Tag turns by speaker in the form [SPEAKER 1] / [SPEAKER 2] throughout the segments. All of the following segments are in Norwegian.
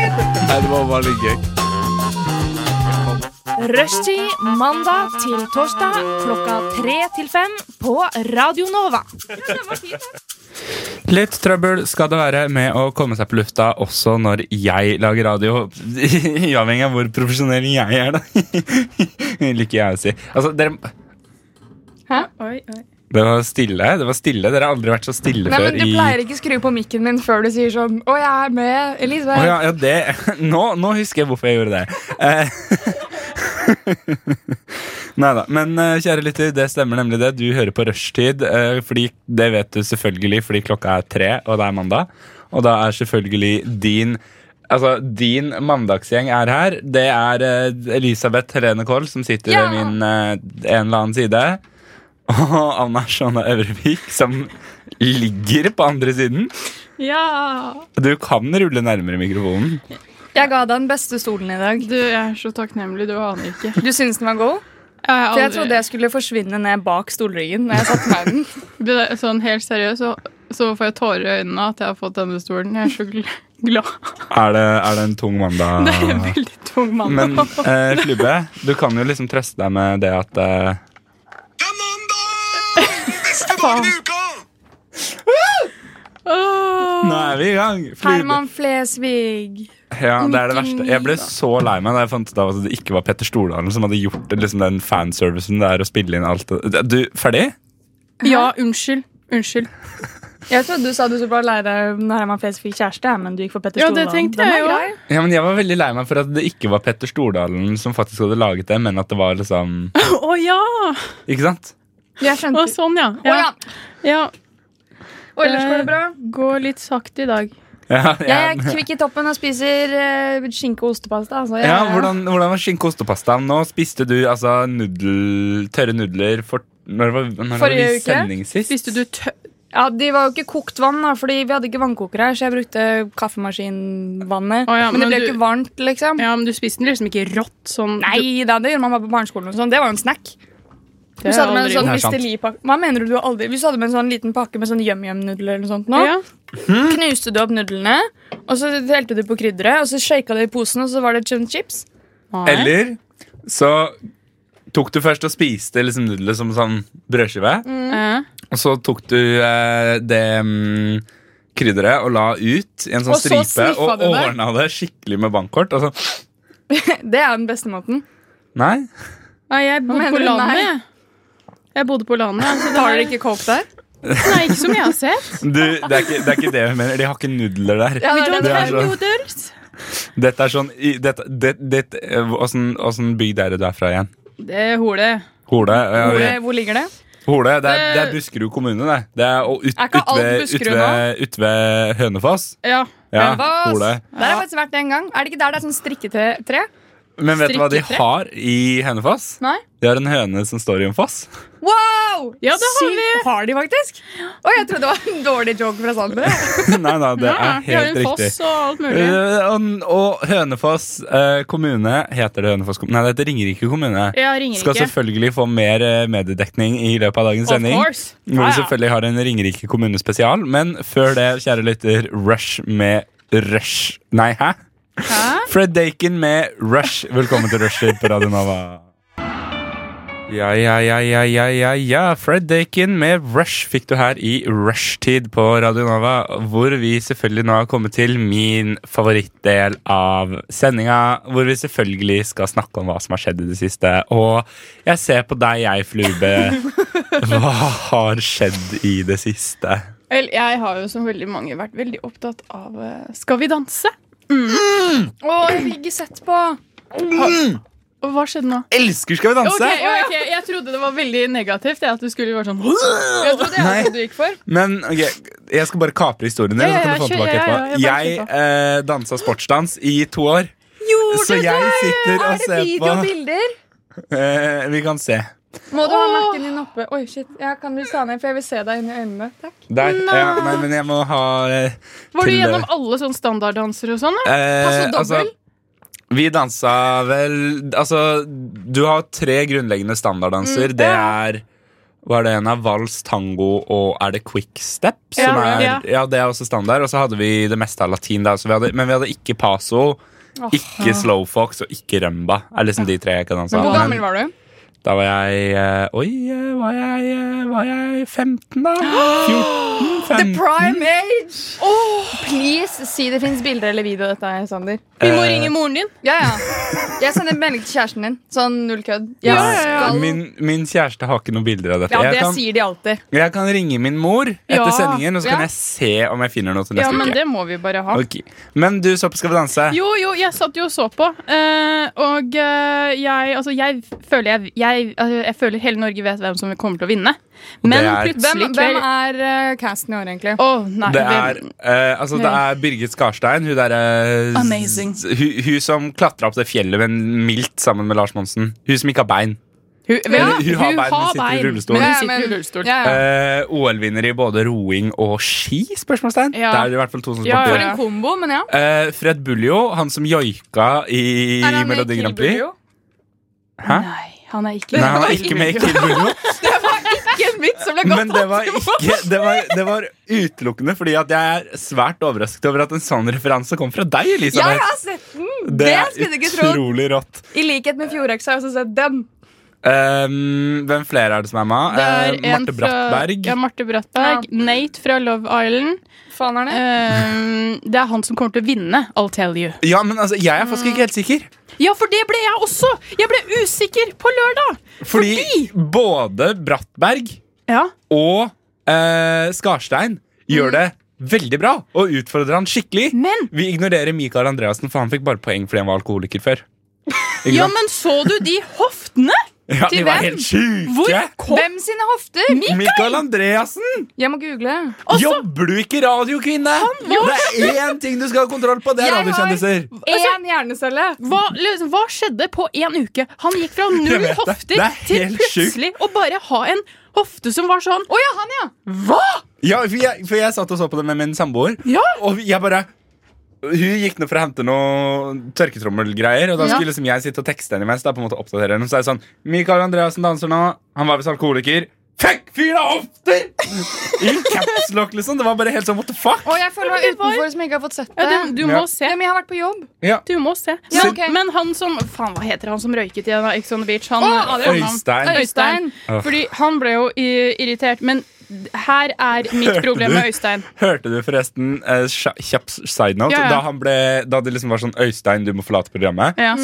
[SPEAKER 1] Nei, det var bare litt gøy.
[SPEAKER 2] Rushtid mandag til torsdag klokka tre til fem på Radio Nova.
[SPEAKER 3] Litt trøbbel skal det være med å komme seg på lufta også når jeg lager radio. Uavhengig av hvor profesjonell jeg er, da. Liker jeg å si. Altså, dere
[SPEAKER 4] Hæ? Oi, oi.
[SPEAKER 3] Det var stille. det var stille Dere har aldri vært så stille
[SPEAKER 4] Nei,
[SPEAKER 3] før
[SPEAKER 4] men Du
[SPEAKER 3] i
[SPEAKER 4] pleier ikke å skru på mikken min før du sier sånn Å, jeg er med, Elisabeth.
[SPEAKER 3] Å ja, ja, det nå, nå husker jeg hvorfor jeg gjorde det. Eh. Nei da. Men eh, kjære lytter, det stemmer nemlig det. Du hører på rushtid. eh, Fordi det vet du selvfølgelig fordi klokka er tre, og det er mandag. Og da er selvfølgelig din Altså, din mandagsgjeng er her. Det er eh, Elisabeth Helene Koll som sitter
[SPEAKER 4] Ja.
[SPEAKER 3] ved min eh, en eller annen side. Og Anna Sjåna Øvrevik som ligger på andre siden.
[SPEAKER 4] ja.
[SPEAKER 3] Du kan rulle nærmere mikrofonen.
[SPEAKER 4] Jeg ga deg den beste stolen i dag.
[SPEAKER 5] Du, jeg er så takknemlig, du aner ikke.
[SPEAKER 4] Du syns den var god?
[SPEAKER 5] Jeg har
[SPEAKER 4] For jeg
[SPEAKER 5] aldri-
[SPEAKER 4] trodde jeg skulle forsvinne ned bak stolryggen. Når jeg satt meg i den
[SPEAKER 5] Det er Sånn helt seriøst, så, så får jeg tårer i øynene at jeg har fått denne stolen. Jeg er så gl glad.
[SPEAKER 3] Er det, er det en tung mandag?
[SPEAKER 5] Det er en veldig tung mann.
[SPEAKER 3] Men eh, Flubbe, du kan jo liksom trøste deg med det at eh,
[SPEAKER 6] Det er mandag! Beste dagen i uka!
[SPEAKER 3] Nå er vi i gang! Flube.
[SPEAKER 4] Herman Flesvig.
[SPEAKER 3] Ja, det er det verste. Jeg ble så lei meg da jeg fant ut av at det ikke var Petter Stordalen som hadde gjort liksom, den fanservicen det er å spille inn alt det Du, ferdig?
[SPEAKER 5] Ja, unnskyld. Unnskyld.
[SPEAKER 4] Jeg trodde du sa du var lei deg når Herman Flesvig fikk kjæreste, ja, men du gikk for Petter
[SPEAKER 5] Ja,
[SPEAKER 4] Stordalen.
[SPEAKER 5] det tenkte
[SPEAKER 4] Den
[SPEAKER 5] jeg
[SPEAKER 4] er
[SPEAKER 5] jo.
[SPEAKER 4] grei.
[SPEAKER 3] Ja, men Jeg var veldig lei meg for at det ikke var Petter Stordalen som faktisk hadde laget det, men at det var liksom
[SPEAKER 5] Å ja!
[SPEAKER 3] Ikke sant?
[SPEAKER 4] Jeg skjønte
[SPEAKER 5] Å, sånn, ja.
[SPEAKER 4] Å ja.
[SPEAKER 5] ja.
[SPEAKER 4] Og ellers går det bra.
[SPEAKER 5] Går litt sakte i dag.
[SPEAKER 3] Ja,
[SPEAKER 4] Jeg er
[SPEAKER 3] ja.
[SPEAKER 4] kvikk i toppen og spiser eh, skinke og ostepasta. Altså, jeg,
[SPEAKER 3] Ja, hvordan, hvordan var skinke og ostepastaen? Nå spiste du altså nudel, tørre nudler for når var, når var
[SPEAKER 4] Forrige
[SPEAKER 3] det
[SPEAKER 4] uke.
[SPEAKER 3] sending sist?
[SPEAKER 5] Spiste du tø...
[SPEAKER 4] Ja, De var jo ikke kokt vann, da, Fordi vi hadde ikke vannkokere her, så jeg brukte kaffemaskinvannet.
[SPEAKER 5] Å ja,
[SPEAKER 4] men, det
[SPEAKER 5] men
[SPEAKER 4] ble jo
[SPEAKER 5] du-
[SPEAKER 4] ikke varmt, liksom.
[SPEAKER 5] Ja, men du spiste den liksom ikke rått sånn.
[SPEAKER 4] Nei da, det gjorde man bare på barneskolen. og sånn. Det var jo en snack.
[SPEAKER 5] Du,
[SPEAKER 4] Vi
[SPEAKER 5] det
[SPEAKER 4] satt
[SPEAKER 5] har
[SPEAKER 4] med en
[SPEAKER 5] jeg aldri
[SPEAKER 4] sånn
[SPEAKER 3] gjort. Det er sant.
[SPEAKER 4] Misteli-pakke Hva mener du du har aldri Hvis du hadde med en sånn liten pakke med sånn yum-yum-nudler eller noe sånt nå,
[SPEAKER 5] Ja. Mm.
[SPEAKER 4] knuste du opp nudlene, og så helte du på krydderet, og så shaka du i posen, og så var det chun chips.
[SPEAKER 5] Nei.
[SPEAKER 3] Eller så tok du først og spiste liksom nudler som sånn brødskive.
[SPEAKER 4] Mm.
[SPEAKER 5] Eh,
[SPEAKER 3] Og så tok du eh, det mm, krydderet og la ut i en sånn
[SPEAKER 4] Og så
[SPEAKER 3] stripe.
[SPEAKER 4] sniffa
[SPEAKER 3] Og
[SPEAKER 4] du det.
[SPEAKER 3] ordna det skikkelig med bankkort. Og så,
[SPEAKER 4] Det er den beste måten.
[SPEAKER 3] nei,
[SPEAKER 5] Nei, jeg bodde
[SPEAKER 4] mener
[SPEAKER 5] på
[SPEAKER 4] du?
[SPEAKER 5] landet,
[SPEAKER 4] Nei.
[SPEAKER 5] jeg. Jeg bodde på landet, jeg. Så det
[SPEAKER 4] Tar
[SPEAKER 5] er
[SPEAKER 4] dere ikke coke der?
[SPEAKER 5] Nei, ikke som jeg har sett.
[SPEAKER 3] du, det, er ikke, det er ikke det hun mener. De har ikke nudler der.
[SPEAKER 4] Ja,
[SPEAKER 5] We
[SPEAKER 4] det er
[SPEAKER 3] det.
[SPEAKER 5] don't
[SPEAKER 4] det.
[SPEAKER 5] have
[SPEAKER 3] Det er så-
[SPEAKER 5] noodles.
[SPEAKER 3] Dette er sånn i- dette, det, det, eh, Åssen åssen bygd er det du er fra igjen?
[SPEAKER 5] Det er hole.
[SPEAKER 3] Hole. ja,
[SPEAKER 4] Hvor,
[SPEAKER 3] ja.
[SPEAKER 4] hvor ligger det?
[SPEAKER 3] Hole det, er, det er Buskerud kommune, det. det er, og ut,
[SPEAKER 4] Eh, Er ikke
[SPEAKER 3] ut,
[SPEAKER 4] alt
[SPEAKER 3] ved, ut,
[SPEAKER 4] Buskerud
[SPEAKER 3] ved, ut ved Hønefoss.
[SPEAKER 5] Ja.
[SPEAKER 3] Ja,
[SPEAKER 4] Hønefoss.
[SPEAKER 3] Hole.
[SPEAKER 4] Der har jeg faktisk vært en gang. Er det ikke der det er sånn strikketre?
[SPEAKER 3] Men vet du hva de
[SPEAKER 4] Strikketre?
[SPEAKER 3] har i Hønefoss?
[SPEAKER 4] Nei.
[SPEAKER 3] De har en høne som står i en foss.
[SPEAKER 4] Wow!
[SPEAKER 5] Ja, det har
[SPEAKER 4] Sykt. Har de faktisk? Å, jeg trodde det var en dårlig joke fra Sander.
[SPEAKER 3] Nei da, det
[SPEAKER 5] Ja,
[SPEAKER 3] er
[SPEAKER 5] vi har
[SPEAKER 3] helt
[SPEAKER 5] en
[SPEAKER 3] riktig.
[SPEAKER 5] foss og alt mulig.
[SPEAKER 3] Eh, og, og Hønefoss eh, kommune Heter det Hønefoss kommune? Nei, det heter Ringerike kommune.
[SPEAKER 5] Ja, Ringerike.
[SPEAKER 3] Skal selvfølgelig få mer eh, mediedekning i løpet av dagens
[SPEAKER 5] Of
[SPEAKER 3] sending.
[SPEAKER 5] course.
[SPEAKER 3] Hvor
[SPEAKER 5] Ja,
[SPEAKER 3] vi
[SPEAKER 5] ja.
[SPEAKER 3] selvfølgelig har en Ringerike kommune spesial. Men før det, kjære lytter, Rush med Rush Nei, hæ? Fred Dakin med Rush. Velkommen til Rushtid på Radio Nova. Ja, ja, ja, ja, ja, ja, ja. Fred Dakin med Rush fikk du her i Rushtid på Radio Nova, hvor vi selvfølgelig nå har kommet til min favorittdel av sendinga, hvor vi selvfølgelig skal snakke om hva som har skjedd i det siste. Og jeg ser på deg, jeg, Flube. Hva har skjedd i det siste?
[SPEAKER 5] Vel, jeg har jo som veldig mange vært veldig opptatt av eh, Skal vi danse?
[SPEAKER 4] Å, jeg fikk ikke sett på.
[SPEAKER 5] Og hva skjedde nå?
[SPEAKER 3] Elsker Skal vi
[SPEAKER 5] Ok,
[SPEAKER 3] danse!
[SPEAKER 5] ja, ok, Jeg trodde det var veldig negativt. Jeg, at du skulle være sånn Jeg trodde det
[SPEAKER 3] Nei.
[SPEAKER 5] var det du gikk for.
[SPEAKER 3] Men ok, jeg skal bare kapre historien din.
[SPEAKER 5] Ja, ja,
[SPEAKER 3] så kan du
[SPEAKER 5] ja,
[SPEAKER 3] få den tilbake
[SPEAKER 5] kjør, ja, ja,
[SPEAKER 3] etterpå.
[SPEAKER 5] ja, bare
[SPEAKER 3] Jeg eh, dansa sportsdans i to år. så jeg sitter og
[SPEAKER 4] Er det
[SPEAKER 3] ser
[SPEAKER 4] video
[SPEAKER 3] på
[SPEAKER 4] og bilder?
[SPEAKER 3] eh, Vi kan se.
[SPEAKER 4] Må du ha nakken din oppe? Oi, shit. Jeg kan bli stående, for jeg vil se deg inn i øynene. Takk.
[SPEAKER 3] Der. Ja, nei, men jeg må ha eh,
[SPEAKER 5] Var du
[SPEAKER 3] til-
[SPEAKER 5] gjennom alle sånne standarddanser og sånn? da?
[SPEAKER 3] Eh,
[SPEAKER 4] Passo dobbel?
[SPEAKER 3] vi dansa vel Altså, du har tre grunnleggende
[SPEAKER 5] Mm,
[SPEAKER 3] standarddanser. Det er hva er det ene? Vals, tango og er det quickstep?
[SPEAKER 5] Ja,
[SPEAKER 3] Som er,
[SPEAKER 5] ja.
[SPEAKER 3] ja, det er også standard. Og så hadde vi det meste av latin. Der, så vi hadde, men vi hadde ikke paso. Ikke Slowfox og ikke Rømba er liksom de tre jeg kan danse.
[SPEAKER 5] Men hvor
[SPEAKER 3] av.
[SPEAKER 5] gammel var du?
[SPEAKER 3] Da var jeg eh, Oi, eh, var jeg, eh, var jeg 15, da? 14? 15?
[SPEAKER 4] Prime age!
[SPEAKER 5] Please, si det fins bilder eller video av dette, her, Sander.
[SPEAKER 4] Vi må
[SPEAKER 3] Eh,
[SPEAKER 4] ringe moren din.
[SPEAKER 5] Ja, ja. Jeg sender melding til kjæresten din. Sånn null kødd. Jeg
[SPEAKER 3] Nei,
[SPEAKER 5] skal
[SPEAKER 3] Min, min kjæreste har ikke noen bilder av dette.
[SPEAKER 4] Ja,
[SPEAKER 3] jeg,
[SPEAKER 4] det
[SPEAKER 3] kan,
[SPEAKER 4] sier de alltid.
[SPEAKER 3] jeg kan ringe min mor etter
[SPEAKER 5] Ja,
[SPEAKER 3] sendingen, og så kan
[SPEAKER 5] ja.
[SPEAKER 3] jeg se om jeg finner noe til
[SPEAKER 5] Ja,
[SPEAKER 3] neste
[SPEAKER 5] men
[SPEAKER 3] uke.
[SPEAKER 5] det må vi bare ha.
[SPEAKER 3] Ok. Men du, så på Skal vi danse.
[SPEAKER 5] Jo, jo, jeg satt jo og så på. eh, og eh, jeg, altså, jeg føler jeg, jeg, altså, jeg føler hele Norge vet hvem som kommer til å vinne. Men
[SPEAKER 3] Det er-
[SPEAKER 5] plutselig
[SPEAKER 4] Hvem,
[SPEAKER 5] i
[SPEAKER 4] hvem
[SPEAKER 5] kveld
[SPEAKER 4] er eh, casten i år, egentlig?
[SPEAKER 5] Å, nei,
[SPEAKER 3] Det er, eh, altså, det er Birgit Skarstein. Hun derre
[SPEAKER 5] Amazing.
[SPEAKER 3] Hun, hun som klatra opp det fjellet med en milt sammen med Lars Monsen. Hun som ikke har bein.
[SPEAKER 5] Hun, vel,
[SPEAKER 3] hun har bein, men sitter i
[SPEAKER 5] bein,
[SPEAKER 3] rullestol.
[SPEAKER 5] Men
[SPEAKER 4] Ja,
[SPEAKER 5] hun sitter
[SPEAKER 4] men-
[SPEAKER 5] i rullestol.
[SPEAKER 4] Ja, ja.
[SPEAKER 3] Eh, OL-vinner i både roing og ski? Spørsmålstegn.
[SPEAKER 5] Ja.
[SPEAKER 3] Det er det i hvert fall to som spør.
[SPEAKER 5] Ja, ja,
[SPEAKER 4] For
[SPEAKER 5] ja.
[SPEAKER 4] en kombo, men ja.
[SPEAKER 3] Eh, Fred Buljo, han som joika i
[SPEAKER 4] Er han med
[SPEAKER 3] Melodi
[SPEAKER 4] Kill
[SPEAKER 3] Grand Prix.
[SPEAKER 4] Buljo?
[SPEAKER 3] Hæ?
[SPEAKER 5] Nei, han er ikke
[SPEAKER 3] Nei, han var ikke med i Kill Buljo. Men det var, ikke, det, var, det var utelukkende fordi at jeg er svært overrasket over at en sånn referanse kom fra deg,
[SPEAKER 4] Jeg
[SPEAKER 3] Elisabeth.
[SPEAKER 4] har sett den! Det skulle du ikke trodd.
[SPEAKER 3] utrolig rått.
[SPEAKER 4] I likhet med Fjordøks har jeg også sett den.
[SPEAKER 3] Um, hvem flere er det som er med?
[SPEAKER 5] Det er
[SPEAKER 3] Eh,
[SPEAKER 5] en
[SPEAKER 3] Marte Brattberg.
[SPEAKER 5] Fra, ja, Marte Brattberg. Nate fra Love Island.
[SPEAKER 4] Faen er det?
[SPEAKER 5] Eh, det er han som kommer til å vinne, I'll tell you.
[SPEAKER 3] Ja, men altså, jeg er faktisk ikke helt sikker.
[SPEAKER 5] Ja, for det ble jeg også! Jeg ble usikker på lørdag!
[SPEAKER 3] Fordi, både Brattberg
[SPEAKER 5] Ja,
[SPEAKER 3] og eh, Skarstein
[SPEAKER 5] Mhm.
[SPEAKER 3] gjør det veldig bra og utfordrer han skikkelig.
[SPEAKER 5] Men
[SPEAKER 3] Vi ignorerer Mikael Andreassen, for han fikk bare poeng fordi han var alkoholiker før. Ikke
[SPEAKER 5] Ja,
[SPEAKER 3] sant?
[SPEAKER 5] men så du de hoftene?
[SPEAKER 3] ja, de
[SPEAKER 5] til
[SPEAKER 3] var
[SPEAKER 5] hvem?
[SPEAKER 3] helt sjuke!
[SPEAKER 5] Hvor kom
[SPEAKER 4] Hvem sine hofter?
[SPEAKER 3] Mikael Andreassen!
[SPEAKER 4] Jeg må google.
[SPEAKER 3] Jobber du ikke radiokvinne? Det er én ting du skal ha kontroll på, det er
[SPEAKER 4] Jeg har-
[SPEAKER 3] radiokjendiser!
[SPEAKER 4] Én Altså, hjernecelle.
[SPEAKER 5] hva, liksom, hva skjedde på én uke? Han gikk fra
[SPEAKER 3] Jeg
[SPEAKER 5] null
[SPEAKER 3] vet det. Det
[SPEAKER 5] hofter
[SPEAKER 3] er
[SPEAKER 5] til
[SPEAKER 3] helt
[SPEAKER 5] plutselig å bare ha en hofte som var sånn.
[SPEAKER 4] Å ja, han, ja!
[SPEAKER 3] Ja, for jeg, for jeg satt og så på det med min samboer,
[SPEAKER 5] Ja.
[SPEAKER 3] og jeg bare hun gikk ned for å hente noe tørketrommelgreier, og da
[SPEAKER 5] Ja.
[SPEAKER 3] skulle liksom jeg sitte og tekste henne imens. Da på en måte oppdatere henne Så er det sånn Mikael Andreassen danser nå. Han var visst alkoholiker. Fuck, fyren har hofter! I caps lock, liksom. Det var bare helt sånn what the fuck.
[SPEAKER 4] Og jeg føler meg
[SPEAKER 5] det var-
[SPEAKER 4] utenfor som ikke har fått sett
[SPEAKER 5] Ja,
[SPEAKER 4] det.
[SPEAKER 5] du, du
[SPEAKER 3] Ja.
[SPEAKER 5] må se.
[SPEAKER 4] Ja, men jeg har vært på jobb.
[SPEAKER 3] Ja.
[SPEAKER 5] Du må se. Men,
[SPEAKER 4] Ja, ok.
[SPEAKER 5] men han som Faen, hva heter han som røyket i da, Ex on the Beach? Han,
[SPEAKER 4] Å,
[SPEAKER 5] Adrian, han-
[SPEAKER 3] Øystein.
[SPEAKER 5] Øystein.
[SPEAKER 3] Åh.
[SPEAKER 5] Fordi han ble jo i- irritert. Men d- her er mitt
[SPEAKER 3] Hørte
[SPEAKER 5] problem
[SPEAKER 3] du?
[SPEAKER 5] med Øystein.
[SPEAKER 3] Hørte du forresten eh, sja- kjapp side note?
[SPEAKER 5] Ja, ja.
[SPEAKER 3] Da, han ble, da det liksom var sånn Øystein, du må forlate programmet,
[SPEAKER 5] Ja.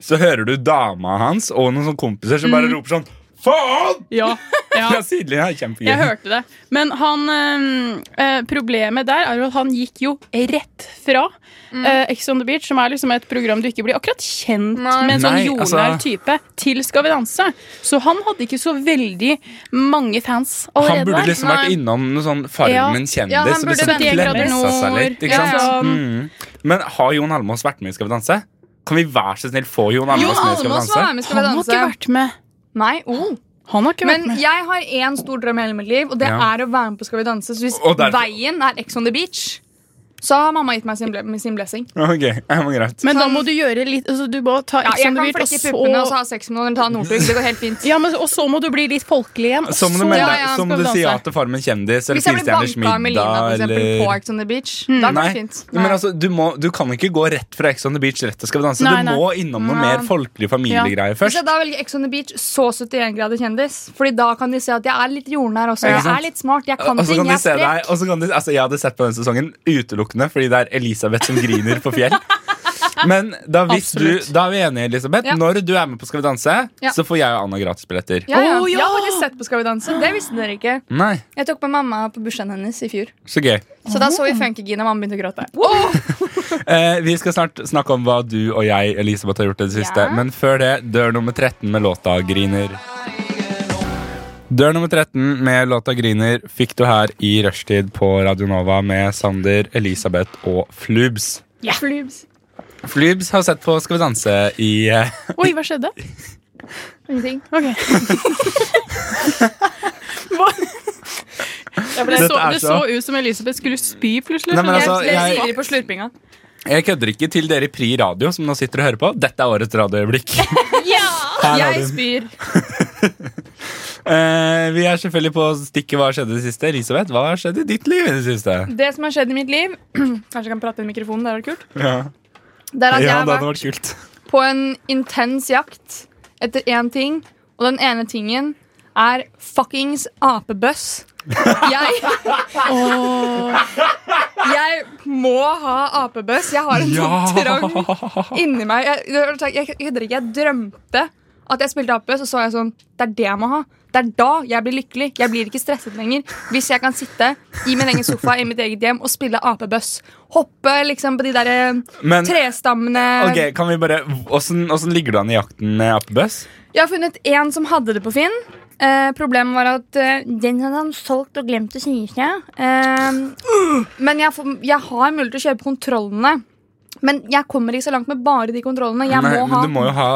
[SPEAKER 3] så hører du dama hans og noen sånne kompiser som
[SPEAKER 4] Mm.
[SPEAKER 3] bare roper sånn Faen!
[SPEAKER 5] Ja. ja.
[SPEAKER 3] Fra sidelinja. Kjempegøy.
[SPEAKER 5] Jeg hørte det. Men han, øhm, øh, problemet der er jo at han gikk jo rett fra
[SPEAKER 4] Mm.
[SPEAKER 5] øh, Ex on the Beach, som er liksom et program du ikke blir akkurat kjent
[SPEAKER 4] Nei.
[SPEAKER 5] med en sånn
[SPEAKER 3] Nei,
[SPEAKER 5] jordnær
[SPEAKER 3] altså-
[SPEAKER 5] type, til Skal vi danse. Så han hadde ikke så veldig mange fans
[SPEAKER 3] Han
[SPEAKER 5] allerede
[SPEAKER 3] burde
[SPEAKER 5] der.
[SPEAKER 3] liksom vært
[SPEAKER 4] Nei.
[SPEAKER 3] innom noe sånn Farmen kjendis.
[SPEAKER 4] Ja, han
[SPEAKER 3] som
[SPEAKER 4] burde
[SPEAKER 3] liksom
[SPEAKER 5] vært i en grader
[SPEAKER 3] klemsa seg
[SPEAKER 5] nord.
[SPEAKER 3] litt, ikke
[SPEAKER 5] Ja,
[SPEAKER 3] sant?
[SPEAKER 5] ja.
[SPEAKER 3] Mm. Men har Jon Almaas vært med i Skal vi danse? Kan vi vær så snill få
[SPEAKER 4] Jon
[SPEAKER 3] Jon Almaas med i Skal vi
[SPEAKER 4] Almaas var
[SPEAKER 3] danse?
[SPEAKER 4] med i Skal vi
[SPEAKER 5] Han har
[SPEAKER 4] danse.
[SPEAKER 5] ikke vært med.
[SPEAKER 4] Nei, oh.
[SPEAKER 5] Han har ikke
[SPEAKER 4] Men
[SPEAKER 5] vært med.
[SPEAKER 4] jeg har én stor drøm i hele mitt liv, og det
[SPEAKER 3] Ja.
[SPEAKER 4] er å være med på Skal vi danse. Så hvis
[SPEAKER 3] Og derfor-
[SPEAKER 4] veien er Ex on the beach, så har mamma gitt meg sin, ble med sin blessing.
[SPEAKER 3] Ok, ja, men greit.
[SPEAKER 5] Men da må du gjøre litt altså, Du må ta
[SPEAKER 4] Ja,
[SPEAKER 5] Ex
[SPEAKER 4] jeg kan
[SPEAKER 5] on the Beach, og
[SPEAKER 4] flekke puppene altså. og så
[SPEAKER 5] så
[SPEAKER 4] ha sex med noen eller ta Northug. Det går helt fint.
[SPEAKER 5] ja, men, og så må du bli litt folkelig igjen. og
[SPEAKER 3] Så må du,
[SPEAKER 5] så-
[SPEAKER 3] melde,
[SPEAKER 4] Ja,
[SPEAKER 3] deg-
[SPEAKER 4] ja,
[SPEAKER 3] så må
[SPEAKER 5] Skal vi
[SPEAKER 3] du si
[SPEAKER 5] danse.
[SPEAKER 3] ja til Farmen kjendis eller
[SPEAKER 4] Hvis jeg
[SPEAKER 3] Fire
[SPEAKER 4] blir
[SPEAKER 3] stjerners
[SPEAKER 4] banka av Melina for
[SPEAKER 3] middag
[SPEAKER 4] eksempel, på
[SPEAKER 3] eller
[SPEAKER 4] Ex on the beach, da går
[SPEAKER 3] Nei,
[SPEAKER 4] det fint.
[SPEAKER 3] men altså, du, må, du kan ikke gå rett fra Ex on the Beach rett til Skal vi danse.
[SPEAKER 5] Nei,
[SPEAKER 3] du
[SPEAKER 5] nei.
[SPEAKER 3] må innom noe mer folkelig familiegreie
[SPEAKER 4] Hvis jeg
[SPEAKER 3] først.
[SPEAKER 4] da velger Ex on the Beach, så 71 grader kjendis. Fordi da kan de se at jeg er litt jordnær også.
[SPEAKER 3] Ikke
[SPEAKER 4] Jeg
[SPEAKER 3] sant?
[SPEAKER 4] er litt smart. Jeg kan
[SPEAKER 3] Og så
[SPEAKER 4] ting.
[SPEAKER 3] kan de
[SPEAKER 4] Jeg er
[SPEAKER 3] se
[SPEAKER 4] sprek.
[SPEAKER 3] deg og så kan de, altså, Jeg hadde sett på den sesongen utelukkende fordi det er Elisabeth som griner på fjell. Men da, hvis du,
[SPEAKER 5] Absolutt.
[SPEAKER 3] da er vi enige, Elisabeth.
[SPEAKER 4] Ja.
[SPEAKER 3] Når du er med på Skal vi danse,
[SPEAKER 4] Ja.
[SPEAKER 3] så får jeg og Anna gratisbilletter.
[SPEAKER 4] Ja, ja.
[SPEAKER 5] Å, ja.
[SPEAKER 4] Jeg har faktisk sett på Skal vi danse. Det visste dere ikke.
[SPEAKER 3] Nei,
[SPEAKER 4] Jeg tok med mamma på bursdagen hennes i fjor.
[SPEAKER 3] så gøy.
[SPEAKER 4] Så da så vi Funkygine, og mamma begynte å gråte.
[SPEAKER 3] Eh, vi skal snart snakke om hva du og jeg Elisabeth, har gjort i det siste.
[SPEAKER 4] Ja.
[SPEAKER 3] Men før det, dør nummer 13 med låta 'Griner'. Dør nummer 13 med låta 'Griner' fikk du her i rushtid på Radio Nova med Sander, Elisabeth og Flubs.
[SPEAKER 4] Flubbs.
[SPEAKER 3] Flubs har sett på Skal vi danse i eh,
[SPEAKER 5] Oi, hva skjedde?
[SPEAKER 4] Ingenting.
[SPEAKER 5] Ok. Hva? det,
[SPEAKER 3] Dette
[SPEAKER 5] så,
[SPEAKER 3] er
[SPEAKER 5] det så
[SPEAKER 3] så-
[SPEAKER 5] ut som Elisabeth skulle spy plutselig.
[SPEAKER 3] Nei, men
[SPEAKER 5] skjønner
[SPEAKER 3] altså,
[SPEAKER 5] jeg.
[SPEAKER 4] jeg
[SPEAKER 3] jeg-
[SPEAKER 4] stirrer på slurpinga.
[SPEAKER 3] Jeg kødder ikke til dere i Pri Radio som nå sitter og hører på. Dette er årets radioøyeblikk. Her har
[SPEAKER 5] jeg
[SPEAKER 3] du.
[SPEAKER 5] spyr.
[SPEAKER 3] Eh, vi er selvfølgelig på stikket Hva skjedde i det siste? Elisabeth, hva skjedde i ditt liv i det siste?
[SPEAKER 4] Det som har skjedd i mitt liv Kanskje jeg kan prate i mikrofonen, det hadde vært kult. Det er at Altså, jeg har
[SPEAKER 3] Ja, det hadde
[SPEAKER 4] vært
[SPEAKER 3] vært kult.
[SPEAKER 4] på en intens jakt etter én ting, og den ene tingen er fuckings apebøss. Jeg Jeg må ha apebøss. Jeg har en sånn trang inni meg. Jeg, jeg, jeg, jeg, kødder ikke. jeg drømte at jeg spilte apebøss, og så var jeg sånn Det er det jeg må ha. Det er da jeg blir lykkelig. Jeg blir ikke stresset lenger hvis jeg kan sitte i min egen sofa i mitt eget hjem og spille apebøss. Hoppe liksom på de der eh,
[SPEAKER 3] Men
[SPEAKER 4] trestammene.
[SPEAKER 3] ok, kan vi bare Åssen åssen ligger du an i jakten, eh, Appebøss?
[SPEAKER 4] Jeg har funnet én som hadde det på Finn. Eh, problemet var at eh, den hadde han solgt og glemt å si fra. Eh, men jeg, får, jeg har mulighet til å kjøpe kontrollene. Men jeg kommer ikke så langt med bare de kontrollene. Jeg
[SPEAKER 3] Nei,
[SPEAKER 4] må ha
[SPEAKER 3] men du må jo ha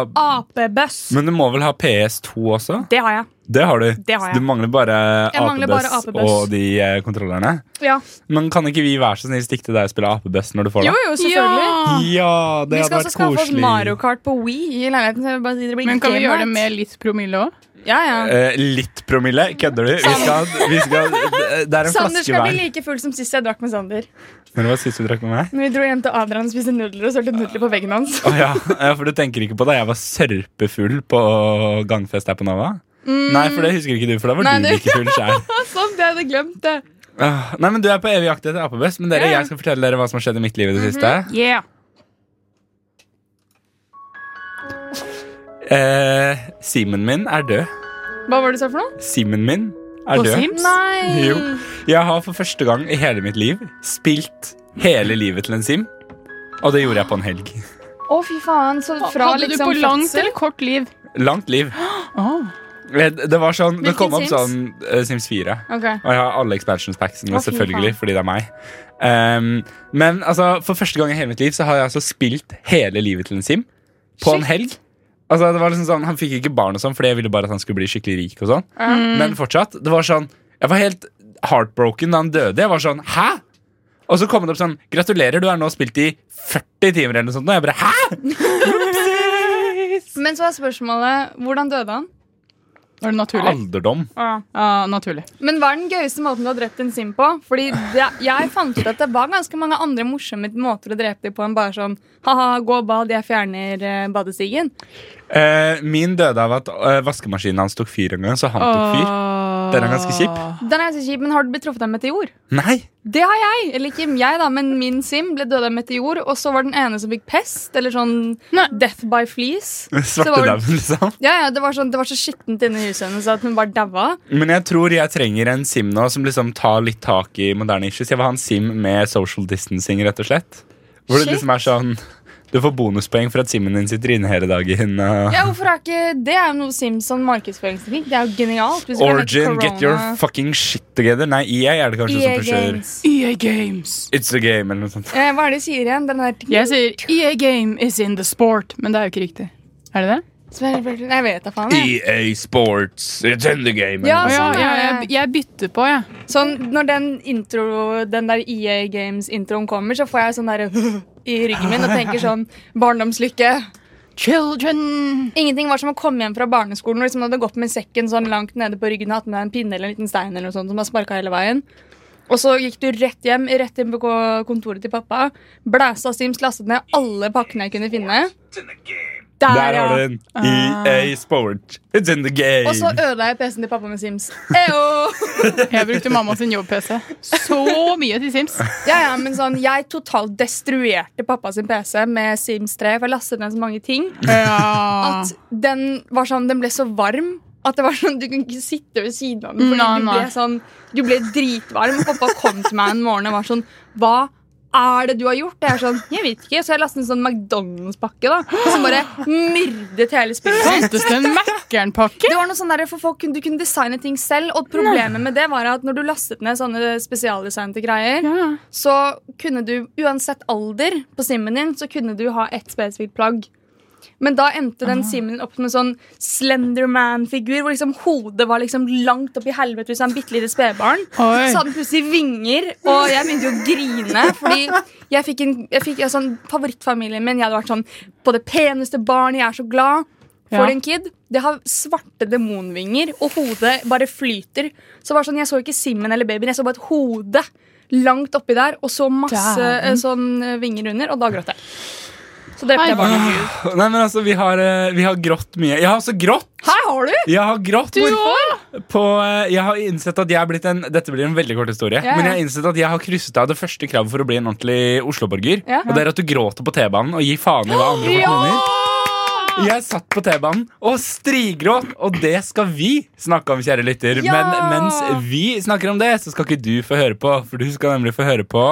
[SPEAKER 4] apebøss.
[SPEAKER 3] Men du må vel ha PS2 også?
[SPEAKER 4] Det har jeg.
[SPEAKER 3] Det har du.
[SPEAKER 2] Det har jeg.
[SPEAKER 3] Så Du mangler bare
[SPEAKER 4] Jeg mangler bare
[SPEAKER 3] apebøss
[SPEAKER 4] apebøss.
[SPEAKER 3] og de eh, kontrollerne.
[SPEAKER 4] Ja.
[SPEAKER 3] Men kan ikke vi være så snill stikke til deg og spille apebøss når du får det?
[SPEAKER 4] Jo, jo, selvfølgelig.
[SPEAKER 3] Ja, det
[SPEAKER 4] Vi skal
[SPEAKER 3] hadde
[SPEAKER 4] også
[SPEAKER 3] vært
[SPEAKER 4] skaffe oss
[SPEAKER 3] koselig.
[SPEAKER 4] Mario Kart på Wii i leiligheten. så jeg Bare sier det blir
[SPEAKER 5] Men kan vi
[SPEAKER 4] gamet.
[SPEAKER 5] gjøre det med litt promille òg?
[SPEAKER 4] Ja, ja.
[SPEAKER 3] Eh, litt promille? Kødder du? Vi skal, vi skal, det er en
[SPEAKER 4] Sander
[SPEAKER 3] flaske
[SPEAKER 4] skal bli
[SPEAKER 3] hver.
[SPEAKER 4] like full som sist jeg drakk med Sander.
[SPEAKER 3] Men hva syns du drakk med meg?
[SPEAKER 4] Når vi dro hjem til Adrian og spiste nudler og sølte nudler på veggen hans.
[SPEAKER 3] Å ja, ja, for du tenker ikke på da jeg var sørpefull på gangfest her på Nova? Nei, for det husker ikke du, for da var
[SPEAKER 4] Nei,
[SPEAKER 3] du
[SPEAKER 4] det-
[SPEAKER 3] like full sjæl.
[SPEAKER 4] Sånn, jeg hadde glemt det.
[SPEAKER 3] Ah, Nei, men Du er på evig jakt etter apebøss, men dere, jeg skal fortelle dere hva som har skjedd i mitt liv i det siste.
[SPEAKER 5] Yeah.
[SPEAKER 3] Eh, Simen min er død.
[SPEAKER 4] Hva var det du sa for noe?
[SPEAKER 3] Simen min er
[SPEAKER 5] På
[SPEAKER 3] død.
[SPEAKER 5] Sims?
[SPEAKER 4] Nei!
[SPEAKER 3] Jo. Jeg har for første gang i hele mitt liv spilt hele livet til en sim, og det gjorde jeg på en helg.
[SPEAKER 4] Å, fy faen. Så fra
[SPEAKER 5] Hadde du
[SPEAKER 4] liksom
[SPEAKER 5] på langt
[SPEAKER 4] fødsel-
[SPEAKER 5] eller kort liv?
[SPEAKER 3] Langt liv.
[SPEAKER 5] Oh.
[SPEAKER 3] Det det var sånn, det
[SPEAKER 4] Hvilken
[SPEAKER 3] kom opp
[SPEAKER 4] Sims?
[SPEAKER 3] sånn eh, Sims 4.
[SPEAKER 4] Ok.
[SPEAKER 3] Og jeg har alle expansions
[SPEAKER 4] Å,
[SPEAKER 3] packsene,
[SPEAKER 4] fy
[SPEAKER 3] selvfølgelig, fordi det er meg. Ehm, men altså, for første gang i hele mitt liv så har jeg altså spilt hele livet til en Sim. På en helg. Altså, det var liksom sånn, Han fikk ikke barn og sånn, fordi jeg ville bare at han skulle bli skikkelig rik. og sånn.
[SPEAKER 4] Mm.
[SPEAKER 3] Men fortsatt, det var sånn, jeg var helt heartbroken da han døde. Jeg var sånn, hæ? Og så kom det opp sånn, gratulerer, du har nå spilt i 40 timer eller noe sånt. Og jeg bare, hæ?
[SPEAKER 4] Men så er spørsmålet hvordan døde han?
[SPEAKER 5] Var det naturlig?
[SPEAKER 3] Alderdom.
[SPEAKER 5] Ja, naturlig.
[SPEAKER 4] Men hva er den gøyeste måten du har drept en sim på? Fordi det, jeg fant ut at det var ganske mange andre morsomme måter å drepe dem på enn bare sånn ha-ha, gå og bad, jeg fjerner eh, badestigen.
[SPEAKER 3] Eh, min døde av at eh, vaskemaskinen hans tok fyr en gang, så han tok fyr. Den er ganske kjip.
[SPEAKER 4] Den er ganske kjip, men har du blitt truffet av en meteor?
[SPEAKER 3] Nei!
[SPEAKER 4] Det har jeg! Eller ikke jeg, da, men min sim ble død av en meteor, og så var den ene som fikk pest, eller sånn death by fleece. Så det var-
[SPEAKER 3] Svartedauden, liksom.
[SPEAKER 4] Ja, ja, det var, sånn, det var så skittent inne i huset hennes at hun bare daua.
[SPEAKER 3] Men jeg tror jeg trenger en sim nå som liksom tar litt tak i moderne issues. Jeg vil ha en sim med social distancing, rett og slett. Hvor det
[SPEAKER 4] Shit.
[SPEAKER 3] liksom er sånn Du får bonuspoeng for at simen din sitter inne hele dagen. uh, og-
[SPEAKER 4] Ja, hvorfor er ikke Det er jo noe Simpson markedsføringsteknikk. Det er jo genialt. hvis vi kan hete
[SPEAKER 3] Origin, get your
[SPEAKER 4] Corona.
[SPEAKER 3] fucking shit together. Nei, EA er det kanskje
[SPEAKER 4] EA
[SPEAKER 3] som pusher.
[SPEAKER 4] Games.
[SPEAKER 5] EA E Games.
[SPEAKER 3] It's a game, eller noe sånt.
[SPEAKER 4] Eh, hva er det de sier igjen? Den der
[SPEAKER 5] Jeg sier EA E Game is in the sport, men det er jo ikke riktig. Er det det?
[SPEAKER 4] Jeg vet da faen. Jeg.
[SPEAKER 3] EA E Sports, it's in the game. eller
[SPEAKER 4] Ja,
[SPEAKER 3] noe
[SPEAKER 5] Å
[SPEAKER 3] sånt.
[SPEAKER 5] ja,
[SPEAKER 4] sånn er
[SPEAKER 5] ja, jeg,
[SPEAKER 4] det.
[SPEAKER 5] jeg bytter på, jeg.
[SPEAKER 4] Sånn, når den, intro, den der E EA Games-introen kommer, så får jeg sånn der i ryggen min og tenker sånn Barndomslykke.
[SPEAKER 5] Children
[SPEAKER 4] Ingenting var som å komme hjem fra barneskolen og liksom hadde gått med sekken sånn langt nede på ryggen og hatt med deg en pinne eller en liten stein eller noe sånt som har sparka hele veien. Og så gikk du rett hjem, rett inn på ko- kontoret til pappa, blæsta Sims, lastet ned alle pakkene jeg kunne finne.
[SPEAKER 3] Der
[SPEAKER 4] Der,
[SPEAKER 3] har du
[SPEAKER 4] ja. Ah.
[SPEAKER 3] den. EA Sports, it's in the game.
[SPEAKER 4] Og så ødela jeg PC-en til pappa med Sims. Eyo!
[SPEAKER 5] Jeg brukte mamma sin jobb-PC så mye til Sims.
[SPEAKER 4] Ja, ja, men sånn, Jeg totalt destruerte pappa sin PC med Sims 3, for jeg lastet ned så mange ting.
[SPEAKER 5] Ja.
[SPEAKER 4] At den var sånn, den ble så varm at det var sånn, du kunne ikke sitte ved siden av den. Fordi
[SPEAKER 5] Nei,
[SPEAKER 4] du,
[SPEAKER 5] nei.
[SPEAKER 4] ble sånn, du ble dritvarm. Og pappa kom til meg en morgen og var sånn Hva er det du har gjort? Og Jeg er sånn, jeg vet ikke. Så jeg lastet en sånn McDonald's-pakke da, som bare myrdet hele spillet. mitt.
[SPEAKER 5] Fantes det en Mækkern-pakke?
[SPEAKER 4] Det var noe sånn der, for folk kunne, Du kunne designe ting selv, og problemet med det var at når du lastet ned sånne spesialdesignte greier, så kunne du, uansett alder på simmen din, så kunne du ha ett spesifikt plagg. Men da endte den simmen din opp som en sånn Slenderman-figur, hvor liksom hodet var liksom langt opp i helvete hvis han bitte lite spedbarn.
[SPEAKER 5] Oi.
[SPEAKER 4] Så hadde den plutselig vinger, og jeg begynte jo å grine. Fordi jeg fikk en jeg fikk, altså, favorittfamilien min. Jeg hadde vært sånn på det peneste barn, jeg er så glad. For
[SPEAKER 5] Ja.
[SPEAKER 4] en kid. Det har svarte demonvinger, og hodet bare flyter. Så det var sånn, Jeg så ikke Simmen eller babyen, jeg så bare et hode langt oppi der, og så masse
[SPEAKER 5] Dæven.
[SPEAKER 4] eh, sånn eh, vinger under, og da gråt jeg. Så drepte jeg barnet.
[SPEAKER 3] Nei, men altså, vi har, eh, vi har grått mye. Jeg har også grått!
[SPEAKER 4] Her har du!
[SPEAKER 3] Jeg har grått
[SPEAKER 5] Du òg!
[SPEAKER 3] på eh, Jeg har innsett at jeg er blitt en Dette blir en veldig kort historie.
[SPEAKER 4] Ja, ja.
[SPEAKER 3] Men jeg har innsett at jeg har krysset av det første kravet for å bli en ordentlig Oslo-borger.
[SPEAKER 4] Ja.
[SPEAKER 3] Og det er at du gråter på T-banen og gir faen i hva andre folk mener. Jeg satt på T-banen og strigråt, og det skal vi snakke om, kjære lytter.
[SPEAKER 4] Ja!
[SPEAKER 3] Men mens vi snakker om det, så skal ikke du få høre på, for du skal nemlig få høre på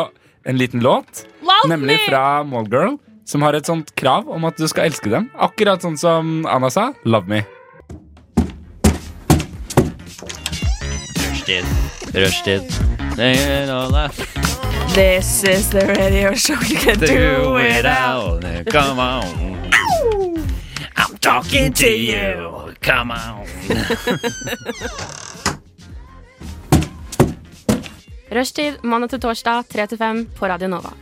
[SPEAKER 3] en liten låt. Nemlig fra Mallgirl, som har et sånt krav om at du skal elske dem. Akkurat sånn som Anna sa. Love me.
[SPEAKER 1] Rushtid. Rushtid. They all laugh.
[SPEAKER 2] This is the radio show you can
[SPEAKER 1] Do it all. Come on. I'm talking to you. Come on.
[SPEAKER 7] Rushtid mandag til torsdag 3 til 5 på Radio Nova.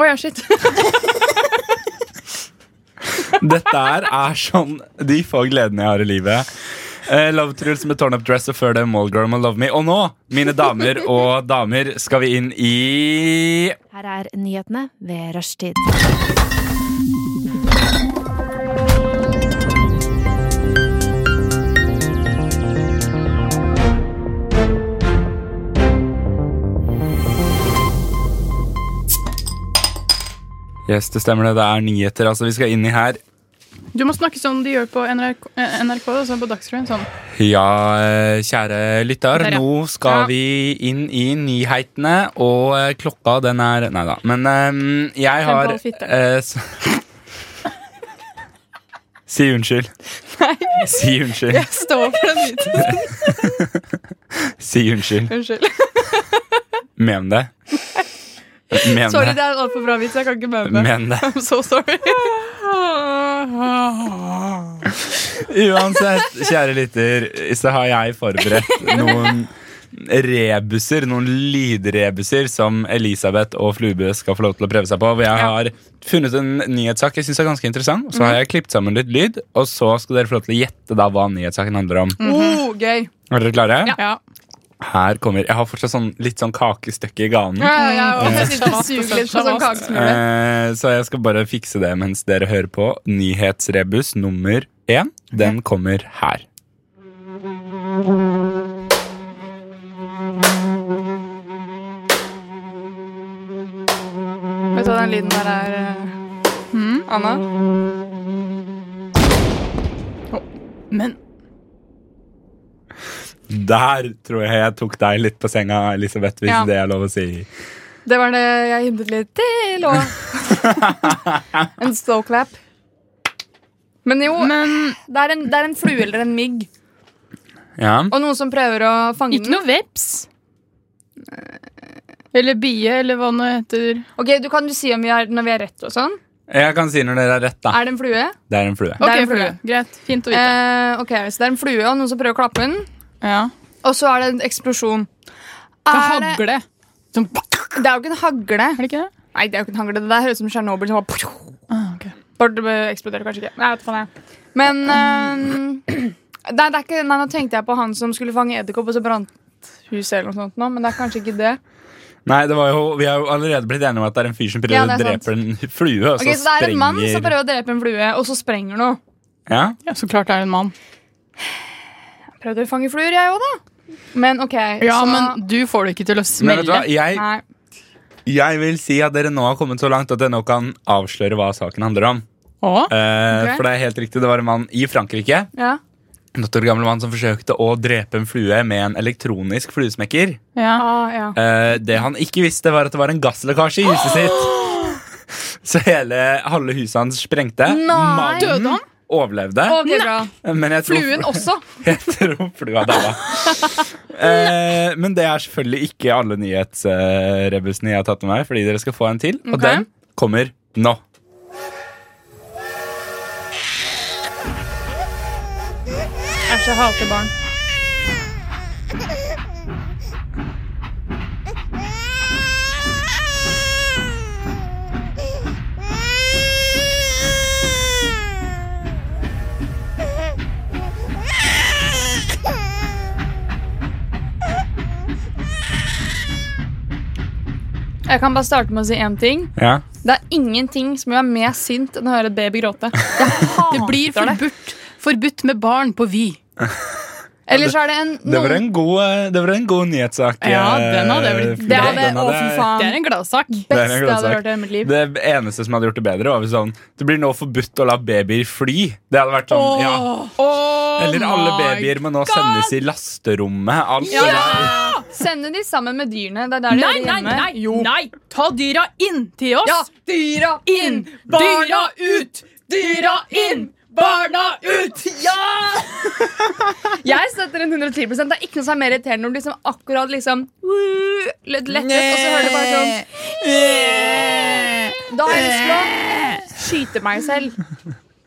[SPEAKER 4] Å ja, shit.
[SPEAKER 3] Dette her er sånn de få gledene jeg har i livet. Eh, Love Truls med Torn Up Dress og før det Mallgirl med Love Me. Og nå, mine damer og damer, skal vi inn i
[SPEAKER 7] Her er nyhetene ved rushtid.
[SPEAKER 3] Yes, det stemmer det. Det er nyheter. Altså, vi skal inn i her.
[SPEAKER 5] Du må snakke sånn de gjør på NRK, eh, NRK og sånn på Dagsrevyen. Sånn.
[SPEAKER 3] Ja, eh, kjære lytter.
[SPEAKER 5] Der, ja.
[SPEAKER 3] Nå skal
[SPEAKER 5] Ja.
[SPEAKER 3] vi inn i nyhetene, og eh, klokka den er Nei da. Men eh, jeg har
[SPEAKER 4] halv fitte.
[SPEAKER 3] eh, s- Si unnskyld. Nei. Si unnskyld.
[SPEAKER 5] Stå opp for den biten.
[SPEAKER 3] Si unnskyld.
[SPEAKER 5] Unnskyld.
[SPEAKER 3] Men det. Men
[SPEAKER 4] Sorry,
[SPEAKER 3] det.
[SPEAKER 4] det er en altfor bra vits. Jeg kan ikke møte meg.
[SPEAKER 3] Men det.
[SPEAKER 5] I'm so sorry.
[SPEAKER 3] Uansett, kjære lytter, så har jeg forberedt noen rebuser, noen lydrebuser, som Elisabeth og Flubø skal få lov til å prøve seg på. Hvor jeg har funnet en nyhetssak jeg syns er ganske interessant. Så har jeg klippet sammen litt lyd, og så skal dere få lov til å gjette da hva nyhetssaken handler om.
[SPEAKER 4] Oh, gøy.
[SPEAKER 3] Er dere klare?
[SPEAKER 5] Ja.
[SPEAKER 3] Her kommer Jeg har fortsatt sånn, litt sånn kakestykke i ganen.
[SPEAKER 4] Ja, ja, ja.
[SPEAKER 5] Mm.
[SPEAKER 4] Og jeg sitter og
[SPEAKER 5] Sjamas,
[SPEAKER 4] suger litt på sånn
[SPEAKER 5] sjamas.
[SPEAKER 4] kakesmule.
[SPEAKER 3] Eh, Så jeg skal bare fikse det mens dere hører på. Nyhetsrebus nummer én, den kommer her.
[SPEAKER 4] Vet du hva den lyden der er? eh? Anna?
[SPEAKER 5] Men
[SPEAKER 3] Der tror jeg jeg tok deg litt på senga, Elisabeth, hvis
[SPEAKER 4] Ja.
[SPEAKER 3] det er lov å si.
[SPEAKER 4] Det var det jeg hintet litt til, og En slow clap. Men jo,
[SPEAKER 5] Men
[SPEAKER 4] det er, en, det er en flue eller en mygg.
[SPEAKER 3] Ja.
[SPEAKER 4] Og noen som prøver å fange
[SPEAKER 5] ikke
[SPEAKER 4] den.
[SPEAKER 5] noe veps. Eller bie, eller hva det heter.
[SPEAKER 4] Ok, Du kan jo si om vi er, når vi er rett og sånn.
[SPEAKER 3] Jeg kan si når dere er rett, da.
[SPEAKER 4] Er det en flue?
[SPEAKER 3] Det er en flue.
[SPEAKER 5] Ok,
[SPEAKER 4] er en
[SPEAKER 5] flue.
[SPEAKER 4] flue.
[SPEAKER 5] Greit. Fint å vite.
[SPEAKER 4] Eh, ok, Så det er en flue og noen som prøver å klappe den.
[SPEAKER 5] ja.
[SPEAKER 4] Og så er det en eksplosjon.
[SPEAKER 5] Det
[SPEAKER 4] Er det,
[SPEAKER 5] hagle. Sånn, er
[SPEAKER 4] det er jo ikke en hagle.
[SPEAKER 5] det ikke det?
[SPEAKER 4] Nei, det er jo ikke en hagle. Det der høres ut som Tsjernobyl. som bare-
[SPEAKER 5] Ah, ok.
[SPEAKER 4] Bare det eksploderer kanskje ikke. Nei, jeg vet faen jeg. Men eh, nei, det er ikke, nei, nå tenkte jeg på han som skulle fange edderkopp, og så brant huset eller noe sånt nå, men det er kanskje ikke det.
[SPEAKER 3] Nei, det var jo, Vi har jo allerede blitt enige om at det er en fyr som prøver
[SPEAKER 4] Ja,
[SPEAKER 3] å
[SPEAKER 4] det er sant.
[SPEAKER 3] drepe en flue, og
[SPEAKER 4] Ok,
[SPEAKER 3] så
[SPEAKER 4] så det er en mann som
[SPEAKER 3] sprenger
[SPEAKER 4] prøver å drepe en flue, og så sprenger noe.
[SPEAKER 3] ja?
[SPEAKER 5] Ja, så klart det er en mann.
[SPEAKER 4] Jeg Prøvde å fange fluer, jeg òg, da. Men OK,
[SPEAKER 5] Ja,
[SPEAKER 4] så
[SPEAKER 5] men du får det ikke til å
[SPEAKER 3] Men vet du
[SPEAKER 5] smelle.
[SPEAKER 3] hva? Jeg,
[SPEAKER 4] Nei.
[SPEAKER 3] jeg vil si at dere nå har kommet så langt at dere nå kan avsløre hva saken handler om.
[SPEAKER 5] Å?
[SPEAKER 3] Eh,
[SPEAKER 4] Ok.
[SPEAKER 3] For det er helt riktig, det var en mann i Frankrike
[SPEAKER 4] Ja.
[SPEAKER 3] En åtte år gammel mann som forsøkte å drepe en flue med en elektronisk fluesmekker.
[SPEAKER 5] Ja.
[SPEAKER 4] Ah, ja.
[SPEAKER 3] Eh, det han ikke visste, var at det var en gasslekkasje i huset sitt. Så hele halve huset hans sprengte. Mannen
[SPEAKER 5] Døde han?
[SPEAKER 3] overlevde.
[SPEAKER 4] Ok, bra.
[SPEAKER 3] Men jeg tror,
[SPEAKER 4] Fluen også.
[SPEAKER 3] jeg tror flua daua. Eh, men det er selvfølgelig ikke alle nyhetsrebusene jeg har tatt med meg, fordi dere skal få en til, og
[SPEAKER 4] Ok.
[SPEAKER 3] den kommer nå.
[SPEAKER 4] Æsj, jeg hater barn.
[SPEAKER 8] Ah!
[SPEAKER 4] Jeg kan bare starte med å si én ting.
[SPEAKER 3] Ja.
[SPEAKER 4] Det er ingenting som gjør meg mer sint enn å høre et baby gråte.
[SPEAKER 5] Det blir forbudt, forbudt med barn på Vy.
[SPEAKER 4] Eller så er det en
[SPEAKER 3] Det var
[SPEAKER 4] noen-
[SPEAKER 3] en god, eh, det var en god nyhetssak.
[SPEAKER 5] Ja,
[SPEAKER 3] eh,
[SPEAKER 5] den hadde blitt-
[SPEAKER 4] Det
[SPEAKER 3] Frida.
[SPEAKER 4] hadde,
[SPEAKER 3] Den
[SPEAKER 4] å, fy faen.
[SPEAKER 5] Det er en gladsak.
[SPEAKER 3] Det er en
[SPEAKER 4] beste jeg hadde
[SPEAKER 3] gladsak.
[SPEAKER 4] hørt i hele mitt liv.
[SPEAKER 3] Det eneste som hadde gjort det bedre, var hvis sånn Det blir nå forbudt å la babyer fly. Det hadde vært sånn, ja
[SPEAKER 4] oh
[SPEAKER 5] Åh,
[SPEAKER 3] Eller alle
[SPEAKER 5] my
[SPEAKER 3] babyer må nå sendes i lasterommet. altså. Alt
[SPEAKER 4] Ja!
[SPEAKER 3] det der.
[SPEAKER 4] Sende de sammen med dyrene. Det er der de
[SPEAKER 5] Nei,
[SPEAKER 4] hører
[SPEAKER 5] nei,
[SPEAKER 4] hjemme.
[SPEAKER 5] nei! nei. Ta dyra inn til oss!
[SPEAKER 4] Ja, dyra
[SPEAKER 5] Inn! Dyra ut! Dyra inn! Barna ut!
[SPEAKER 4] Jeg støtter en 110 Det er ikke noe som er mer irriterende når du liksom akkurat liksom uh, litt lettet, og så hører du bare sånn Da har jeg lyst til å skyte meg selv.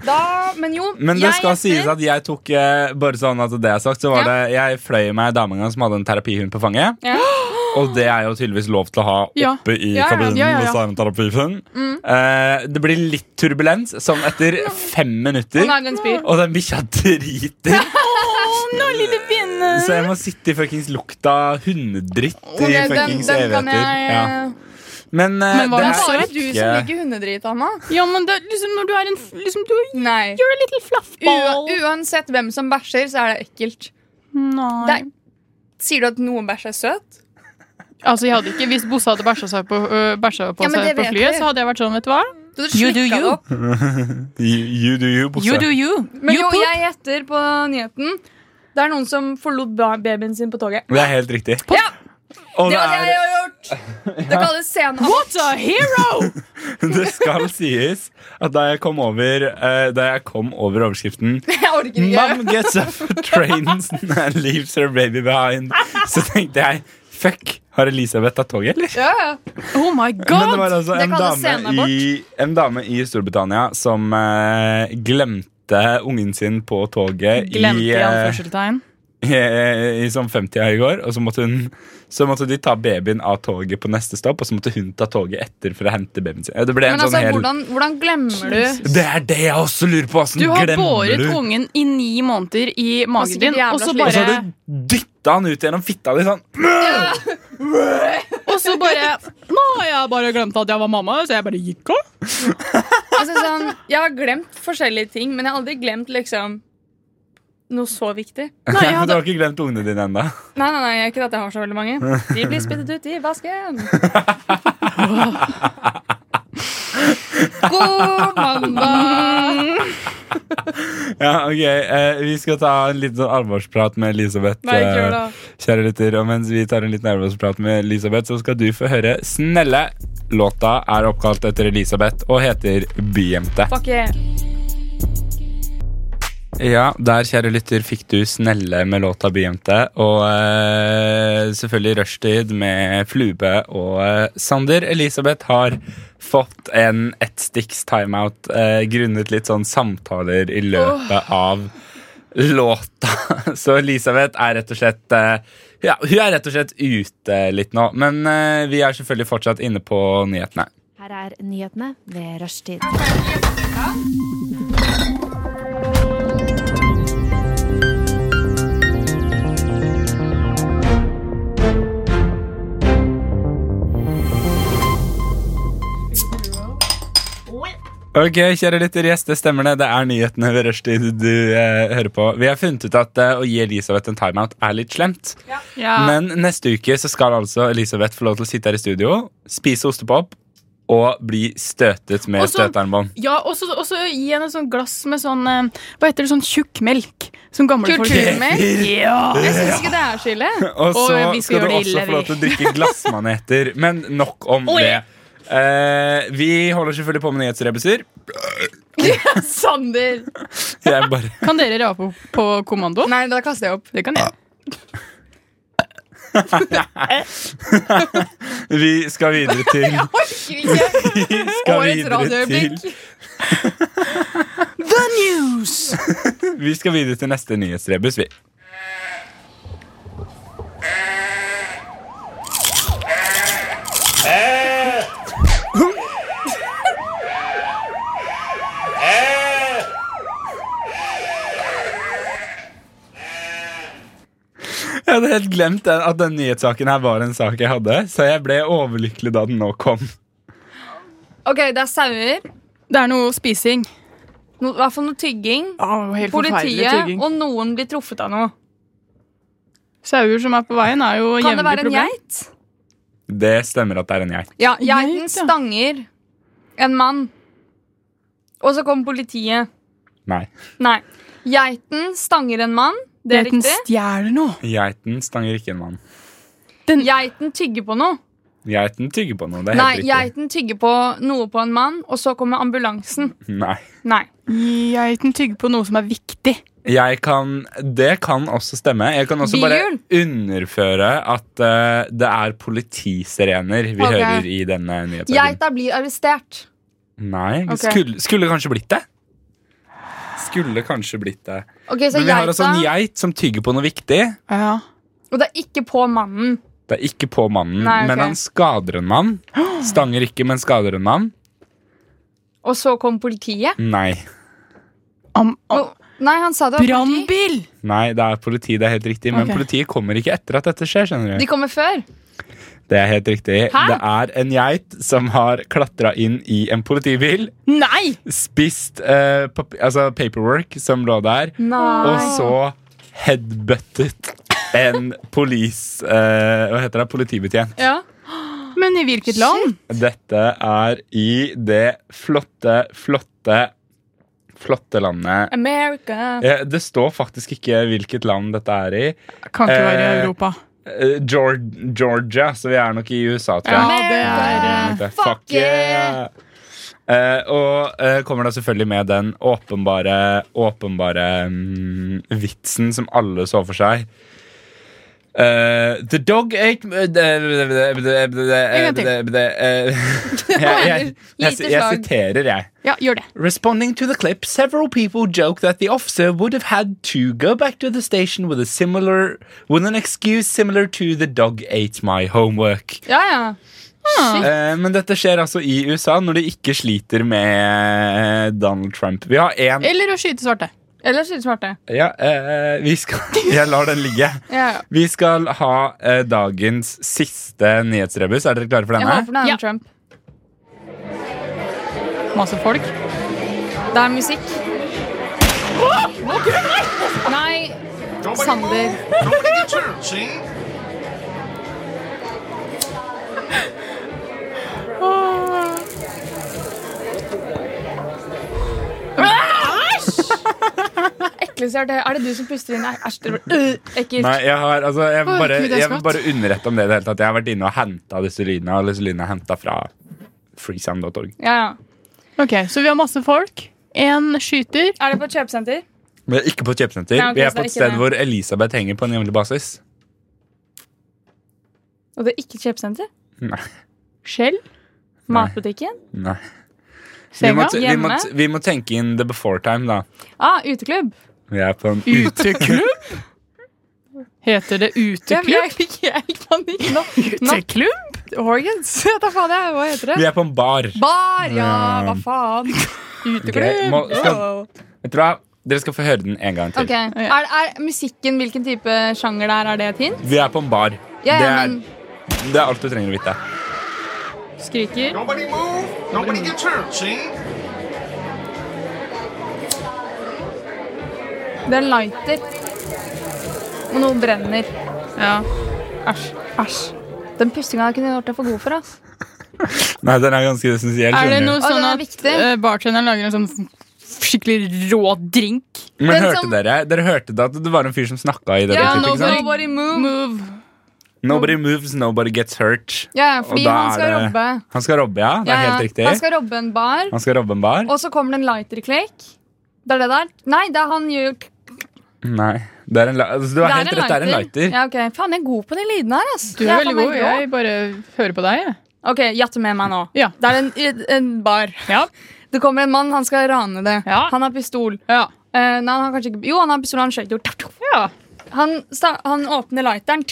[SPEAKER 4] Da, men jo,
[SPEAKER 3] Men det
[SPEAKER 4] jeg
[SPEAKER 3] skal
[SPEAKER 4] gjetter-
[SPEAKER 3] sies at jeg tok eh, Bare sånn at det er sagt, så var det Jeg fløy med ei dame en gang som hadde en terapihund på fanget.
[SPEAKER 4] Ja.
[SPEAKER 3] Og det er jo tydeligvis lov til å ha
[SPEAKER 5] Ja.
[SPEAKER 3] oppe i
[SPEAKER 5] Ja, ja,
[SPEAKER 3] kabinen.
[SPEAKER 5] ja, ja, ja.
[SPEAKER 3] hvis det er en terapihund.
[SPEAKER 4] Mm.
[SPEAKER 3] Eh, det blir litt turbulens, som etter fem
[SPEAKER 4] Å
[SPEAKER 3] minutter.
[SPEAKER 4] nei, den spyr.
[SPEAKER 3] Og den bikkja driter.
[SPEAKER 5] lille venn!
[SPEAKER 3] Så jeg må sitte i fuckings lukta hundedritt i
[SPEAKER 4] Ok, den,
[SPEAKER 3] fuckings
[SPEAKER 4] den kan
[SPEAKER 3] evigheter.
[SPEAKER 4] jeg eh,
[SPEAKER 3] Ja. Men, eh,
[SPEAKER 5] Men var
[SPEAKER 3] det
[SPEAKER 5] den
[SPEAKER 3] er
[SPEAKER 5] søt?
[SPEAKER 4] Bare du
[SPEAKER 3] ikke-
[SPEAKER 4] som liker hundedrit, Anna.
[SPEAKER 5] Ja, men det, er liksom, når du er en f- liksom, Du er
[SPEAKER 4] Nei.
[SPEAKER 5] jo en liten flaffball.
[SPEAKER 4] U uansett hvem som bæsjer, så er det ekkelt.
[SPEAKER 5] Nei.
[SPEAKER 4] Det er, sier du at noen bæsj er søt?
[SPEAKER 5] Altså, jeg hadde ikke, Hvis Bosse hadde bæsja seg på, øh, bæsja på,
[SPEAKER 4] Ja, men
[SPEAKER 5] seg
[SPEAKER 4] det
[SPEAKER 5] på
[SPEAKER 4] vet
[SPEAKER 5] flyet,
[SPEAKER 4] vi.
[SPEAKER 5] så hadde jeg vært sånn, vet du hva?
[SPEAKER 4] Du hadde
[SPEAKER 5] You do
[SPEAKER 4] slikket
[SPEAKER 5] you.
[SPEAKER 4] det opp.
[SPEAKER 3] You, you do you, bukse.
[SPEAKER 5] You do you.
[SPEAKER 4] Men
[SPEAKER 5] you
[SPEAKER 4] jo,
[SPEAKER 5] poop.
[SPEAKER 4] jeg gjetter på nyheten. Det er noen som forlot ba- babyen sin på toget.
[SPEAKER 3] Det er helt riktig.
[SPEAKER 4] Ja,
[SPEAKER 3] Og
[SPEAKER 4] det
[SPEAKER 3] det,
[SPEAKER 4] var det jeg
[SPEAKER 3] er,
[SPEAKER 4] har gjort! Det kalles sceneabort.
[SPEAKER 5] What a hero!
[SPEAKER 3] det skal sies at da jeg kom over, eh, da jeg kom over overskriften
[SPEAKER 4] Jeg orker ikke.
[SPEAKER 3] Mom gets off trains and leaves her baby behind. Så tenkte jeg fuck, har Elisabeth tatt toget, eller?
[SPEAKER 4] Ja, ja.
[SPEAKER 5] Oh my
[SPEAKER 3] Men det
[SPEAKER 5] god!
[SPEAKER 3] var altså
[SPEAKER 4] Det
[SPEAKER 3] en
[SPEAKER 4] kalles
[SPEAKER 3] dame,
[SPEAKER 4] sceneabort.
[SPEAKER 3] i, en dame i Storbritannia som eh, glemte ungen sin på toget
[SPEAKER 5] Glemte
[SPEAKER 3] i,
[SPEAKER 5] i
[SPEAKER 3] eh,
[SPEAKER 5] anførselstegn.
[SPEAKER 3] i, i sånn 50 i går. Og så måtte, hun, så måtte de ta babyen av toget på neste stopp, og så måtte hun ta toget etter for å hente babyen sin. Det ble en
[SPEAKER 4] Men altså,
[SPEAKER 3] sånn hel
[SPEAKER 4] hvordan, hvordan glemmer du
[SPEAKER 3] Det er det jeg også lurer på! Hvordan
[SPEAKER 5] Du har
[SPEAKER 3] glemmer
[SPEAKER 5] båret
[SPEAKER 3] du?
[SPEAKER 5] ungen i ni måneder i magen
[SPEAKER 4] sikkert
[SPEAKER 5] din,
[SPEAKER 4] Altså, jævla sliten.
[SPEAKER 5] og så
[SPEAKER 3] Og så har
[SPEAKER 5] bare
[SPEAKER 3] du dytta han ut gjennom fitta di sånn.
[SPEAKER 5] Og så bare Nå har jeg bare glemt at jeg var mamma, så jeg bare gikk av.
[SPEAKER 4] altså, sånn, Jeg har glemt forskjellige ting, men jeg har aldri glemt liksom noe så viktig.
[SPEAKER 5] Nei, jeg
[SPEAKER 3] Du
[SPEAKER 5] hadde
[SPEAKER 3] har ikke glemt ungene dine ennå.
[SPEAKER 4] Nei, nei, nei, ikke at jeg har så veldig mange. De blir spyttet ut i vasken. God mandag!
[SPEAKER 3] Ja, ok, eh, Vi skal ta en liten sånn alvorsprat med Elisabeth.
[SPEAKER 4] Nei, ikke gjør det.
[SPEAKER 3] eh, kjære lytter, og mens vi tar en liten alvorsprat med Elisabeth, så skal du få høre Snelle. Låta er oppkalt etter Elisabeth og heter Byjente.
[SPEAKER 4] Fuck yeah.
[SPEAKER 3] Ja, der, kjære lytter, fikk du Snelle med låta Byjente. Og eh, selvfølgelig Rushtid med Flube og eh, Sander. Elisabeth har fått en ettsticks timeout eh, grunnet litt sånn samtaler i løpet av låta. Så Elisabeth er rett og slett eh, Ja, hun er rett og slett ute litt nå. Men eh, vi er selvfølgelig fortsatt inne på nyhetene.
[SPEAKER 8] Her er nyhetene ved rushtid.
[SPEAKER 3] Ok, kjære lytter, yes, det stemmer det. Det er nyhetene ved rushtid du eh, hører på. Vi har funnet ut at eh, å gi Elisabeth en timeout er litt slemt. Men neste uke så skal altså Elisabeth få lov til å sitte her i studio, spise ostepop og bli støtet med
[SPEAKER 5] Og så-
[SPEAKER 3] støternbånd.
[SPEAKER 5] Ja, og så og så gi henne et sånt glass med sånn eh, Hva heter det? Sånn tjukk melk. Som gamle folk
[SPEAKER 4] Kulturmelk?
[SPEAKER 5] Ja.
[SPEAKER 4] Jeg syns ikke det er så ille.
[SPEAKER 3] Og så
[SPEAKER 5] Og vi skal
[SPEAKER 3] skal du
[SPEAKER 5] gjøre det
[SPEAKER 3] også
[SPEAKER 5] ille,
[SPEAKER 3] få lov
[SPEAKER 5] vi.
[SPEAKER 3] til å drikke glassmaneter. Men nok om
[SPEAKER 5] Oi.
[SPEAKER 3] det. Eh, vi holder selvfølgelig på med nyhetsrebuser.
[SPEAKER 4] Sander!
[SPEAKER 3] Jeg bare
[SPEAKER 5] Kan dere rape opp på kommando?
[SPEAKER 4] Nei, da kaster jeg opp.
[SPEAKER 5] Det kan jeg.
[SPEAKER 3] Vi skal videre til Vi skal videre til
[SPEAKER 5] The news!
[SPEAKER 3] Vi skal videre til neste nyhetsrebus, vi. Jeg hadde helt glemt den, at den nyhetssaken her var en sak jeg hadde, så jeg ble overlykkelig da den nå kom.
[SPEAKER 4] Ok, det er sauer.
[SPEAKER 5] Det er noe spising.
[SPEAKER 4] No, I hvert fall noe tygging.
[SPEAKER 5] Oh, helt
[SPEAKER 4] Politiet, og noen blir truffet av noe.
[SPEAKER 5] Sauer som er på veien, er jo
[SPEAKER 4] Kan det
[SPEAKER 5] jevnlig
[SPEAKER 4] være en
[SPEAKER 5] problem.
[SPEAKER 4] geit?
[SPEAKER 3] Det stemmer at det er en geit.
[SPEAKER 4] Ja,
[SPEAKER 5] Geit,
[SPEAKER 4] geiten
[SPEAKER 5] ja.
[SPEAKER 4] stanger en mann. Og så kommer politiet.
[SPEAKER 3] Nei.
[SPEAKER 4] Nei. Geiten stanger en mann. Det er
[SPEAKER 5] Geiten
[SPEAKER 4] riktig.
[SPEAKER 5] stjeler noe.
[SPEAKER 3] Geiten stanger ikke en mann.
[SPEAKER 4] Geiten tygger på noe.
[SPEAKER 3] Geiten tygger på noe. Det er
[SPEAKER 4] Nei,
[SPEAKER 3] helt riktig.
[SPEAKER 4] geiten tygger på noe på en mann, og så kommer ambulansen.
[SPEAKER 3] Nei.
[SPEAKER 4] Nei.
[SPEAKER 5] Geiten tygger på noe som er viktig.
[SPEAKER 3] Jeg kan, det kan også stemme. Jeg kan også bare
[SPEAKER 4] Bihul?
[SPEAKER 3] underføre at eh, det er politisirener vi
[SPEAKER 4] Ok.
[SPEAKER 3] hører i denne nyhetssaken.
[SPEAKER 4] Geita blir arrestert.
[SPEAKER 3] Nei,
[SPEAKER 4] Ok.
[SPEAKER 3] skulle, skulle kanskje blitt det. Skulle kanskje blitt det.
[SPEAKER 4] Ok, så
[SPEAKER 3] Men vi har
[SPEAKER 4] geita,
[SPEAKER 3] også en geit som tygger på noe viktig.
[SPEAKER 5] Ja.
[SPEAKER 4] Og det er ikke på mannen.
[SPEAKER 3] Det er ikke på mannen,
[SPEAKER 4] Nei, ok.
[SPEAKER 3] men han skader en mann. Stanger ikke, men skader en mann.
[SPEAKER 4] Og så kom politiet.
[SPEAKER 3] Nei.
[SPEAKER 5] Am am
[SPEAKER 4] Og, nei, han sa det var politi.
[SPEAKER 5] Brannbil!
[SPEAKER 3] Nei, det er politi, det er helt riktig. Men
[SPEAKER 5] Ok.
[SPEAKER 3] politiet kommer ikke etter at dette skjer. skjønner du
[SPEAKER 4] De kommer før.
[SPEAKER 3] Det er helt riktig.
[SPEAKER 4] Hæ?
[SPEAKER 3] Det er en geit som har klatra inn i en politibil,
[SPEAKER 5] Nei!
[SPEAKER 3] spist eh, pap altså paperwork som lå der,
[SPEAKER 4] Nei.
[SPEAKER 3] og så headbuttet en police... eh, hva heter det? Politibetjent.
[SPEAKER 4] Ja.
[SPEAKER 5] Men i hvilket land?
[SPEAKER 3] Dette er i det flotte, flotte, flotte landet
[SPEAKER 4] America.
[SPEAKER 3] Eh, Det står faktisk ikke hvilket land dette er i.
[SPEAKER 5] Kan ikke være i
[SPEAKER 3] Eh,
[SPEAKER 5] Europa.
[SPEAKER 3] Eh, Geor- Georgia, så vi er nok i USA, tror jeg.
[SPEAKER 5] Ja, det er eh,
[SPEAKER 3] Det er Fuck yeah! Eh, og eh, kommer da selvfølgelig med den åpenbare, åpenbare mm, vitsen som alle så for seg. Eh, the dog ate En
[SPEAKER 5] gang til.
[SPEAKER 3] eh, Jeg jeg- jeg
[SPEAKER 4] slag.
[SPEAKER 3] siterer, jeg.
[SPEAKER 5] Ja, gjør det.
[SPEAKER 3] Responding to the clip, several people joke that the officer would have had to go back to the station with a similar with an excuse similar to the dog ate my homework.
[SPEAKER 4] Ja, ja.
[SPEAKER 3] Eh, men dette skjer altså i USA når de ikke sliter med eh, Donald Trump. Vi har én
[SPEAKER 5] Eller å skyte svarte.
[SPEAKER 4] Eller sier smarte.
[SPEAKER 3] ja, eh, vi skal, Jeg lar den ligge.
[SPEAKER 4] Ja, ja.
[SPEAKER 3] Vi skal ha eh, dagens siste nyhetsrebus. Er dere klare for
[SPEAKER 4] Jeg
[SPEAKER 3] denne?
[SPEAKER 4] håper det er
[SPEAKER 5] Ja.
[SPEAKER 4] en Trump.
[SPEAKER 5] Masse folk.
[SPEAKER 4] Det er musikk. Nei, Sander.
[SPEAKER 6] Nobody gets hurt, see?
[SPEAKER 4] Ekleste jeg har hørt. Er det du som puster inn? Nei, æsj. det var- Øh, Ekkelt.
[SPEAKER 3] Nei, jeg har altså, jeg vil
[SPEAKER 5] Å,
[SPEAKER 3] bare,
[SPEAKER 5] Gud, det er
[SPEAKER 3] jeg vil
[SPEAKER 5] smått.
[SPEAKER 3] bare underrette om det i det hele tatt. Jeg har vært inne og henta disse lydene, og disse lydene er henta fra freesound.org.
[SPEAKER 4] Ja, ja.
[SPEAKER 5] Ok, Så vi har masse folk. En skyter.
[SPEAKER 4] Er det på et kjøpesenter?
[SPEAKER 3] Vi er ikke på et kjøpesenter.
[SPEAKER 4] Nei, ok,
[SPEAKER 3] vi
[SPEAKER 4] så det
[SPEAKER 3] er
[SPEAKER 4] er
[SPEAKER 3] på et
[SPEAKER 4] ikke
[SPEAKER 3] sted
[SPEAKER 4] det.
[SPEAKER 3] hvor Elisabeth henger på en jevnlig basis.
[SPEAKER 4] Og det er ikke et kjøpesenter?
[SPEAKER 3] Nei.
[SPEAKER 5] Skjell.
[SPEAKER 4] Matbutikken?
[SPEAKER 3] Nei. Vi må, t-
[SPEAKER 5] Senga.
[SPEAKER 3] vi, må, t- vi må tenke inn the before time, da.
[SPEAKER 4] Ah, uteklubb.
[SPEAKER 3] Vi er på en
[SPEAKER 5] Uteklubb? Heter det
[SPEAKER 4] Jeg
[SPEAKER 5] uteklubb?
[SPEAKER 4] jeg fikk helt panikk nå. Nå-
[SPEAKER 5] Uteklubb?
[SPEAKER 4] Organs? Hva faen er det? Hva heter
[SPEAKER 3] Vi
[SPEAKER 4] det?
[SPEAKER 3] er på en bar.
[SPEAKER 4] Bar, ja. Hva faen?
[SPEAKER 3] Ok, må- skal,
[SPEAKER 4] Wow.
[SPEAKER 3] vet du hva? Dere skal få høre den en gang til.
[SPEAKER 4] Ok, er, er musikken hvilken type sjanger det er? Er det et hint?
[SPEAKER 3] Vi er på en bar.
[SPEAKER 4] Ja,
[SPEAKER 3] det,
[SPEAKER 4] ja,
[SPEAKER 3] er,
[SPEAKER 4] men
[SPEAKER 3] det er alt du trenger å vite.
[SPEAKER 5] Skriker.
[SPEAKER 6] Nobody move. Nobody gets hurt, see?
[SPEAKER 4] det er lighter. Og noe brenner.
[SPEAKER 5] Ja.
[SPEAKER 4] Æsj. Æsj. Den pustinga kunne jeg gjort deg for god for. ass.
[SPEAKER 3] Nei, den er ganske essensiell.
[SPEAKER 5] Er det
[SPEAKER 3] skjønner du.
[SPEAKER 5] noe
[SPEAKER 4] Å, den
[SPEAKER 5] sånn
[SPEAKER 4] er
[SPEAKER 5] at
[SPEAKER 4] viktig.
[SPEAKER 5] eh, bartenderen lager en sånn skikkelig rå drink?
[SPEAKER 3] Men
[SPEAKER 4] Den
[SPEAKER 3] hørte
[SPEAKER 4] som-
[SPEAKER 3] dere Dere hørte da at det var en fyr som snakka i
[SPEAKER 4] liksom-
[SPEAKER 3] det?
[SPEAKER 4] Ja,
[SPEAKER 3] klippet, ikke sant?
[SPEAKER 4] nobody, nobody move.
[SPEAKER 5] Move.
[SPEAKER 3] Nobody moves, nobody gets hurt.
[SPEAKER 4] Ja,
[SPEAKER 3] Og
[SPEAKER 4] fordi
[SPEAKER 3] da
[SPEAKER 4] han
[SPEAKER 3] er
[SPEAKER 4] skal
[SPEAKER 3] det-
[SPEAKER 4] robbe.
[SPEAKER 3] Han skal robbe, ja. Det er
[SPEAKER 4] Ja, ja.
[SPEAKER 3] helt riktig.
[SPEAKER 4] Han skal robbe en bar,
[SPEAKER 3] robbe en bar.
[SPEAKER 4] og så kommer det en lighter-klekk. Det er det der? Nei, det er han gjør Det
[SPEAKER 3] Nei. Det er en, la- altså, du har helt rett, det er en lighter.
[SPEAKER 4] Ja, ok. Faen, jeg er god på de lydene her, ass.
[SPEAKER 5] Du
[SPEAKER 4] Jeg
[SPEAKER 5] er veldig
[SPEAKER 4] faen meg
[SPEAKER 5] god.
[SPEAKER 4] grå.
[SPEAKER 5] Jeg bare hører på deg. jeg.
[SPEAKER 4] Ok, jatte med meg nå.
[SPEAKER 5] Ja.
[SPEAKER 4] Det er en, en bar.
[SPEAKER 5] Ja.
[SPEAKER 4] Det kommer en mann, han skal rane det.
[SPEAKER 5] Ja.
[SPEAKER 4] Han har pistol.
[SPEAKER 5] Ja.
[SPEAKER 4] Eh, nei, han har kanskje ikke Jo, han har pistol, han skjøt jo.
[SPEAKER 5] ja.
[SPEAKER 4] Han, sta- han åpner lighteren,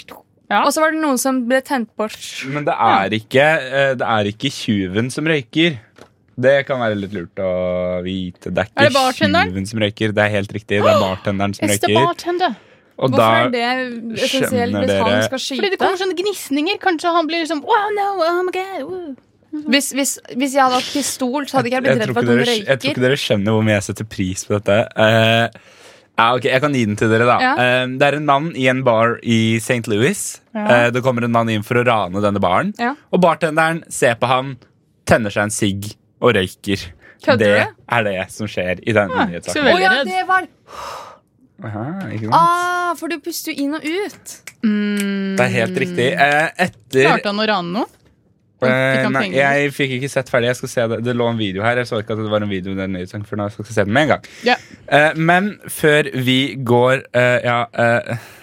[SPEAKER 5] Ja.
[SPEAKER 4] og så var det noen som ble tent på.
[SPEAKER 3] Men det er ikke eh, Det er ikke tjuven som røyker. Det kan være litt lurt å vite. Det er
[SPEAKER 5] Er
[SPEAKER 3] ikke
[SPEAKER 5] det bartenderen?
[SPEAKER 3] tjuven som røyker. Det er helt riktig. Det er bartenderen som
[SPEAKER 5] It's the
[SPEAKER 3] røyker.
[SPEAKER 5] bartender.
[SPEAKER 3] Og
[SPEAKER 4] Hvorfor er
[SPEAKER 3] da
[SPEAKER 4] det essensielt
[SPEAKER 3] skjønner
[SPEAKER 4] hvis han
[SPEAKER 3] dere-
[SPEAKER 4] skal
[SPEAKER 5] Fordi
[SPEAKER 4] skyte?
[SPEAKER 5] det kommer sånne gnisninger. Kanskje han blir liksom Wow, no, oh my god woo».
[SPEAKER 4] Hvis, hvis, hvis jeg hadde hatt pistol, så hadde ikke jeg blitt
[SPEAKER 3] jeg
[SPEAKER 4] redd
[SPEAKER 3] tror,
[SPEAKER 4] for
[SPEAKER 3] ikke
[SPEAKER 4] at han
[SPEAKER 3] dere, jeg tror
[SPEAKER 4] røyker.
[SPEAKER 3] ikke dere skjønner hvor mye jeg setter pris på dette. Eh, ja, ok, Jeg kan gi den til dere, da.
[SPEAKER 4] Ja.
[SPEAKER 3] Eh, det er en mann i en bar i St. Louis. Eh, det kommer en mann inn for å rane denne baren.
[SPEAKER 4] Ja.
[SPEAKER 3] Og bartenderen ser på han, tenner seg en sigg og røyker.
[SPEAKER 4] Kødder
[SPEAKER 3] det
[SPEAKER 4] du? Ah,
[SPEAKER 3] er det som skjer i denne
[SPEAKER 5] så
[SPEAKER 3] nyhetssaken.
[SPEAKER 4] Å
[SPEAKER 5] veldig
[SPEAKER 4] ja,
[SPEAKER 5] redd.
[SPEAKER 4] det var
[SPEAKER 3] Aha, ikke sant?
[SPEAKER 4] ah, For du puster jo inn og ut.
[SPEAKER 3] Det er helt riktig.
[SPEAKER 4] Mm.
[SPEAKER 3] Eh, etter
[SPEAKER 5] Klarte han å rane noen?
[SPEAKER 3] Eh,
[SPEAKER 5] Fikk han
[SPEAKER 3] nei,
[SPEAKER 5] penger?
[SPEAKER 3] jeg fikk ikke sett ferdig. Jeg skal se det. det lå en video her. Jeg så ikke at det var en video i den nyhetssangen før nå. så Jeg skal se den med en gang.
[SPEAKER 5] Ja.
[SPEAKER 3] Eh, men før vi går eh, Ja. eh,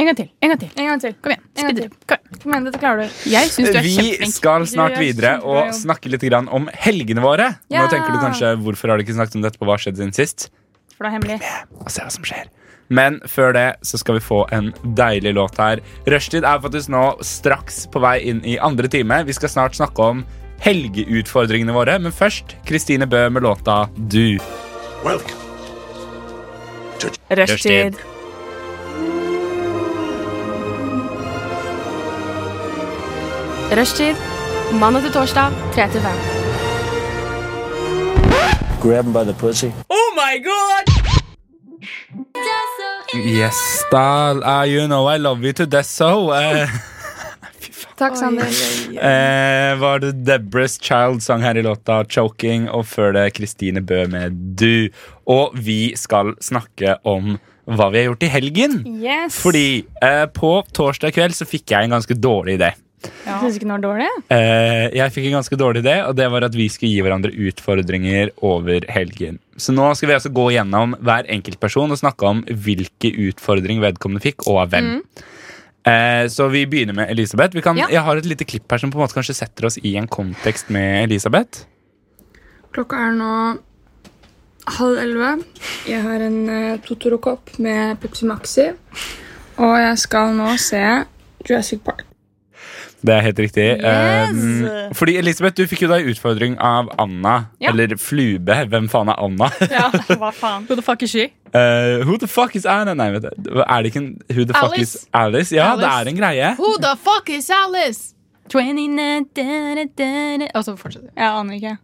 [SPEAKER 5] En gang til. En gang til.
[SPEAKER 4] En gang til.
[SPEAKER 5] Kom igjen.
[SPEAKER 4] En gang
[SPEAKER 5] Speed it up. Kom igjen.
[SPEAKER 4] Kom igjen, dette klarer du.
[SPEAKER 5] Jeg syns du er
[SPEAKER 3] vi
[SPEAKER 5] kjempeflink.
[SPEAKER 3] skal snart
[SPEAKER 4] Du er
[SPEAKER 3] videre
[SPEAKER 4] kjempebra
[SPEAKER 3] og snakke litt grann om helgene våre.
[SPEAKER 4] Ja.
[SPEAKER 3] Nå tenker du kanskje hvorfor har du ikke snakket om dette på Hva skjedde siden sist?
[SPEAKER 4] For det er hemmelig.
[SPEAKER 3] og se hva som skjer. Men før det så skal vi få en deilig låt her. Rushtid er faktisk nå straks på vei inn i andre time. Vi skal snart snakke om helgeutfordringene våre, men først Kristine Bø med låta Du.
[SPEAKER 6] Welcome.
[SPEAKER 1] Rushtid.
[SPEAKER 7] Rushtid. Mandag til torsdag, 3 til 5.
[SPEAKER 3] Yes, da ah, you know I love you to death so. Eh,
[SPEAKER 4] Takk, Sander.
[SPEAKER 3] eh, var det Deborah's Child sang her i låta Choking, og før det Kristine Bø med Du. Og vi skal snakke om hva vi har gjort i helgen.
[SPEAKER 4] Yes.
[SPEAKER 3] Fordi eh, på torsdag kveld så fikk jeg en ganske dårlig idé.
[SPEAKER 4] Jeg Syns ikke den var dårlig?
[SPEAKER 3] Eh, jeg fikk en ganske dårlig idé, og det var at vi skulle gi hverandre utfordringer over helgen. Så nå skal vi altså gå gjennom hver enkeltperson og snakke om hvilke utfordring vedkommende fikk, og av hvem. Eh, så vi begynner med Elisabeth. Vi kan,
[SPEAKER 4] Mm. Ja.
[SPEAKER 3] Jeg har et lite klipp her som på en måte kanskje setter oss i en kontekst med Elisabeth.
[SPEAKER 4] Klokka er nå halv elleve. Jeg har en eh, Totoro-kopp med Pepsi Maxi. Og jeg skal nå se Jurassic Park.
[SPEAKER 3] Det er helt riktig. Eh, fordi Elisabeth, du fikk jo da en utfordring av Anna.
[SPEAKER 4] Ja.
[SPEAKER 3] Eller Flube. Hvem faen er Anna?
[SPEAKER 4] Ja, hva faen?
[SPEAKER 5] Who the fuck is she?
[SPEAKER 3] Eh, who the fuck is Anna? Nei, vet du. Er det ikke en Who the fuck
[SPEAKER 5] Alice.
[SPEAKER 3] is Alice? Ja, det
[SPEAKER 5] Alice.
[SPEAKER 3] er en greie.
[SPEAKER 5] Who the fuck is Alice? 29 da, da, da, Altså, da. Og så fortsetter vi.
[SPEAKER 4] Jeg aner ikke.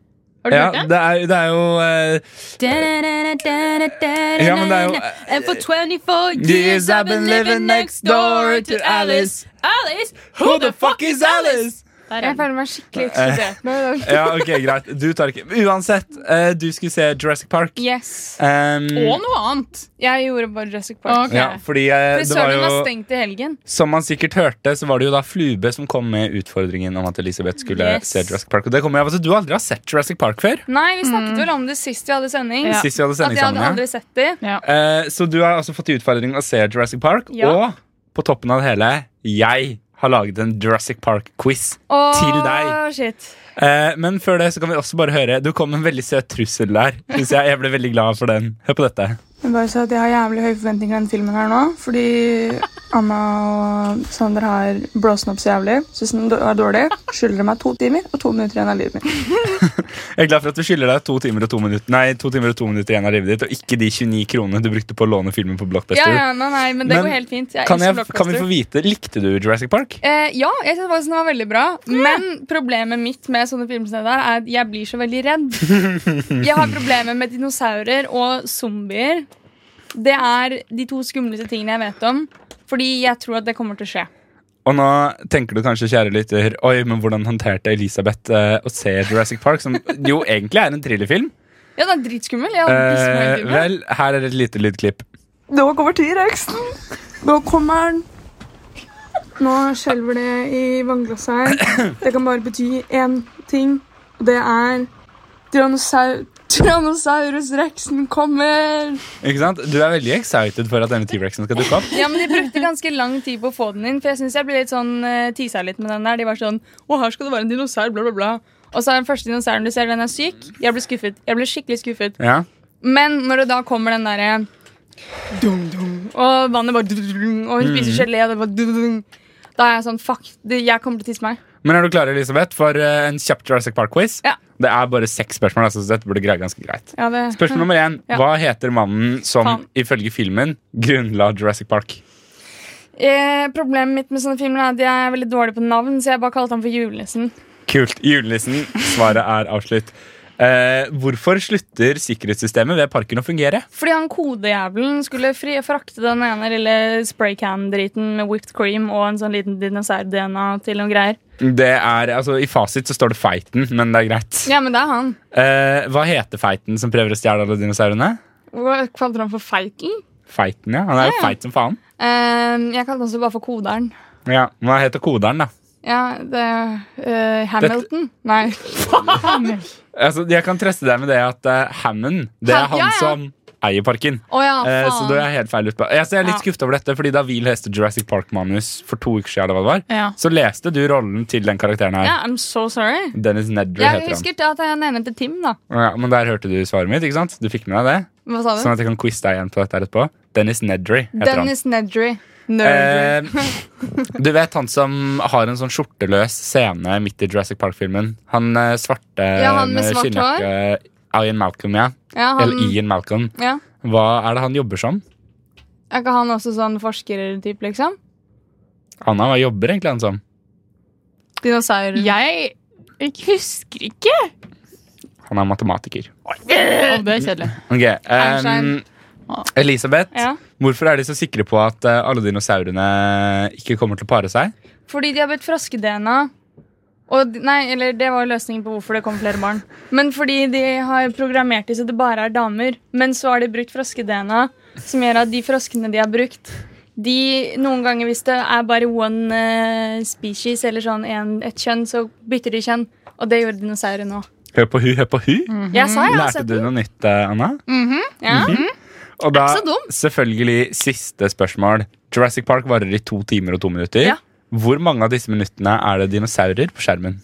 [SPEAKER 5] Har du
[SPEAKER 3] Ja,
[SPEAKER 5] hørt det?
[SPEAKER 3] det er, det er jo eh,
[SPEAKER 5] Da, da, da, da, da, da,
[SPEAKER 3] Ja, men det er jo- eh,
[SPEAKER 5] da, da. And for 24 years I've been living next door to Alice. Alice, who the fuck is Alice? Der er
[SPEAKER 4] Jeg
[SPEAKER 5] den.
[SPEAKER 4] føler meg skikkelig
[SPEAKER 3] Eh.
[SPEAKER 4] ekskludert nå i dag.
[SPEAKER 3] Ja, ok, greit. Du tar ikke Uansett, eh, du skulle se Jurassic Park.
[SPEAKER 4] Yes.
[SPEAKER 3] Um,
[SPEAKER 5] Og noe annet.
[SPEAKER 4] Jeg gjorde bare Jurassic Park.
[SPEAKER 5] Ok.
[SPEAKER 3] ja, fordi eh, det var
[SPEAKER 4] Frisøren var
[SPEAKER 3] jo
[SPEAKER 4] stengt i helgen.
[SPEAKER 3] Som man sikkert hørte, så var det jo da Flube som kom med utfordringen om at Elisabeth skulle
[SPEAKER 5] Yes.
[SPEAKER 3] se Jurassic Park. Og det kommer jeg av at du aldri har sett Jurassic Park før.
[SPEAKER 4] Nei, vi snakket vel om det sist vi hadde sending.
[SPEAKER 5] Ja.
[SPEAKER 3] Sist vi hadde
[SPEAKER 4] At
[SPEAKER 3] sending
[SPEAKER 4] jeg hadde
[SPEAKER 3] sammen.
[SPEAKER 4] aldri sett det.
[SPEAKER 3] ja. Eh, så du har altså fått i utfordring å se Jurassic Park.
[SPEAKER 4] Ja.
[SPEAKER 3] Og på toppen av det hele, jeg har laget en Jurassic Park-quiz.
[SPEAKER 4] Åh,
[SPEAKER 3] Til deg.
[SPEAKER 4] Shit.
[SPEAKER 3] Eh, men før det så kan vi også bare høre Du kom med en veldig søt trussel der. Synes jeg, jeg ble veldig glad for den. Hør på dette.
[SPEAKER 9] Men bare så at Jeg har jævlig høye forventninger til den filmen her nå. Fordi Anna og Sander har blåst den opp så jævlig. Syns den var dårlig. Skylder de meg to timer og to minutter igjen av livet mitt.
[SPEAKER 3] Jeg er glad for at du skylder deg to timer og to minutter Nei, to timer og to minutter igjen av livet ditt, og ikke de 29 kronene du brukte på å låne filmen på
[SPEAKER 4] Ja,
[SPEAKER 3] Blockbuster.
[SPEAKER 4] ja, nei, nei, men det
[SPEAKER 3] Men
[SPEAKER 4] går helt fint. Jeg
[SPEAKER 3] Kan, jeg,
[SPEAKER 4] elsker
[SPEAKER 3] kan vi
[SPEAKER 4] blockbuster.
[SPEAKER 3] få vite Likte du Jurassic Park?
[SPEAKER 4] Eh, ja, jeg synes faktisk den var veldig bra. Men problemet mitt med sånne filmer som det der er at jeg blir så veldig redd. Jeg har problemer med dinosaurer og zombier. Det er de to skumleste tingene jeg vet om. Fordi jeg tror at det kommer til å skje.
[SPEAKER 3] Og nå tenker du kanskje, kjære lytter, oi, men hvordan håndterte Elisabeth eh, å se Jurassic Park, som jo egentlig er en thrillerfilm?
[SPEAKER 4] Ja, den er dritskummel. Jeg hadde lyst til å
[SPEAKER 3] Eh,
[SPEAKER 4] være kul, ja.
[SPEAKER 3] vel, her er et lite lydklipp.
[SPEAKER 9] Nå kommer T-rexen! Nå kommer den! Nå skjelver det i vannglasset her. Det kan bare bety én ting, og det er Tyrannosaur... Tyrannosaurus rexen kommer!
[SPEAKER 3] Ikke sant? Du er veldig excited for at denne T-rexen skal dukke opp.
[SPEAKER 4] Ja, men De brukte ganske lang tid på å få den inn. For jeg synes jeg ble litt sånn eh, tisa litt med den der. De var sånn Å, her skal det være en dinosaur, bla, bla, bla. Og så er den første dinosauren du ser, den er syk. Jeg ble skuffet. Jeg ble skikkelig skuffet.
[SPEAKER 3] Ja.
[SPEAKER 4] Men når det da kommer den derre dum, dum, Og vannet bare dum, dum, Og hun spiser gelé, og det bare dum, dum. Da er jeg sånn Fuck, det, jeg kommer til å tisse meg.
[SPEAKER 3] Men er du klar, Elisabeth, for eh, en kjapp Jurassic Park-quiz?
[SPEAKER 4] Ja.
[SPEAKER 3] Det er bare seks spørsmål, altså, så dette burde greie ganske greit.
[SPEAKER 4] Ja, det,
[SPEAKER 3] Spørsmål nummer én.
[SPEAKER 4] Mm. Ja.
[SPEAKER 3] Hva heter mannen som
[SPEAKER 4] Faen.
[SPEAKER 3] ifølge filmen grunnla Jurassic Park?
[SPEAKER 4] Eh, problemet mitt med sånne filmer er at jeg er veldig dårlig på navn, så jeg bare kalte han for Julenissen.
[SPEAKER 3] Kult. Julenissen. Svaret er avslutt. Eh, hvorfor slutter sikkerhetssystemet ved parken å fungere?
[SPEAKER 4] Fordi han kodejævelen skulle fri frakte den ene lille spraycan-driten med whipped cream og en sånn liten dinosaur-DNA til noen greier.
[SPEAKER 3] Det er, altså I fasit så står det Feiten, men det er greit.
[SPEAKER 4] Ja, men det er han.
[SPEAKER 3] Eh, hva heter Feiten som prøver å stjele alle dinosaurene?
[SPEAKER 4] Hva kalte du han for Feitel?
[SPEAKER 3] Feiten, ja. Han er jo
[SPEAKER 4] Ja.
[SPEAKER 3] feit som faen.
[SPEAKER 4] Eh, jeg kalte han så bare for Koderen.
[SPEAKER 3] Ja, Hva heter koderen, da?
[SPEAKER 4] Ja, det eh, Hamilton? Nei.
[SPEAKER 3] Altså, jeg kan trøste deg med det at eh, Hammond, det er
[SPEAKER 4] Ham-
[SPEAKER 3] han
[SPEAKER 4] ja, ja.
[SPEAKER 3] som eier parken.
[SPEAKER 4] Å ja,
[SPEAKER 3] Eh, så du
[SPEAKER 4] faen.
[SPEAKER 3] er helt feil ut på Jeg er litt
[SPEAKER 4] Ja.
[SPEAKER 3] skuffet over dette, fordi da vi leste Jurassic Park-manus for to uker siden, eller hva det var,
[SPEAKER 5] Ja.
[SPEAKER 3] så leste du rollen til den karakteren her.
[SPEAKER 4] Ja, I'm so sorry.
[SPEAKER 3] Dennis Nedry
[SPEAKER 4] Jeg
[SPEAKER 3] heter han.
[SPEAKER 4] husker til at jeg nevnte til Tim, da.
[SPEAKER 3] Ja, men der hørte du svaret mitt, ikke sant? Du fikk med deg det?
[SPEAKER 4] Hva sa du?
[SPEAKER 3] Sånn at jeg kan quize deg igjen på dette her etterpå. Dennis Nedry heter han.
[SPEAKER 4] Dennis Nedry. Nerdry.
[SPEAKER 3] Eh, du vet han som har en sånn skjorteløs scene midt i Jurassic Park-filmen? Han eh, svarte eh,
[SPEAKER 4] Ja, han med svart hår?
[SPEAKER 3] skinnjakke. Ian Malcolm, ja.
[SPEAKER 4] ja, han,
[SPEAKER 3] Eller Ian Malcolm.
[SPEAKER 4] ja.
[SPEAKER 3] Hva er det han jobber som?
[SPEAKER 4] Er ikke han også sånn forskertype, liksom?
[SPEAKER 3] Anna, hva jobber egentlig han som?
[SPEAKER 4] Dinosaur.
[SPEAKER 5] Jeg, jeg husker ikke.
[SPEAKER 3] Han er matematiker.
[SPEAKER 5] Å, det er kjedelig.
[SPEAKER 3] Ok,
[SPEAKER 4] Einstein.
[SPEAKER 3] ehm, Elisabeth,
[SPEAKER 4] Ja.
[SPEAKER 3] hvorfor er de så sikre på at eh, alle dinosaurene ikke kommer til å pare seg?
[SPEAKER 4] Fordi de har blitt froske-DNA. Og, de- nei, eller det var løsningen på hvorfor det kom flere barn. Men fordi de har programmert det så det bare er damer. Men så har de brukt froske-DNA, som gjør at de froskene de har brukt de, Noen ganger hvis det er bare one eh, species, eller sånn en, et kjønn, så bytter de kjønn. Og det gjorde dinosaurer nå.
[SPEAKER 3] Hør på hu, hør på hu.
[SPEAKER 4] Jeg sa jeg har
[SPEAKER 3] Mhm. Lærte
[SPEAKER 4] sett Mhm,
[SPEAKER 3] du noe nytt, eh, Anna? Mhm.
[SPEAKER 4] ja.
[SPEAKER 3] Og da,
[SPEAKER 4] så dum.
[SPEAKER 3] selvfølgelig, siste spørsmål. Jurassic Park varer i to timer og to minutter.
[SPEAKER 4] Ja.
[SPEAKER 3] Hvor mange av disse minuttene er det dinosaurer på skjermen?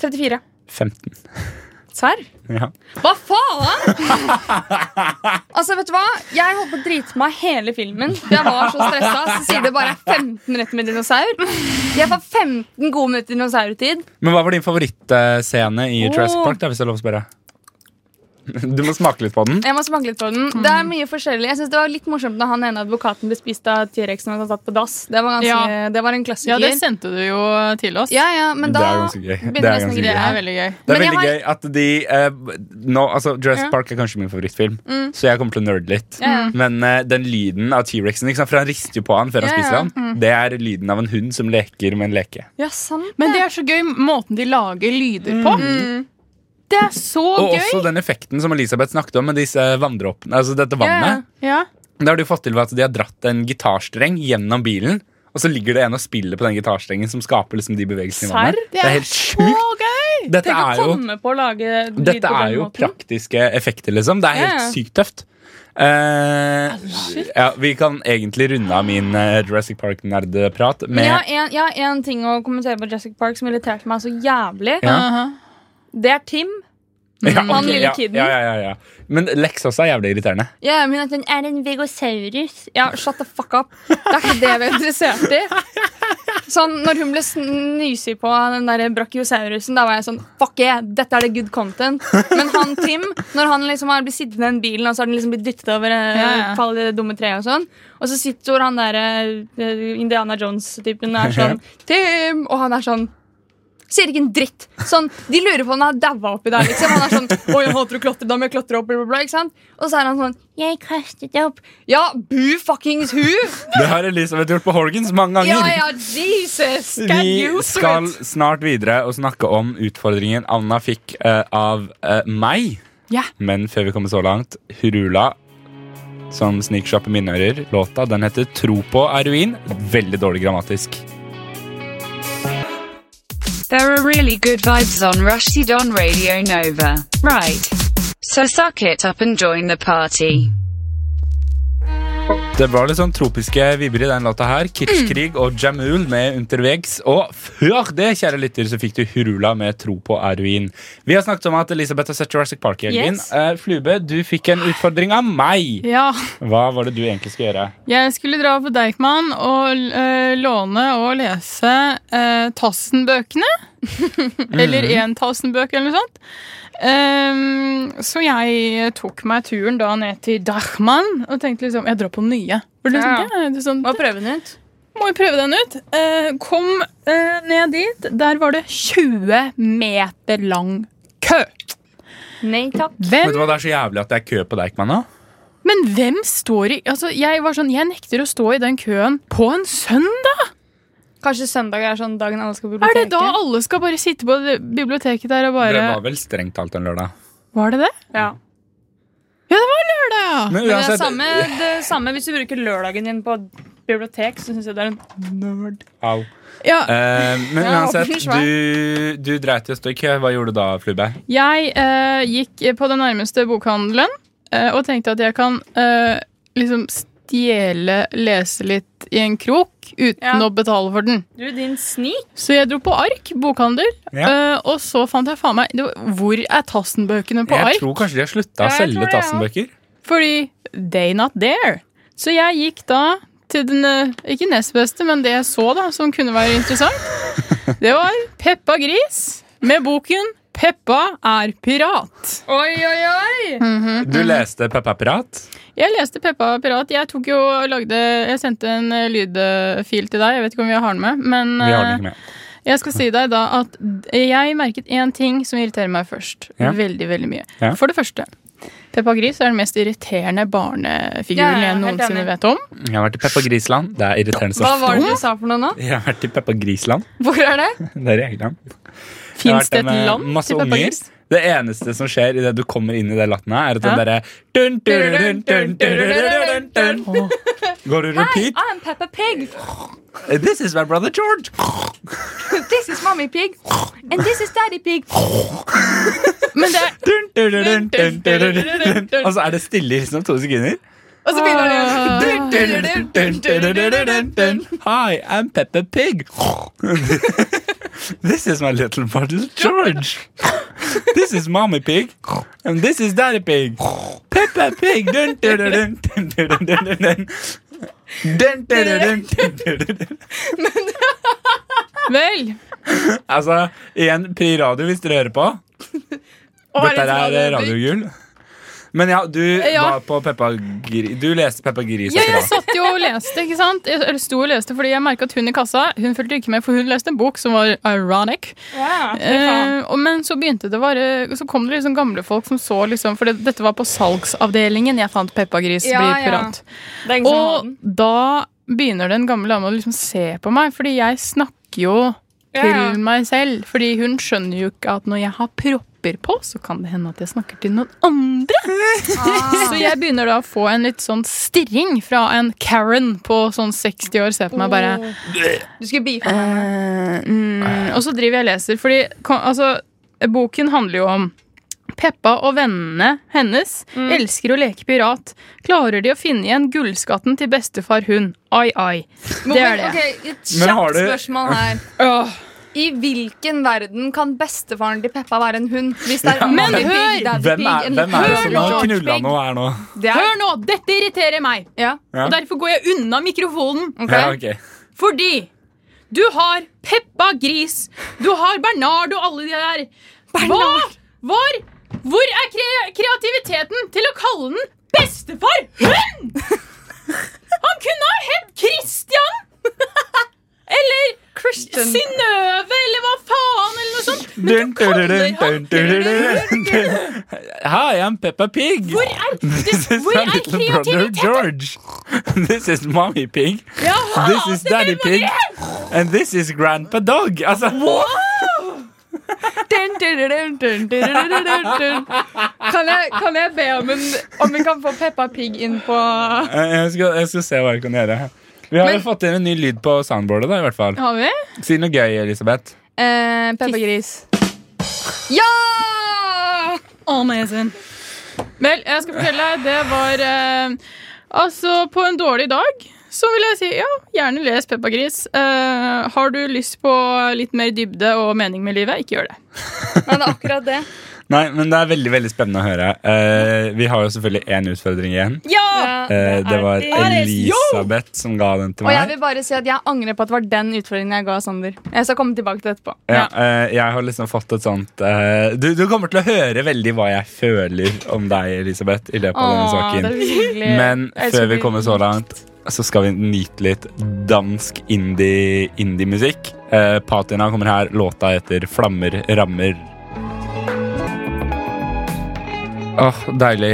[SPEAKER 4] 34.
[SPEAKER 3] 15.
[SPEAKER 4] Serr?
[SPEAKER 3] Ja.
[SPEAKER 4] Hva faen?! altså, vet du hva? Jeg holdt på å drite meg hele filmen. Jeg var så stressa. Så sier det bare er 15 minutter med dinosaur. Jeg får 15 gode minutter dinosaurtid.
[SPEAKER 3] Men hva var din favorittscene i
[SPEAKER 4] Oh.
[SPEAKER 3] Jurassic Park? da, hvis jeg har lov å spørre? Du må smake litt på den.
[SPEAKER 4] Jeg må smake litt på den. Det er mye forskjellig. Jeg synes det var litt morsomt da han ene advokaten ble spist av T-rexen og satt på dass. Det var, ganske, det var en klassiker.
[SPEAKER 5] Ja, det sendte du jo til oss.
[SPEAKER 4] ja, ja, men
[SPEAKER 3] Det
[SPEAKER 4] da
[SPEAKER 3] er ganske gøy. Det
[SPEAKER 4] begynner nesten
[SPEAKER 3] er
[SPEAKER 4] å
[SPEAKER 3] ganske
[SPEAKER 5] Det
[SPEAKER 4] grine.
[SPEAKER 5] er veldig gøy.
[SPEAKER 3] Det er
[SPEAKER 4] Men jeg
[SPEAKER 3] veldig
[SPEAKER 4] har-
[SPEAKER 3] gøy at de eh, nå, altså, Jurassic
[SPEAKER 4] Ja. Mm.
[SPEAKER 3] Park er kanskje min favorittfilm, så jeg kommer til å nerde litt.
[SPEAKER 4] Ja, ja.
[SPEAKER 3] Men eh, den lyden av T-rexen, ikke sant, for han rister jo på han før han
[SPEAKER 4] Ja, Mm.
[SPEAKER 3] spiser
[SPEAKER 4] ja.
[SPEAKER 3] han, det er lyden av en hund som leker med en leke.
[SPEAKER 4] Ja, sant.
[SPEAKER 5] Men det er så gøy måten de lager lyder på. Det er så
[SPEAKER 3] Og
[SPEAKER 5] gøy!
[SPEAKER 3] også den effekten som Elisabeth snakket om med disse vandreåpne, altså dette vannet.
[SPEAKER 5] Ja.
[SPEAKER 3] Det har de fått til ved at de har dratt en gitarstreng gjennom bilen, og så ligger det en og spiller på den gitarstrengen som skaper liksom de bevegelsene i vannet.
[SPEAKER 5] Det er
[SPEAKER 3] helt
[SPEAKER 5] så
[SPEAKER 3] sjukt!
[SPEAKER 5] gøy!
[SPEAKER 3] Dette
[SPEAKER 4] Tenk å
[SPEAKER 3] er jo,
[SPEAKER 4] komme på å lage lyd
[SPEAKER 3] dette
[SPEAKER 4] på den
[SPEAKER 3] er jo
[SPEAKER 4] måten.
[SPEAKER 3] praktiske effekter, liksom. Det er helt
[SPEAKER 4] Ja, ja.
[SPEAKER 3] sykt tøft. Eh, ja, vi kan egentlig runde av min eh, Jurassic Park-nerdeprat
[SPEAKER 4] Men
[SPEAKER 3] med
[SPEAKER 4] jeg har en- jeg har én ting å kommentere på Jessica Park som irriterte meg så jævlig.
[SPEAKER 3] Ja.
[SPEAKER 5] Aha.
[SPEAKER 4] Det er Tim.
[SPEAKER 3] Ja,
[SPEAKER 4] han
[SPEAKER 3] ok,
[SPEAKER 4] lille
[SPEAKER 3] ja,
[SPEAKER 4] kidden.
[SPEAKER 3] Ja, ja, ja, ja. Men Lex også er jævlig irriterende.
[SPEAKER 4] Ja, men at den er en vegosaurus. Ja, shut the fuck up. Det er ikke det vi er interessert i. Sånn, når hun ble sn- nysig på den der brachiosaurusen, da var jeg sånn Fuck yeah, dette er det good content. Men han Tim, når han liksom har blitt sittende i den bilen, og så har den liksom blitt dyttet over eh,
[SPEAKER 5] Ja, ja.
[SPEAKER 4] fall i det dumme treet og sånn, og så sitter han der eh, Indiana Jones-typen og er sånn Tim! Og han er sånn Sier ikke en dritt. Sånn, de lurer på om han har daua oppi der. Liksom. Han er sånn Oi, jeg hater å klatre, da må jeg klatre opp, bla, bla, bla, ikke sant? Og så er han sånn Jeg kastet opp. Ja, bu fuckings hu!
[SPEAKER 3] Det har Elisabeth gjort på Horgans mange ganger.
[SPEAKER 4] Ja, ja, Jesus! Can
[SPEAKER 3] Vi
[SPEAKER 4] you
[SPEAKER 3] skal
[SPEAKER 4] do it?
[SPEAKER 3] snart videre og snakke om utfordringen Anna fikk eh, av eh, meg.
[SPEAKER 5] Ja.
[SPEAKER 3] Men før vi kommer så langt, Hurula som sniksjapper minnører. Låta den heter 'Tro på er ruin'. Veldig dårlig grammatisk.
[SPEAKER 10] There are really good vibes on Rushdie on Radio Nova. Right. So suck it up and join the party.
[SPEAKER 3] Det var litt sånn tropiske vibber i den låta her. Kitschkrig og Jamul med Unterwegs. Og før det, kjære lytter, så fikk du Hurula med 'Tro på er ruin'. Vi har snakket om at Elisabeth har sett Jurassic Park i helgen.
[SPEAKER 4] Yes.
[SPEAKER 3] Eh, Flube, du fikk en utfordring av meg.
[SPEAKER 5] ja.
[SPEAKER 3] Hva var det du egentlig skulle gjøre?
[SPEAKER 5] Jeg skulle dra på Deichman og eh, låne og lese uh, eh, Tassen-bøkene. eller 1000 bøker, eller noe sånt. Ehm, så jeg tok meg turen da ned til Dachmann og tenkte liksom Jeg drar på den nye. For det,
[SPEAKER 4] Ja.
[SPEAKER 5] det, er liksom-
[SPEAKER 4] Må prøve den ut.
[SPEAKER 5] må jo prøve den ut. Eh, kom eh, ned dit. Der var det 20 meter lang kø.
[SPEAKER 4] Nei takk.
[SPEAKER 3] Vet
[SPEAKER 5] Hvem,
[SPEAKER 3] du hva, Det er så jævlig at det er kø på Deichman nå.
[SPEAKER 5] men hvem står i altså, jeg, var sånn, jeg nekter å stå i den køen på en søndag!
[SPEAKER 4] Kanskje søndag er sånn dagen alle skal på
[SPEAKER 5] Er
[SPEAKER 4] biblioteket.
[SPEAKER 5] det da alle skal bare sitte på det biblioteket der og bare
[SPEAKER 3] Det var vel strengt talt en lørdag.
[SPEAKER 5] Var det det?
[SPEAKER 4] Ja.
[SPEAKER 5] Ja, det var lørdag, ja!
[SPEAKER 3] Men
[SPEAKER 4] Men det,
[SPEAKER 3] uansett-
[SPEAKER 4] er samme, det er samme hvis du bruker lørdagen din på bibliotek, så syns jeg det er en nerd.
[SPEAKER 3] Au.
[SPEAKER 5] ja
[SPEAKER 3] Eh, men
[SPEAKER 4] Ja,
[SPEAKER 3] uansett,
[SPEAKER 4] åpner svær.
[SPEAKER 3] du, du dreit i å stå i kø. Hva gjorde du da, Flube?
[SPEAKER 5] Jeg eh, gikk på den nærmeste bokhandelen eh, og tenkte at jeg kan eh, liksom stjele, lese litt i en krok uten
[SPEAKER 4] Ja.
[SPEAKER 5] å betale for den.
[SPEAKER 4] Du, din snik.
[SPEAKER 5] Så jeg dro på Ark bokhandel, eh, og så fant jeg faen meg det var- Hvor er Tassen-bøkene på
[SPEAKER 3] Jeg
[SPEAKER 5] Ark?
[SPEAKER 3] tror kanskje de har slutta å
[SPEAKER 4] Ja, jeg tror
[SPEAKER 3] selge
[SPEAKER 4] det, ja.
[SPEAKER 3] Tassen-bøker.
[SPEAKER 5] Fordi they not there. Så jeg gikk da til den eh, ikke nest beste, men det jeg så da, som kunne være interessant. Det var Peppa Gris med boken 'Peppa er pirat'.
[SPEAKER 4] Oi, oi, oi!
[SPEAKER 3] Du leste Peppa Pirat?
[SPEAKER 5] Jeg leste Peppa Pirat. Jeg tok jo og lagde Jeg sendte en eh, lydfil til deg. Jeg vet ikke om vi har den med, men
[SPEAKER 3] Vi har den ikke
[SPEAKER 5] eh,
[SPEAKER 3] med.
[SPEAKER 5] jeg skal si deg da at jeg merket én ting som irriterer meg først.
[SPEAKER 3] Ja.
[SPEAKER 5] Veldig, veldig mye.
[SPEAKER 3] Ja.
[SPEAKER 5] For det første. Peppa Gris er den mest irriterende barnefiguren
[SPEAKER 4] Ja, ja,
[SPEAKER 5] jeg
[SPEAKER 4] helt
[SPEAKER 5] noensinne
[SPEAKER 4] enig.
[SPEAKER 5] vet om.
[SPEAKER 3] Jeg har vært i Peppa Grisland. Det er irriterende
[SPEAKER 4] Hva
[SPEAKER 3] som
[SPEAKER 4] var det du sa for noe nå?
[SPEAKER 3] Jeg har vært i Peppa Grisland.
[SPEAKER 4] Hvor er det?
[SPEAKER 3] Det er i England. Jeg har vært
[SPEAKER 5] Fins det
[SPEAKER 3] der
[SPEAKER 5] et
[SPEAKER 3] med
[SPEAKER 5] land
[SPEAKER 3] masse
[SPEAKER 5] til Peppa
[SPEAKER 3] unger.
[SPEAKER 5] Gris?
[SPEAKER 3] Det eneste som skjer idet du kommer inn i det landet, her, er at den
[SPEAKER 5] Ja.
[SPEAKER 3] derre dun, dun, dun, dun, dun, dun, dun, dun. Går du repeat?
[SPEAKER 4] I'm Ah, Peppa Pig.
[SPEAKER 3] This is my brother George.
[SPEAKER 4] This is Mommy Pig. And this is Daddy Pig.
[SPEAKER 5] Men det er
[SPEAKER 3] Dun, dun, dun, dun, dun, dun, dun, dun. Og så er det stille i liksom to sekunder.
[SPEAKER 4] Og så begynner det.
[SPEAKER 3] Dun, dun, dun, dun, dun, dun, dun, dun, dun. Hi, I'm Peppa Pig. This is my little brother George. This is Mommy Pig. And this is Daddy Pig. Peppa Pig. Dun, dun, dun, dun, dun, dun, dun, dun, dun. Dun, dun, dun, dun, dun, dun, dun.
[SPEAKER 4] Ah.
[SPEAKER 5] Vel!
[SPEAKER 3] Altså, igjen, Pri Radio hvis dere hører på. Dette her er radiogull. Men ja, du
[SPEAKER 5] Ja.
[SPEAKER 3] var på Peppa Gris. Du leste Peppa Gris.
[SPEAKER 5] Ja,
[SPEAKER 3] også da.
[SPEAKER 5] jeg satt jo og leste, ikke sant? Jeg, eller sto og leste, fordi jeg merka at hun i kassa Hun fulgte ikke med, for hun leste en bok som var ironic.
[SPEAKER 4] Ja, fy faen.
[SPEAKER 5] Eh, og, men så begynte det å være Så kom det liksom gamle folk som så liksom For det, dette var på salgsavdelingen jeg fant Peppa Gris
[SPEAKER 4] Ja,
[SPEAKER 5] bli
[SPEAKER 4] ja.
[SPEAKER 5] pirat.
[SPEAKER 4] Det er ingen som har
[SPEAKER 5] Og
[SPEAKER 4] den.
[SPEAKER 5] da begynner den gamle dama å liksom se på meg, fordi jeg snakker jo til
[SPEAKER 4] Ja.
[SPEAKER 5] meg selv. Fordi hun skjønner jo ikke at når jeg har propper på, så kan det hende at jeg snakker til noen andre.
[SPEAKER 4] Ah.
[SPEAKER 5] Så jeg begynner da å få en litt sånn stirring fra en Karen på sånn 60 år. Se på meg bare
[SPEAKER 4] Du skulle beefe meg.
[SPEAKER 5] Eh, mm, og så driver jeg og leser, fordi kom- altså, boken handler jo om Peppa og vennene hennes
[SPEAKER 4] Mm.
[SPEAKER 5] elsker å leke pirat. Klarer de å finne igjen gullskatten til bestefar hun? Ai, ai. Det er det.
[SPEAKER 4] Ok, et
[SPEAKER 3] Men har
[SPEAKER 4] kjapt
[SPEAKER 3] du-
[SPEAKER 4] spørsmål her.
[SPEAKER 5] Åh.
[SPEAKER 4] I hvilken verden kan bestefaren til Peppa være en hund? Hvis det er
[SPEAKER 5] Men
[SPEAKER 4] Mommy
[SPEAKER 5] hør!
[SPEAKER 4] Pig, Daddy
[SPEAKER 3] Hvem er,
[SPEAKER 4] Pig, en
[SPEAKER 3] hvem er det
[SPEAKER 4] hund
[SPEAKER 3] som
[SPEAKER 4] og
[SPEAKER 3] har
[SPEAKER 4] George
[SPEAKER 3] knulla
[SPEAKER 4] Pig?
[SPEAKER 3] noe her nå?
[SPEAKER 4] Det er,
[SPEAKER 5] Hør nå, dette irriterer meg,
[SPEAKER 4] ja,
[SPEAKER 5] og derfor går jeg unna mikrofonen.
[SPEAKER 4] ok.
[SPEAKER 3] Ja, ok.
[SPEAKER 5] Fordi du har Peppa Gris, du har Bernard og alle de der. Hva? Hvor, hvor er kre kreativiteten til å kalle den bestefar hund? Han kunne ha hett Christian! Eller
[SPEAKER 4] Christian.
[SPEAKER 5] Synnøve, eller hva faen, eller noe sånt.
[SPEAKER 3] Dun, dun, dun, dun, dun, dun, dun, dun. Hi, I'm Peppa Pig.
[SPEAKER 5] Hvor er, det,
[SPEAKER 3] This is
[SPEAKER 5] hvor
[SPEAKER 3] my
[SPEAKER 5] er
[SPEAKER 3] little brother
[SPEAKER 5] kreativiteten?
[SPEAKER 3] George. This is Mommy Pig.
[SPEAKER 5] Ja,
[SPEAKER 3] This is Daddy Pig. And this is Grandpa Dog. Altså,
[SPEAKER 4] Dun, dun, dun, dun, dun, dun, dun, dun, dun. Kan jeg, kan jeg be om en, om en kan få Peppa Pig inn på
[SPEAKER 3] Eh, jeg, skal, jeg skal se hva jeg kan gjøre. Vi har jo fått inn en ny lyd på soundboardet, da, i hvert fall.
[SPEAKER 5] Har vi?
[SPEAKER 3] Si noe gøy, Elisabeth.
[SPEAKER 4] eh, Peppa Gris? Ja!
[SPEAKER 5] Amazing. Vel, jeg skal fortelle deg, det var eh, Altså, på en dårlig dag så vil jeg si ja, gjerne les Peppa Gris. Eh, har du lyst på litt mer dybde og mening med livet, ikke gjør det.
[SPEAKER 4] Men det er akkurat det.
[SPEAKER 3] Nei, men det er veldig veldig spennende å høre. Eh, vi har jo selvfølgelig én utfordring igjen.
[SPEAKER 4] Ja!
[SPEAKER 3] Eh, det var Elisabeth som ga den til
[SPEAKER 4] Og jeg
[SPEAKER 3] meg.
[SPEAKER 4] vil bare si at jeg angrer på at det var den utfordringen jeg ga Sander. Jeg skal komme tilbake til det etterpå.
[SPEAKER 3] Ja, eh, jeg har liksom fått et sånt eh, du, du kommer til å høre veldig hva jeg føler om deg, Elisabeth, i løpet
[SPEAKER 4] Åh,
[SPEAKER 3] av denne
[SPEAKER 4] det er så
[SPEAKER 3] saken.
[SPEAKER 4] hyggelig.
[SPEAKER 3] Men
[SPEAKER 4] Eh, Jeg elsker
[SPEAKER 3] før vi
[SPEAKER 4] det.
[SPEAKER 3] kommer så langt, så skal vi nyte litt dansk indie- indie-musikk. Eh, Patina kommer her. Låta heter 'Flammer rammer'. Åh, deilig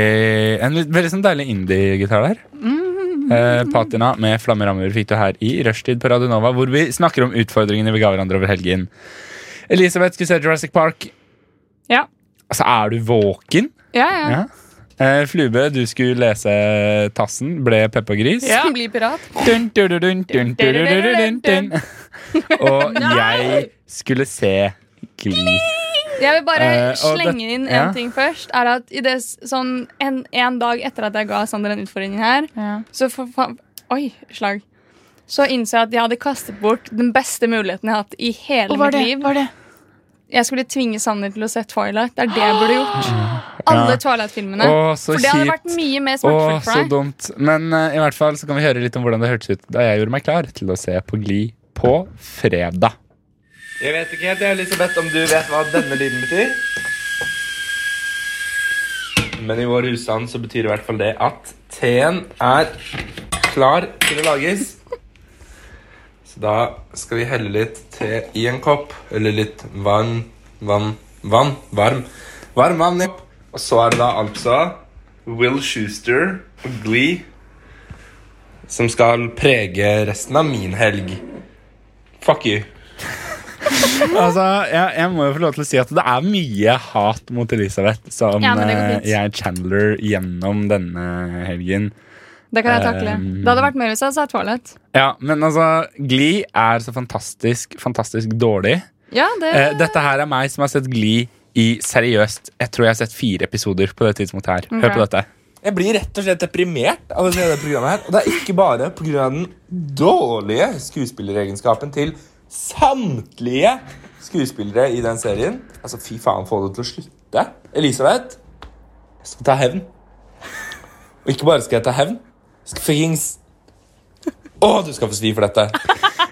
[SPEAKER 3] En litt- veldig sånn deilig indie-gitar der.
[SPEAKER 4] Mm.
[SPEAKER 3] Eh, Patina med flammerammer fikk du her i Rushtid på Radio Nova, hvor vi snakker om utfordringene vi ga hverandre over helgen. Elisabeth skulle se Jurassic Park.
[SPEAKER 4] Ja.
[SPEAKER 3] Altså, er du våken?
[SPEAKER 4] Ja, ja.
[SPEAKER 3] Eh, Flube, du skulle lese Tassen, ble Peppa Gris.
[SPEAKER 4] ja. Bli pirat.
[SPEAKER 3] Dun, dun, dun, dun, dun, dun, dun, dun, dun, dun. Og jeg skulle se Gli.
[SPEAKER 4] Jeg vil bare
[SPEAKER 3] Eh, og
[SPEAKER 4] slenge
[SPEAKER 3] det-
[SPEAKER 4] inn en
[SPEAKER 3] ja.
[SPEAKER 4] ting først. Er at i det, s- sånn en, en dag etter at jeg ga Sander den utfordringen her, så for, fa- Oi, slag. Så innså jeg at jeg hadde kastet bort den beste muligheten jeg har hatt i hele
[SPEAKER 5] Og hva
[SPEAKER 4] mitt
[SPEAKER 5] er det?
[SPEAKER 4] liv.
[SPEAKER 5] Hva er det?
[SPEAKER 4] Jeg skulle tvinge Sander til å se Twilight. Det er det jeg burde gjort. Alle
[SPEAKER 3] Ja.
[SPEAKER 4] Twilight-filmene.
[SPEAKER 3] Å, så
[SPEAKER 4] For det hadde
[SPEAKER 3] kjipt.
[SPEAKER 4] vært mye mer
[SPEAKER 3] Åh,
[SPEAKER 4] smertefullt
[SPEAKER 3] så
[SPEAKER 4] for deg.
[SPEAKER 3] dumt. Men eh, i hvert fall så kan vi høre litt om hvordan det hørtes ut da jeg gjorde meg klar til å se på Gli på fredag.
[SPEAKER 11] Jeg vet ikke helt, jeg, Elisabeth, om du vet hva denne lyden betyr? Men i vår husstand så betyr i hvert fall det at teen er klar til å lages. Så da skal vi helle litt te i en kopp, eller litt vann, vann, vann, varm, varm vann i en kopp. Og så er det da altså Will Schuster og Glee som skal prege resten av min helg. Fuck you.
[SPEAKER 3] Altså, jeg, jeg må jo få lov til å si at det er mye hat mot Elisabeth som
[SPEAKER 4] Ja, men det går
[SPEAKER 3] eh,
[SPEAKER 4] fint.
[SPEAKER 3] jeg channeler gjennom denne helgen.
[SPEAKER 4] Det kan jeg takle.
[SPEAKER 3] Um,
[SPEAKER 4] Det hadde vært mer hvis jeg hadde sett Twilight.
[SPEAKER 3] Ja, men altså, Glee er så fantastisk, fantastisk dårlig.
[SPEAKER 4] Ja, det
[SPEAKER 3] Eh, dette her er meg som har sett Glee i seriøst Jeg tror jeg har sett fire episoder på det tidspunktet her. Hør
[SPEAKER 11] Ok.
[SPEAKER 3] på dette.
[SPEAKER 11] Jeg blir rett og slett deprimert av å se det programmet her. Og det er ikke bare pga. den dårlige skuespilleregenskapen til samtlige skuespillere i den serien. Altså, fy faen, få det til å slutte. Elisabeth, jeg skal ta hevn. Og ikke bare skal jeg ta hevn, jeg skal fuckings Å, du skal få svi for dette.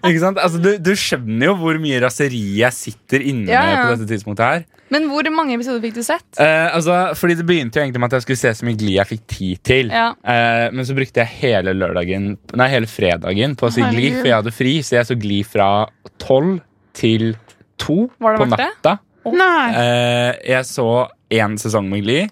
[SPEAKER 3] Ikke sant? Altså, du, du skjønner jo hvor mye raseri jeg sitter inne
[SPEAKER 4] Ja,
[SPEAKER 3] med
[SPEAKER 4] ja.
[SPEAKER 3] på dette tidspunktet her.
[SPEAKER 4] Men hvor mange episoder fikk du sett?
[SPEAKER 3] Eh, altså, fordi Det begynte jo egentlig med at jeg skulle se så mye Glee jeg fikk tid til.
[SPEAKER 4] Ja.
[SPEAKER 3] Eh, men så brukte jeg hele lørdagen Nei, hele fredagen på å si
[SPEAKER 4] Herregud.
[SPEAKER 3] Glee, for jeg hadde fri. Så jeg så Glee fra tolv til to
[SPEAKER 4] Var det
[SPEAKER 3] på
[SPEAKER 4] verdt det?
[SPEAKER 3] natta.
[SPEAKER 5] Nei.
[SPEAKER 3] Eh, jeg så én sesong med Glee.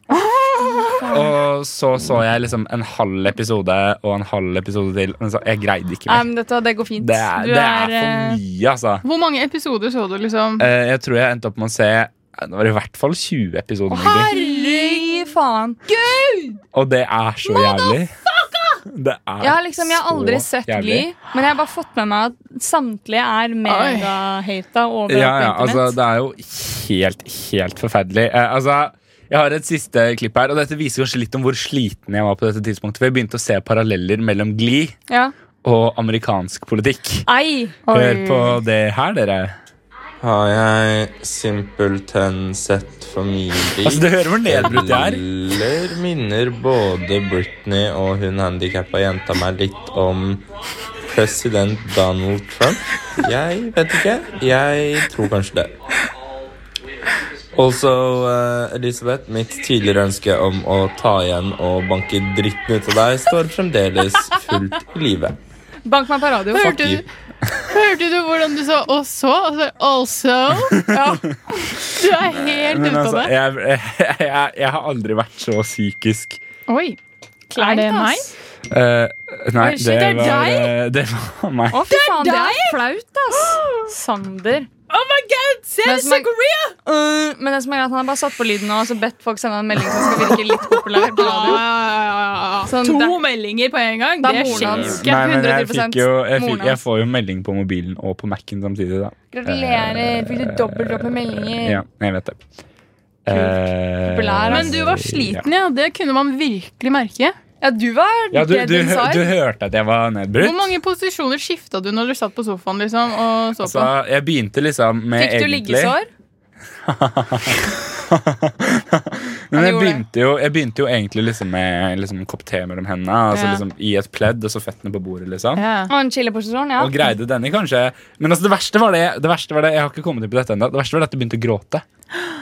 [SPEAKER 3] Og så så jeg liksom en halv episode og en halv episode til. Men så, jeg greide ikke
[SPEAKER 4] Nei,
[SPEAKER 3] mer.
[SPEAKER 4] men dette, det går fint.
[SPEAKER 3] Det er,
[SPEAKER 5] du
[SPEAKER 3] det
[SPEAKER 5] er,
[SPEAKER 3] er for
[SPEAKER 5] eh,
[SPEAKER 3] mye, altså.
[SPEAKER 5] Hvor mange episoder så du, liksom?
[SPEAKER 3] Eh, jeg tror jeg endte opp med å se eh, Det var i hvert fall 20 episoder. med Glee. Eh,
[SPEAKER 4] Herlig faen. Gud!
[SPEAKER 3] Og det er så jævlig. Det er
[SPEAKER 4] Jeg har liksom, jeg har aldri
[SPEAKER 3] så
[SPEAKER 4] sett
[SPEAKER 3] jævlig.
[SPEAKER 4] Glee, men jeg har bare fått med meg at samtlige er megahata overalt
[SPEAKER 3] Ja, ja,
[SPEAKER 4] på
[SPEAKER 3] altså,
[SPEAKER 4] internett.
[SPEAKER 3] det er jo helt, helt forferdelig. Eh, altså, jeg har et siste klipp her, og dette viser kanskje litt om hvor sliten jeg var på dette tidspunktet. For jeg begynte å se paralleller mellom Glee
[SPEAKER 4] ja.
[SPEAKER 3] og amerikansk politikk.
[SPEAKER 4] Ei!
[SPEAKER 3] Hør på det her, dere.
[SPEAKER 11] Har jeg simpelthen sett familie
[SPEAKER 3] Altså, du hører hvor nedbrutt jeg er.
[SPEAKER 11] Eller minner både Britney og hun handikappa jenta meg litt om president Donald Trump? Jeg vet ikke. Jeg tror kanskje det. Also, eh, Elisabeth, mitt tidligere ønske om å ta igjen og banke dritten ut av deg står fremdeles fullt i live.
[SPEAKER 4] Bank meg på radio.
[SPEAKER 5] Hørte du, hørte du hvordan du sa 'også'? Altså, 'also'? Ja. Du er helt
[SPEAKER 3] Men
[SPEAKER 5] ute av
[SPEAKER 3] altså,
[SPEAKER 5] det.
[SPEAKER 3] jeg, jeg, jeg, jeg har aldri vært så psykisk
[SPEAKER 5] Oi. Er det meg?
[SPEAKER 3] Eh, Nei,
[SPEAKER 4] Oi, shit,
[SPEAKER 3] det
[SPEAKER 4] det er
[SPEAKER 3] var,
[SPEAKER 4] deg?
[SPEAKER 3] eh, det var meg.
[SPEAKER 4] Å, fy faen, det er flaut, ass. Sander.
[SPEAKER 5] Oh my god, se
[SPEAKER 4] Men som er-
[SPEAKER 5] Korea!
[SPEAKER 4] Øh, men det som er at han har bare satt på lyden nå, og så bedt folk sende en melding som skal virke litt populær på
[SPEAKER 5] Ja,
[SPEAKER 4] radio.
[SPEAKER 5] ja, ja, ja.
[SPEAKER 4] Sånn,
[SPEAKER 5] to
[SPEAKER 4] det-
[SPEAKER 5] meldinger på en gang,
[SPEAKER 4] Det er
[SPEAKER 5] det
[SPEAKER 4] moren
[SPEAKER 5] skjer
[SPEAKER 4] hans.
[SPEAKER 5] ikke.
[SPEAKER 3] Nei, men jeg,
[SPEAKER 4] 110%
[SPEAKER 3] fikk jo, jeg, fikk,
[SPEAKER 4] moren
[SPEAKER 3] jeg
[SPEAKER 4] hans.
[SPEAKER 3] får jo melding på mobilen og på Mac-en samtidig. da
[SPEAKER 4] Gratulerer. Fikk du dobbelt opp med meldinger?
[SPEAKER 3] Eh, Ja, jeg vet det. Eh,
[SPEAKER 4] Populær,
[SPEAKER 5] Men du var sliten, altså, ja. Det kunne man virkelig merke.
[SPEAKER 4] Ja, du var
[SPEAKER 3] Ja, du,
[SPEAKER 4] dead
[SPEAKER 3] du,
[SPEAKER 4] inside.
[SPEAKER 3] du hørte at jeg var
[SPEAKER 5] Hvor
[SPEAKER 3] nedbrutt?
[SPEAKER 5] mange posisjoner skifta du når du satt på sofaen liksom, og
[SPEAKER 3] Altså,
[SPEAKER 5] så
[SPEAKER 3] Så jeg begynte liksom med
[SPEAKER 4] Fikk du
[SPEAKER 3] egentlig
[SPEAKER 4] liggesår?
[SPEAKER 3] Men jeg
[SPEAKER 4] gjorde det.
[SPEAKER 3] begynte, jo, jeg begynte jo egentlig liksom med liksom en kopp te mellom hendene. Altså
[SPEAKER 4] Ja.
[SPEAKER 3] liksom I et pledd, og så føttene på bordet. liksom
[SPEAKER 4] Og en chiliposisjon, ja.
[SPEAKER 3] Og greide denne, kanskje. Men altså, det verste var det, det verste var det Jeg har ikke kommet inn på dette ennå. Det verste var det at jeg begynte å gråte.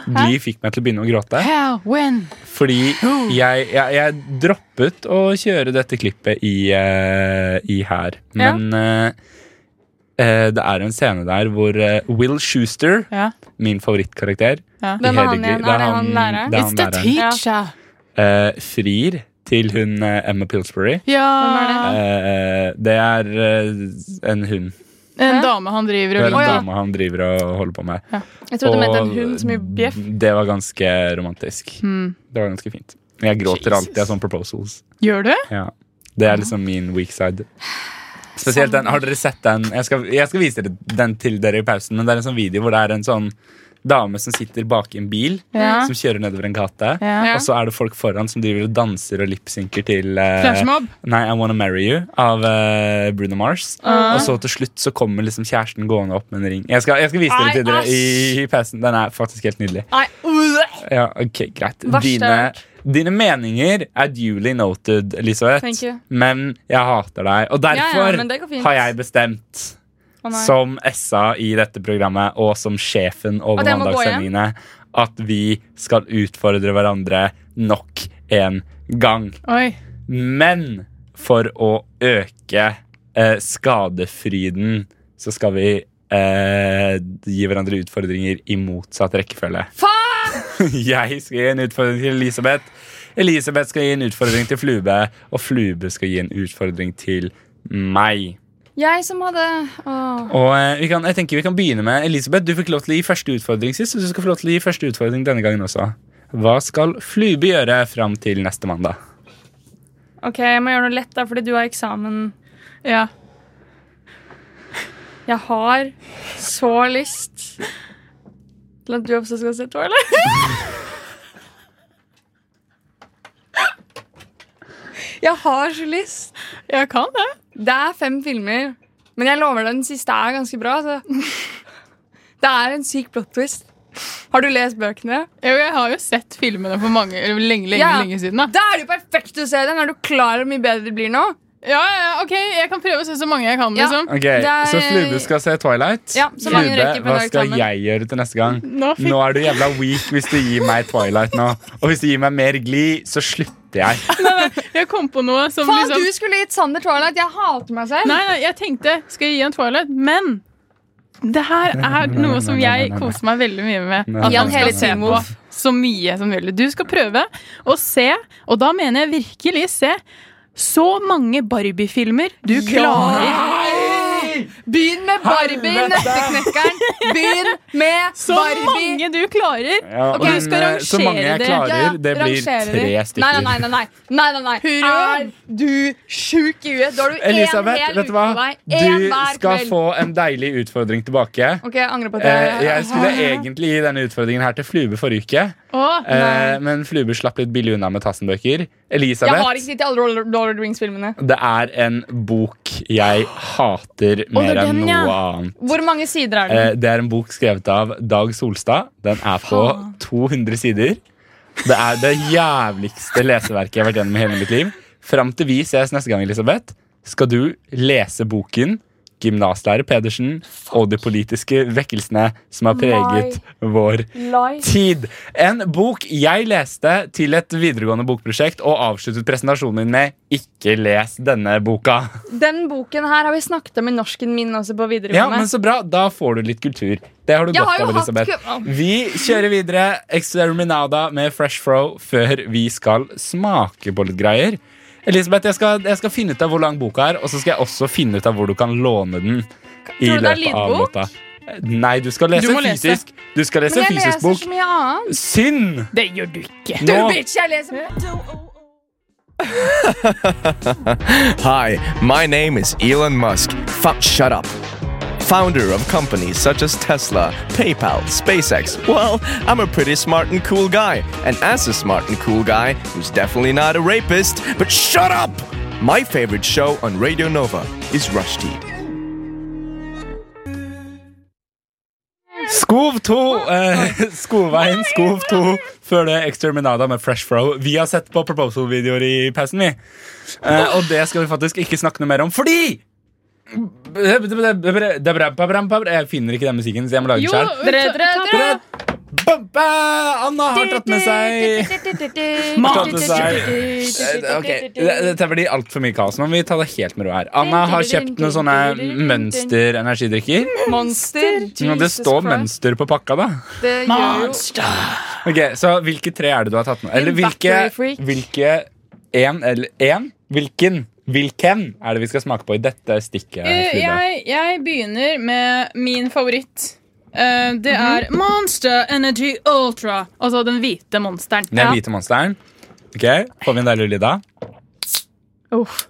[SPEAKER 3] De fikk meg til å begynne å gråte.
[SPEAKER 5] How, when?
[SPEAKER 3] Fordi jeg, jeg, jeg droppet å kjøre dette klippet i, eh, i her.
[SPEAKER 5] Ja.
[SPEAKER 3] Men eh, eh, det er en scene der hvor eh, Will Schuster,
[SPEAKER 5] Ja.
[SPEAKER 3] min favorittkarakter
[SPEAKER 5] Ja.
[SPEAKER 3] i
[SPEAKER 5] Hvem er han
[SPEAKER 3] Heidi Gli-
[SPEAKER 5] igjen? Er det han læreren?
[SPEAKER 3] Det er
[SPEAKER 5] It's
[SPEAKER 3] han
[SPEAKER 5] the
[SPEAKER 3] læreren.
[SPEAKER 5] teacher.
[SPEAKER 3] Eh, frir til hun eh, Emma Pillsbury.
[SPEAKER 5] Ja. Hvem
[SPEAKER 3] Eh, det er eh, en hund.
[SPEAKER 5] En dame han driver
[SPEAKER 3] Det
[SPEAKER 5] og
[SPEAKER 3] er en
[SPEAKER 5] vil.
[SPEAKER 3] dame han driver og holder på med.
[SPEAKER 5] Jeg trodde du mente en
[SPEAKER 3] Og
[SPEAKER 5] hund som gjør bjeff.
[SPEAKER 3] Det var ganske romantisk.
[SPEAKER 5] Hmm.
[SPEAKER 3] Det var ganske fint. Men Jeg gråter alltid av sånne proposals.
[SPEAKER 5] Gjør du?
[SPEAKER 3] Ja. Det er liksom min weak side. Spesielt den, Har dere sett den? Jeg skal, jeg skal vise dere den til dere i pausen. Men Det er en sånn video hvor det er en sånn dame som sitter bak i en bil.
[SPEAKER 5] Ja.
[SPEAKER 3] Som kjører nedover en gate.
[SPEAKER 5] Ja.
[SPEAKER 3] Og så er det folk foran som driver og danser og lipsynker til eh,
[SPEAKER 5] Flashmob?
[SPEAKER 3] Nei, I Wanna Marry You av eh, Bruno Mars.
[SPEAKER 5] Ah.
[SPEAKER 3] Og så til slutt så kommer liksom kjæresten gående opp med en ring. Jeg skal, jeg skal vise
[SPEAKER 5] Nei,
[SPEAKER 3] dere til dere
[SPEAKER 5] æsj.
[SPEAKER 3] i, i pausen. Den er faktisk helt nydelig.
[SPEAKER 5] Nei, øh.
[SPEAKER 3] Ja, ok, greit
[SPEAKER 5] Verste jeg
[SPEAKER 3] dine,
[SPEAKER 5] har hørt.
[SPEAKER 3] dine meninger er duly noted,
[SPEAKER 5] Thank
[SPEAKER 3] Elisabeth
[SPEAKER 5] you.
[SPEAKER 3] Men jeg hater deg Og
[SPEAKER 5] Ja, ja,
[SPEAKER 3] derfor
[SPEAKER 5] men det går fint.
[SPEAKER 3] har jeg bestemt
[SPEAKER 5] Å, nei.
[SPEAKER 3] Som Essa i dette programmet Og som sjefen over
[SPEAKER 5] At jeg må gå hjem?
[SPEAKER 3] mandagssendingene At vi skal utfordre hverandre Nok en gang
[SPEAKER 5] Oi.
[SPEAKER 3] Men for å øke eh, skadefryden Så skal vi eh, Gi hverandre utfordringer I motsatt rekkefølge
[SPEAKER 5] Faen!
[SPEAKER 3] jeg skal gi en utfordring til Elisabeth. Elisabeth skal gi en utfordring til Flube. Og Flube skal gi en utfordring til meg.
[SPEAKER 4] Jeg som hadde Åh.
[SPEAKER 3] Og eh, vi kan, jeg tenker vi kan begynne med Elisabeth. Du fikk lov til å gi første utfordring sist, så du skal få lov til å gi første utfordring denne gangen også. Hva skal Flube gjøre fram til neste mandag?
[SPEAKER 4] OK, jeg må gjøre noe lett, da, fordi du har eksamen.
[SPEAKER 5] Ja.
[SPEAKER 4] Jeg har så lyst til at du også skal se Twilight. Jeg har så lyst.
[SPEAKER 5] Jeg kan det.
[SPEAKER 4] Det er fem filmer, men jeg lover deg, den siste er ganske bra. Altså. Det er en syk plot twist. Har du lest bøkene?
[SPEAKER 5] Jo, jeg har jo sett filmene for mange, eller lenge, lenge,
[SPEAKER 4] Ja.
[SPEAKER 5] lenge siden. Da.
[SPEAKER 4] er det jo perfekt å se den! Er du klar over hvor mye bedre det blir nå?
[SPEAKER 5] Ja, ja, ja, ok, jeg kan prøve å se så mange jeg kan,
[SPEAKER 4] Ja.
[SPEAKER 5] liksom.
[SPEAKER 3] Ok, Så Flube skal se Twilight.
[SPEAKER 5] Ja, så mange
[SPEAKER 3] Flube,
[SPEAKER 5] rekker på
[SPEAKER 3] hva
[SPEAKER 5] dag
[SPEAKER 3] skal
[SPEAKER 5] sammen.
[SPEAKER 3] jeg gjøre til neste gang?
[SPEAKER 5] Nå fikk-
[SPEAKER 3] Nå er du jævla weak hvis du gir meg Twilight nå. Og hvis du gir meg mer Gli, så slutter jeg.
[SPEAKER 5] Jeg kom på noe som
[SPEAKER 4] Faen,
[SPEAKER 5] liksom
[SPEAKER 4] du skulle gitt Sander Twilight! Jeg hater meg selv!
[SPEAKER 5] Nei, nei, jeg tenkte skal jeg gi en Twilight, men det her er noe som jeg koser meg veldig mye
[SPEAKER 4] Nei,
[SPEAKER 5] med. At
[SPEAKER 4] nei,
[SPEAKER 5] man
[SPEAKER 4] nei,
[SPEAKER 5] skal
[SPEAKER 4] nei.
[SPEAKER 5] se på så mye som mulig. Du skal prøve å se, og da mener jeg virkelig se, så mange Barbie-filmer du klarer.
[SPEAKER 4] Begynn med Barbie, Nøtteknekkeren. Begynn med
[SPEAKER 5] Så
[SPEAKER 4] Barbie.
[SPEAKER 5] mange du klarer.
[SPEAKER 3] Ja,
[SPEAKER 5] og
[SPEAKER 3] men,
[SPEAKER 5] du skal
[SPEAKER 3] eh,
[SPEAKER 5] rangere
[SPEAKER 3] så mange jeg
[SPEAKER 5] det.
[SPEAKER 3] klarer, det blir
[SPEAKER 4] rangere
[SPEAKER 3] tre
[SPEAKER 4] de.
[SPEAKER 3] stykker.
[SPEAKER 4] Nei, nei, nei. nei, nei, nei, nei. Er du sjuk i huet? Da har du én
[SPEAKER 3] Elisabeth,
[SPEAKER 4] hel
[SPEAKER 3] vet du
[SPEAKER 4] uke
[SPEAKER 3] hva?
[SPEAKER 4] på deg. Én
[SPEAKER 3] Du
[SPEAKER 4] hver
[SPEAKER 3] skal
[SPEAKER 4] kveld.
[SPEAKER 3] få en deilig utfordring tilbake.
[SPEAKER 4] Ok, jeg angrer på at jeg
[SPEAKER 3] Eh, jeg skulle egentlig gi denne utfordringen her til Flube forrige uke,
[SPEAKER 4] Å,
[SPEAKER 3] eh,
[SPEAKER 4] nei.
[SPEAKER 3] men Flube slapp litt billig unna med Tassenbøker.
[SPEAKER 4] Jeg har
[SPEAKER 3] Elisabeth,
[SPEAKER 4] ikke sett alle Roller- Roller Rings-filmene.
[SPEAKER 3] det er en bok jeg hater mer enn
[SPEAKER 4] den, ja.
[SPEAKER 3] noe annet.
[SPEAKER 4] Hvor mange sider er
[SPEAKER 3] Eh,
[SPEAKER 4] det?
[SPEAKER 3] det er en bok skrevet av Dag Solstad. Den er på 200 sider. Det er det jævligste leseverket jeg har vært gjennom i hele mitt liv. Fram til vi ses neste gang, Elisabeth, skal du lese boken Gymnaslærer Pedersen og de politiske vekkelsene som har preget vår tid. En bok jeg leste til et videregående bokprosjekt og avsluttet presentasjonen min med 'Ikke les denne boka'.
[SPEAKER 4] Den boken her har vi snakket om i norsken min også på
[SPEAKER 3] Ja,
[SPEAKER 4] videregående.
[SPEAKER 3] men Så bra. Da får du litt kultur. Det har du
[SPEAKER 4] Jeg
[SPEAKER 3] godt
[SPEAKER 4] har
[SPEAKER 3] av,
[SPEAKER 4] jo hatt
[SPEAKER 3] Elisabeth.
[SPEAKER 4] ku-
[SPEAKER 3] Vi kjører videre. Exterminada med Fresh Fro før vi skal smake på litt greier. Elisabeth, jeg skal, jeg skal finne ut av hvor lang boka er, og så skal jeg også finne ut av hvor du kan låne den. I
[SPEAKER 4] Tror du det er
[SPEAKER 3] løpet av
[SPEAKER 4] lydbok?
[SPEAKER 3] låta. Nei, du skal lese
[SPEAKER 5] Du må lese.
[SPEAKER 3] fysisk. Du skal lese
[SPEAKER 4] Men jeg
[SPEAKER 3] fysisk
[SPEAKER 4] leser
[SPEAKER 3] bok.
[SPEAKER 4] så mye annet.
[SPEAKER 3] Synd!
[SPEAKER 5] Det gjør du ikke.
[SPEAKER 4] Du,
[SPEAKER 12] Nå-
[SPEAKER 4] bitch, jeg leser
[SPEAKER 12] Hi, my name is Elon Musk. Fu- shut up. Founder of companies such as Tesla, PayPal, SpaceX. Well, I'm a pretty smart and cool guy. And as a smart and cool guy, who's definitely not a rapist, but shut up! My favorite show on Radio Nova is Rushdie.
[SPEAKER 3] Skov 2, eh, Skoveien, Skov 2, før det Exterminada med Fresh Fro. Vi har sett på proposal-videoer i pausen, vi. Eh, og det skal vi faktisk ikke snakke noe mer om, fordi Jeg finner ikke den musikken, så jeg må lage den
[SPEAKER 5] Jo,
[SPEAKER 3] selv. Bumpe! Anna har tatt med seg Tatt med seg Eh, Ok, det- Dette blir altfor mye kaos. Nå må vi ta det helt med ro her. Anna har kjøpt noen sånne mønster-energidrikker.
[SPEAKER 4] Monster.
[SPEAKER 3] Men Det
[SPEAKER 4] Jesus
[SPEAKER 3] står
[SPEAKER 4] Christ.
[SPEAKER 3] mønster på pakka, da.
[SPEAKER 4] Det gjør jo
[SPEAKER 3] Ok, Så hvilke tre er det du har tatt med? Eller
[SPEAKER 4] Din battery
[SPEAKER 3] hvilke,
[SPEAKER 4] freak.
[SPEAKER 3] hvilke en, eller en? Hvilken? Hvilken er det vi skal smake på i dette stikket?
[SPEAKER 5] Eh,
[SPEAKER 3] Frida?
[SPEAKER 5] jeg, jeg begynner med min favoritt. Eh, det
[SPEAKER 4] Mhm.
[SPEAKER 5] er Monster Energy Ultra. Altså den hvite monsteren.
[SPEAKER 3] Den hvite monsteren. Ok, Får vi en deilig lyd da?
[SPEAKER 5] Uff.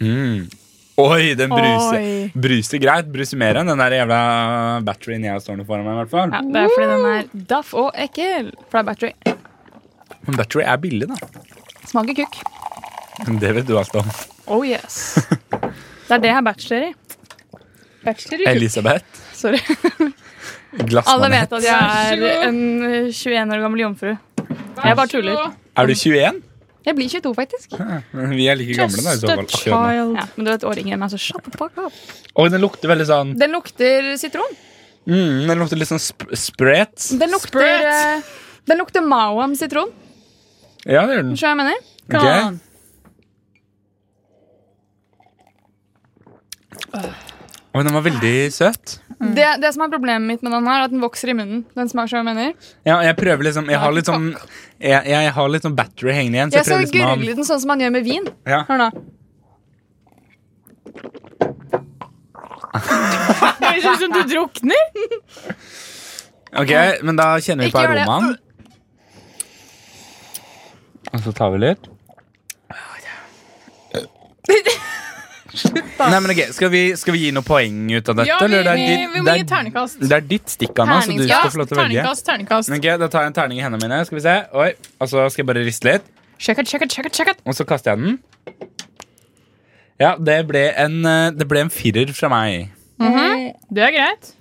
[SPEAKER 3] Mm. Oi, den bruser.
[SPEAKER 5] Oi.
[SPEAKER 3] Bruser greit. Bruser mer enn den der jævla batterien jeg står nå foran meg. i hvert fall
[SPEAKER 4] Ja, det er fordi den er daff og ekkel. For det er battery.
[SPEAKER 3] Men battery er billig, da.
[SPEAKER 4] Smaker kukk.
[SPEAKER 3] Det vet du alt om.
[SPEAKER 4] Oh yes. Det er det jeg er bachelor i. Bachelor
[SPEAKER 3] Elisabeth.
[SPEAKER 4] Sorry.
[SPEAKER 3] Glassmanet.
[SPEAKER 4] Alle vet at jeg er en eh, 21 år gammel jomfru. Jeg bare tuller.
[SPEAKER 3] Er du 21?
[SPEAKER 4] Jeg blir 22, faktisk.
[SPEAKER 3] Vi er like gamle, da. i så fall akkurat nå.
[SPEAKER 4] Ja, men du er et år yngre enn meg, så shut the fuck up.
[SPEAKER 3] Oi, den lukter veldig sånn
[SPEAKER 4] Den lukter sitron.
[SPEAKER 3] mm, Den lukter litt sånn sp spret.
[SPEAKER 4] Den lukter eh, Den lukter Mauam sitron.
[SPEAKER 3] Ja, det gjør den.
[SPEAKER 4] Skjønner du hva jeg mener?
[SPEAKER 3] Ok. Oi, den var veldig søt.
[SPEAKER 4] Mm. Det, det som er problemet mitt med den her, er at den vokser i munnen. Den smaker som jeg mener.
[SPEAKER 3] Ja, jeg prøver liksom Jeg har litt sånn Jeg, jeg har litt sånn battery hengende igjen. Så
[SPEAKER 4] Jeg
[SPEAKER 3] jeg prøver
[SPEAKER 4] skal
[SPEAKER 3] liksom å ha-
[SPEAKER 4] gurgle den sånn som man gjør med vin.
[SPEAKER 3] Ja.
[SPEAKER 4] Hør nå.
[SPEAKER 5] Det Høres ut som du drukner.
[SPEAKER 3] Ok, men da kjenner vi på
[SPEAKER 5] Ikke gjør det.
[SPEAKER 3] aromaen. Og så tar vi litt. Nei, men ok, skal vi, skal vi gi noen poeng ut av dette?
[SPEAKER 5] Ja, vi,
[SPEAKER 3] eller det er
[SPEAKER 5] vi,
[SPEAKER 3] ditt-
[SPEAKER 5] vi må
[SPEAKER 3] det er-
[SPEAKER 5] gi ternekast.
[SPEAKER 3] Det er ditt stikk, Anna, så du
[SPEAKER 5] Ja,
[SPEAKER 3] skal få lov til å velge.
[SPEAKER 5] Ternekast, ternekast.
[SPEAKER 3] Ok, Da tar jeg en terning i hendene mine. Skal vi se. Oi, Og så skal jeg bare riste litt.
[SPEAKER 5] Check it, check it, check it, check it.
[SPEAKER 3] Og så kaster jeg den. Ja, det ble en, eh, det ble en firer fra meg.
[SPEAKER 5] Mhm. Det er greit.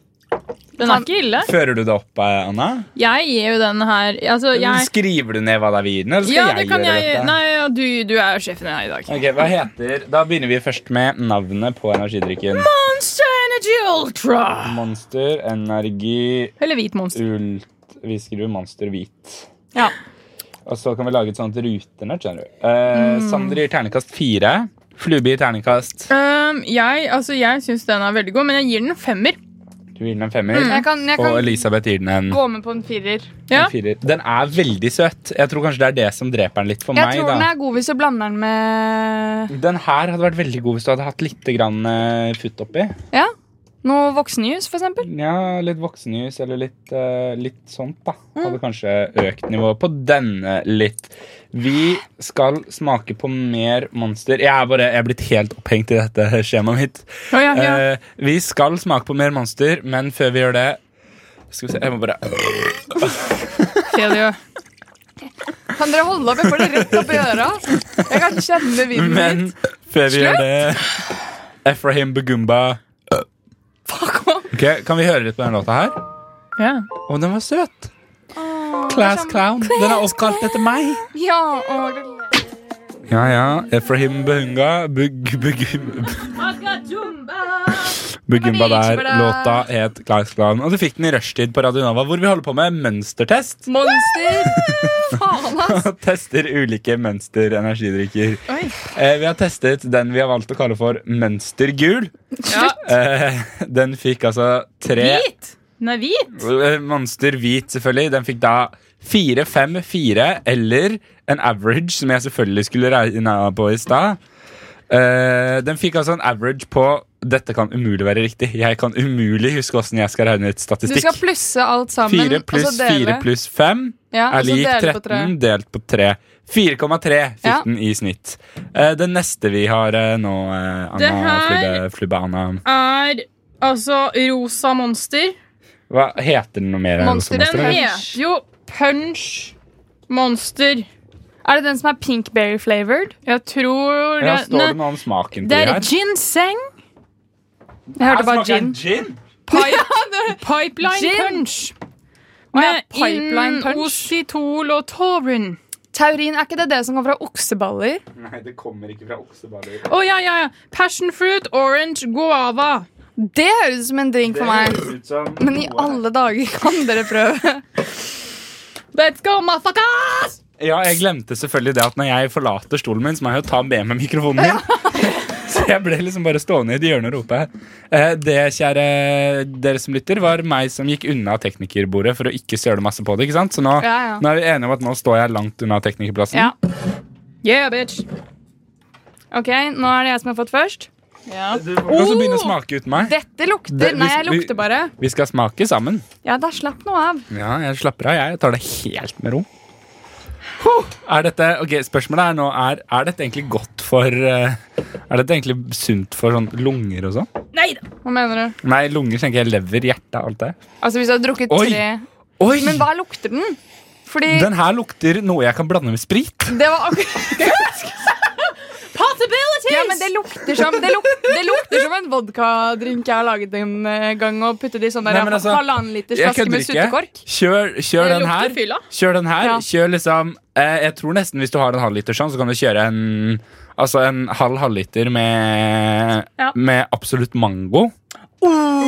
[SPEAKER 5] Den er ikke ille.
[SPEAKER 3] Fører du det opp, eh, Anna?
[SPEAKER 5] Jeg gir jo den her altså, jeg,
[SPEAKER 3] Skriver du ned hva det er vi gir den, eller skal
[SPEAKER 5] Ja, det
[SPEAKER 3] jeg
[SPEAKER 5] kan
[SPEAKER 3] gjøre
[SPEAKER 5] jeg
[SPEAKER 3] dette?
[SPEAKER 5] Nei, ja, du, du er jo sjefen her i dag.
[SPEAKER 3] Ok, hva heter Da begynner vi først med navnet på energidrikken.
[SPEAKER 5] Monster Energy Ultra.
[SPEAKER 3] Monster, energi
[SPEAKER 5] Eller hvit monster.
[SPEAKER 3] Ult, vi skriver monster hvit.
[SPEAKER 5] Ja.
[SPEAKER 3] Og så kan vi lage et sånt rutenett, skjønner du. Eh,
[SPEAKER 5] Mm.
[SPEAKER 3] Sander gir ternekast fire. Flube gir ternekast.
[SPEAKER 5] Øhm, jeg altså, jeg syns den er veldig god, men jeg gir den en femmer.
[SPEAKER 3] Du gir den en femmer.
[SPEAKER 5] Mm, jeg kan- jeg
[SPEAKER 3] og
[SPEAKER 5] kan
[SPEAKER 3] Elisabeth gir den en,
[SPEAKER 4] med på en firer.
[SPEAKER 5] Ja.
[SPEAKER 3] en firer. Den er veldig søt. Jeg tror kanskje det er det som dreper den litt for
[SPEAKER 4] jeg
[SPEAKER 3] meg.
[SPEAKER 4] tror
[SPEAKER 3] da.
[SPEAKER 4] den er god hvis du blander den med
[SPEAKER 3] Den her hadde vært veldig god hvis du hadde hatt litt grann, eh, futt oppi.
[SPEAKER 4] ja, noe voksenjus, for eksempel.
[SPEAKER 3] Ja, litt voksenjus eller litt, eh, litt sånt, da. Hadde kanskje økt nivået på denne litt. Vi skal smake på mer monster. Jeg er bare, jeg er blitt helt opphengt i dette skjemaet mitt.
[SPEAKER 5] Ja, ja, ja.
[SPEAKER 3] Eh, vi skal smake på mer monster, men før vi gjør det Skal vi se, jeg må bare
[SPEAKER 4] Kan dere holde opp? Jeg får det rett opp i øra. Jeg kan kjenne vinden
[SPEAKER 3] Men
[SPEAKER 4] litt.
[SPEAKER 3] før vi gjør det Efrahim Bugumba Ok, Kan vi høre litt på den låta her?
[SPEAKER 5] Ja.
[SPEAKER 3] Å, den var søt! Class Clown. Den er oppkalt etter meg.
[SPEAKER 4] Ja, og
[SPEAKER 3] Ja, ja. Efrahim Behunga Bug, bug, Bugumba der. Låta het Klaus Klan. Og du fikk den i rushtid på Radio Nova, hvor vi holder på med mønstertest.
[SPEAKER 4] monster! Faen, ass!
[SPEAKER 3] Tester ulike mønster-energidrikker.
[SPEAKER 4] Oi.
[SPEAKER 3] Eh, vi har testet den vi har valgt å kalle for Mønstergul. Eh, den fikk altså tre
[SPEAKER 5] Hvit! Den er hvit.
[SPEAKER 3] Eh, Monster hvit, selvfølgelig. Den fikk da fire, fem, fire eller en average, som jeg selvfølgelig skulle regne på i stad. Eh, den fikk altså en average på Dette kan umulig være riktig. Jeg kan umulig huske åssen jeg skal regne ut
[SPEAKER 4] Du skal
[SPEAKER 3] statistikk.
[SPEAKER 4] plusse alt sammen.
[SPEAKER 3] Fire
[SPEAKER 4] og så
[SPEAKER 3] pluss
[SPEAKER 4] dele.
[SPEAKER 3] fire pluss fem
[SPEAKER 4] Ja, og
[SPEAKER 3] er
[SPEAKER 4] så
[SPEAKER 3] lik
[SPEAKER 4] dele på
[SPEAKER 3] 13 delt på 3. 4,3 fikk
[SPEAKER 4] Ja.
[SPEAKER 3] den i snitt. Eh, det neste vi har eh, nå, eh,
[SPEAKER 5] Det
[SPEAKER 3] Anna
[SPEAKER 5] her-
[SPEAKER 3] Flubbe, Flubbe Anna
[SPEAKER 5] Er altså rosa monster.
[SPEAKER 3] Hva heter den noe mer? enn Rosa
[SPEAKER 5] Den
[SPEAKER 3] eller?
[SPEAKER 5] heter jo Punch Monster.
[SPEAKER 4] Er det den som er pinkberry flavored?
[SPEAKER 5] Jeg tror
[SPEAKER 3] Ja,
[SPEAKER 5] det-
[SPEAKER 3] står det
[SPEAKER 5] nei,
[SPEAKER 3] noe om smaken på
[SPEAKER 5] Det
[SPEAKER 3] det
[SPEAKER 5] er
[SPEAKER 3] her?
[SPEAKER 5] ginseng.
[SPEAKER 4] Jeg hørte bare
[SPEAKER 3] smaker
[SPEAKER 4] gin.
[SPEAKER 3] gin.
[SPEAKER 4] Ja, det
[SPEAKER 5] Pipeline
[SPEAKER 4] Gin.
[SPEAKER 5] punch.
[SPEAKER 4] Å ja,
[SPEAKER 5] Med
[SPEAKER 4] pipeline punch.
[SPEAKER 5] inositol og taurin.
[SPEAKER 4] Taurin, er ikke det det som kommer fra okseballer?
[SPEAKER 3] Nei, det kommer ikke fra okseballer.
[SPEAKER 5] Å ja, ja, ja. Passion fruit, orange, guava.
[SPEAKER 4] Det høres ut som en drink for meg. Men i alle dager kan dere prøve.
[SPEAKER 5] Let's go, motherfuckers!
[SPEAKER 3] Ja, jeg glemte selvfølgelig det at når jeg forlater stolen min, så må jeg jo ta med meg mikrofonen min. Så jeg ble liksom bare stående i et hjørne og rope. Eh, Det, kjære dere som lytter, var meg som gikk unna teknikerbordet for å ikke søle masse på det. ikke sant? Så nå,
[SPEAKER 5] Ja, ja.
[SPEAKER 3] nå er vi enige om at nå står jeg langt unna teknikerplassen.
[SPEAKER 5] Ja. Yeah, bitch.
[SPEAKER 4] Ok, Nå er det jeg som har fått først.
[SPEAKER 5] Ja.
[SPEAKER 3] Du kan også begynne
[SPEAKER 4] Oh!
[SPEAKER 3] å smake uten meg.
[SPEAKER 4] Dette lukter
[SPEAKER 3] Det-
[SPEAKER 4] Nei, jeg
[SPEAKER 3] hvis-
[SPEAKER 4] lukter bare.
[SPEAKER 3] Vi skal smake sammen.
[SPEAKER 4] Ja, da slapp noe av.
[SPEAKER 3] Ja, jeg slapper av, jeg. Jeg tar det helt med ro. Huh, Er dette, ok, Spørsmålet er nå er, er dette egentlig godt for eh, Er dette egentlig sunt for sånn lunger og sånn?
[SPEAKER 4] Nei da. Hva mener du?
[SPEAKER 3] Nei, lunger tenker jeg lever, hjerte, alt det.
[SPEAKER 4] Altså, hvis du har drukket
[SPEAKER 3] Oi.
[SPEAKER 4] tre
[SPEAKER 3] Oi!
[SPEAKER 4] Men hva lukter den? Fordi
[SPEAKER 3] Den her lukter noe jeg kan blande med sprit.
[SPEAKER 4] det var akkurat
[SPEAKER 5] Possibilities!
[SPEAKER 4] Ja, men det lukter som Det, luk, det lukter som en vodkadrink jeg har laget en eh, gang og puttet i sånn der
[SPEAKER 3] Nei, men altså,
[SPEAKER 4] halvannen liters
[SPEAKER 3] Jeg
[SPEAKER 4] flaske med
[SPEAKER 3] kødder ikke.
[SPEAKER 4] suttekork.
[SPEAKER 3] Kjør,
[SPEAKER 4] Det
[SPEAKER 3] kjør den
[SPEAKER 4] lukter
[SPEAKER 3] her.
[SPEAKER 4] fylla.
[SPEAKER 3] Kjør den her.
[SPEAKER 4] Ja.
[SPEAKER 3] Kjør liksom eh, Jeg tror nesten hvis du har en halvliter sånn, så kan du kjøre en Altså en halv halvliter med,
[SPEAKER 5] Ja.
[SPEAKER 3] med absolutt mango.
[SPEAKER 4] Uh.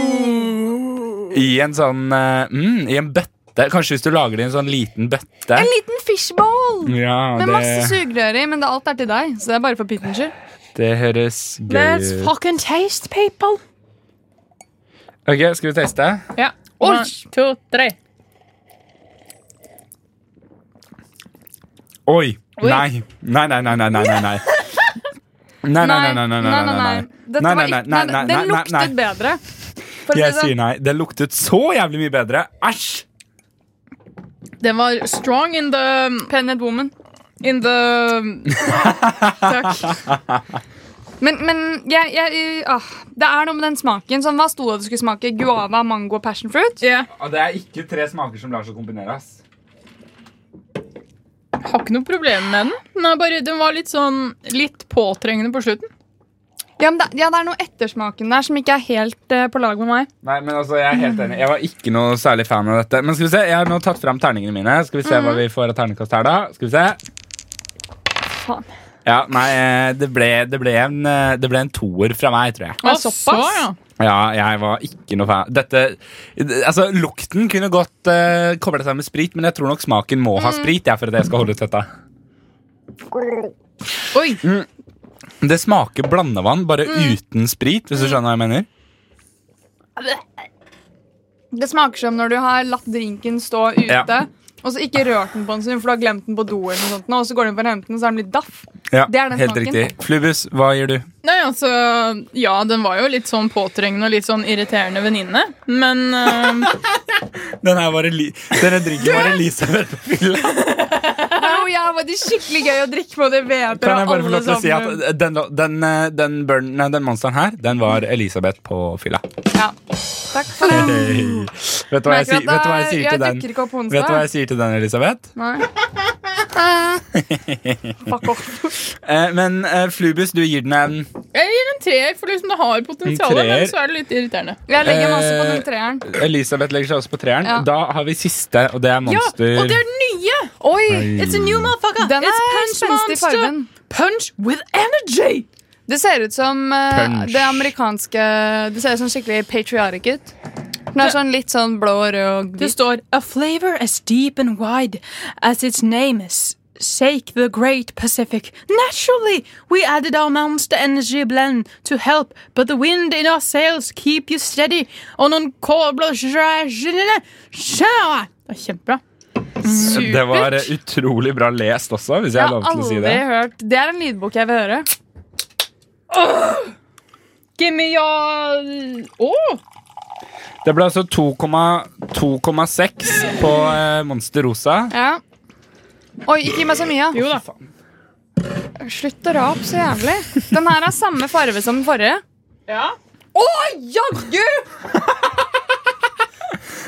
[SPEAKER 3] I en sånn eh, mm, I en bøtte. Kanskje hvis du lager det i en sånn liten bøtte.
[SPEAKER 4] En liten fishbowl
[SPEAKER 3] Ja,
[SPEAKER 4] med masse
[SPEAKER 3] det,
[SPEAKER 4] sugerør i, men det, alt er til deg. Så det er bare for pyttens skyld.
[SPEAKER 3] det høres gøy
[SPEAKER 5] Let's
[SPEAKER 3] ut.
[SPEAKER 5] fucking taste, people.
[SPEAKER 3] Ok, skal vi teste?
[SPEAKER 5] Ja.
[SPEAKER 4] Oi.
[SPEAKER 5] One, two, three.
[SPEAKER 3] Oi!
[SPEAKER 5] Oi.
[SPEAKER 3] Nei. Nei, nei, nei, nei, nei. nei, nei. Nei, nei, nei, nei, nei, nei, nei, nei.
[SPEAKER 4] Dette
[SPEAKER 3] Nei,
[SPEAKER 4] var
[SPEAKER 3] nei, nei,
[SPEAKER 4] ikke- nei,
[SPEAKER 3] nei, nei,
[SPEAKER 4] Den
[SPEAKER 3] nei, nei.
[SPEAKER 4] luktet bedre. For å si
[SPEAKER 3] Jeg
[SPEAKER 4] det sånn.
[SPEAKER 3] sier nei. Det luktet så jævlig mye bedre. Æsj!
[SPEAKER 5] Den var strong in the
[SPEAKER 4] Pregnant woman.
[SPEAKER 5] In the
[SPEAKER 4] Men, men jeg, jeg, ah, det er noe med den smaken. Sånn, hva sto det det skulle smake? Guava, mango og passion fruit?
[SPEAKER 3] Det er ikke tre smaker som lar seg kombinere.
[SPEAKER 5] Har ikke noe problem med den. Den, er bare, den var litt sånn litt påtrengende på slutten.
[SPEAKER 4] Ja, men det, ja, det er noe ettersmaken der som ikke er helt eh, på lag med meg.
[SPEAKER 3] Nei, men altså, Jeg er helt enig. Jeg var ikke noe særlig fan av dette. Men skal vi se, jeg har nå tatt fram terningene mine. Skal vi se
[SPEAKER 4] Mm.
[SPEAKER 3] hva vi får av terningkast her, da. Skal vi se.
[SPEAKER 4] Faen.
[SPEAKER 3] Ja, nei, eh, det ble, det ble, en, eh, det ble en toer fra meg, tror jeg.
[SPEAKER 5] Å, såpass? ja.
[SPEAKER 3] Ja, jeg var ikke noe fan. Dette, altså, Lukten kunne godt uh, koble seg med sprit, men jeg tror nok smaken må
[SPEAKER 4] Mm.
[SPEAKER 3] ha sprit. Jeg, for at jeg skal holde ut dette
[SPEAKER 5] Oi.
[SPEAKER 3] Det smaker blandevann, bare
[SPEAKER 4] Mm.
[SPEAKER 3] uten sprit, hvis du skjønner hva jeg mener.
[SPEAKER 4] Det smaker som når du har latt drinken stå ute.
[SPEAKER 3] Ja.
[SPEAKER 4] Og så ikke rørt den på en stund, for du har glemt den på do, eller noe sånt, nå, og så går du inn for å hente den, så er den litt daff.
[SPEAKER 3] Ja,
[SPEAKER 4] Det er den
[SPEAKER 3] helt
[SPEAKER 4] smaken.
[SPEAKER 3] riktig. Flubus, hva gjør du?
[SPEAKER 5] Nei, altså, ja, den var jo litt sånn påtrengende og litt sånn irriterende venninne, men eh,
[SPEAKER 3] Den her var Eli Denne drinken var Elisabeth på fylla.
[SPEAKER 4] Oh, ja, men det er skikkelig gøy å drikke på det vet dere,
[SPEAKER 3] Kan jeg bare få
[SPEAKER 4] alle
[SPEAKER 3] lov til å si at
[SPEAKER 4] sammen.
[SPEAKER 3] den, den, eh, den, burn, nei, den monsteren her, den var Elisabeth på fylla.
[SPEAKER 4] Ja. Takk for det.
[SPEAKER 3] Hey. Vet du hva jeg
[SPEAKER 4] Merker at
[SPEAKER 3] sier, vet du hva jeg
[SPEAKER 4] det er-
[SPEAKER 3] sier til
[SPEAKER 4] jeg
[SPEAKER 3] den?
[SPEAKER 4] dukker ikke opp på onsdag.
[SPEAKER 3] Vet du hva jeg sier til den, Elisabeth?
[SPEAKER 4] Nei. Fuck off.
[SPEAKER 3] Eh, Men eh, Flubus, du gir den en
[SPEAKER 5] jeg gir en treer, for liksom det har potensial,
[SPEAKER 3] En treer.
[SPEAKER 5] men så er det litt irriterende.
[SPEAKER 4] Jeg legger masse på den
[SPEAKER 3] Eh,
[SPEAKER 4] treeren.
[SPEAKER 3] Elisabeth legger seg også på treeren.
[SPEAKER 4] Ja.
[SPEAKER 3] Da har vi siste, og det er
[SPEAKER 5] Ja,
[SPEAKER 3] Monster.
[SPEAKER 5] og det er den nye!
[SPEAKER 4] Oi!
[SPEAKER 5] It's a new motherfucker!
[SPEAKER 4] Den er
[SPEAKER 5] It's
[SPEAKER 4] punch spenstig i
[SPEAKER 5] monster.
[SPEAKER 4] fargen.
[SPEAKER 5] Punch with energy!
[SPEAKER 4] Det ser ut som eh,
[SPEAKER 5] Punch.
[SPEAKER 4] det amerikanske Det ser ut som skikkelig patriotic ut. Den er sånn litt sånn blå og rød og
[SPEAKER 5] Det står A flavor as deep and wide as its name is Shake the Great Pacific. Naturally, we added our monster energy blend to help, but the wind in our sails keep you steady on on kobler Det er kjempebra.
[SPEAKER 3] Det var eh, utrolig bra lest også, hvis jeg
[SPEAKER 4] Jeg har
[SPEAKER 3] har lov til å
[SPEAKER 4] aldri
[SPEAKER 3] si det.
[SPEAKER 4] hørt Det er en lydbok jeg vil høre.
[SPEAKER 5] Give me your Åh!
[SPEAKER 3] Det ble altså 2,6 på eh, Monster Rosa.
[SPEAKER 4] Ja. Oi, ikke gi meg så mye. Jo da. Slutt å rape så jævlig. Den her har samme farve som den forrige.
[SPEAKER 5] Ja.
[SPEAKER 4] Å, jaggu!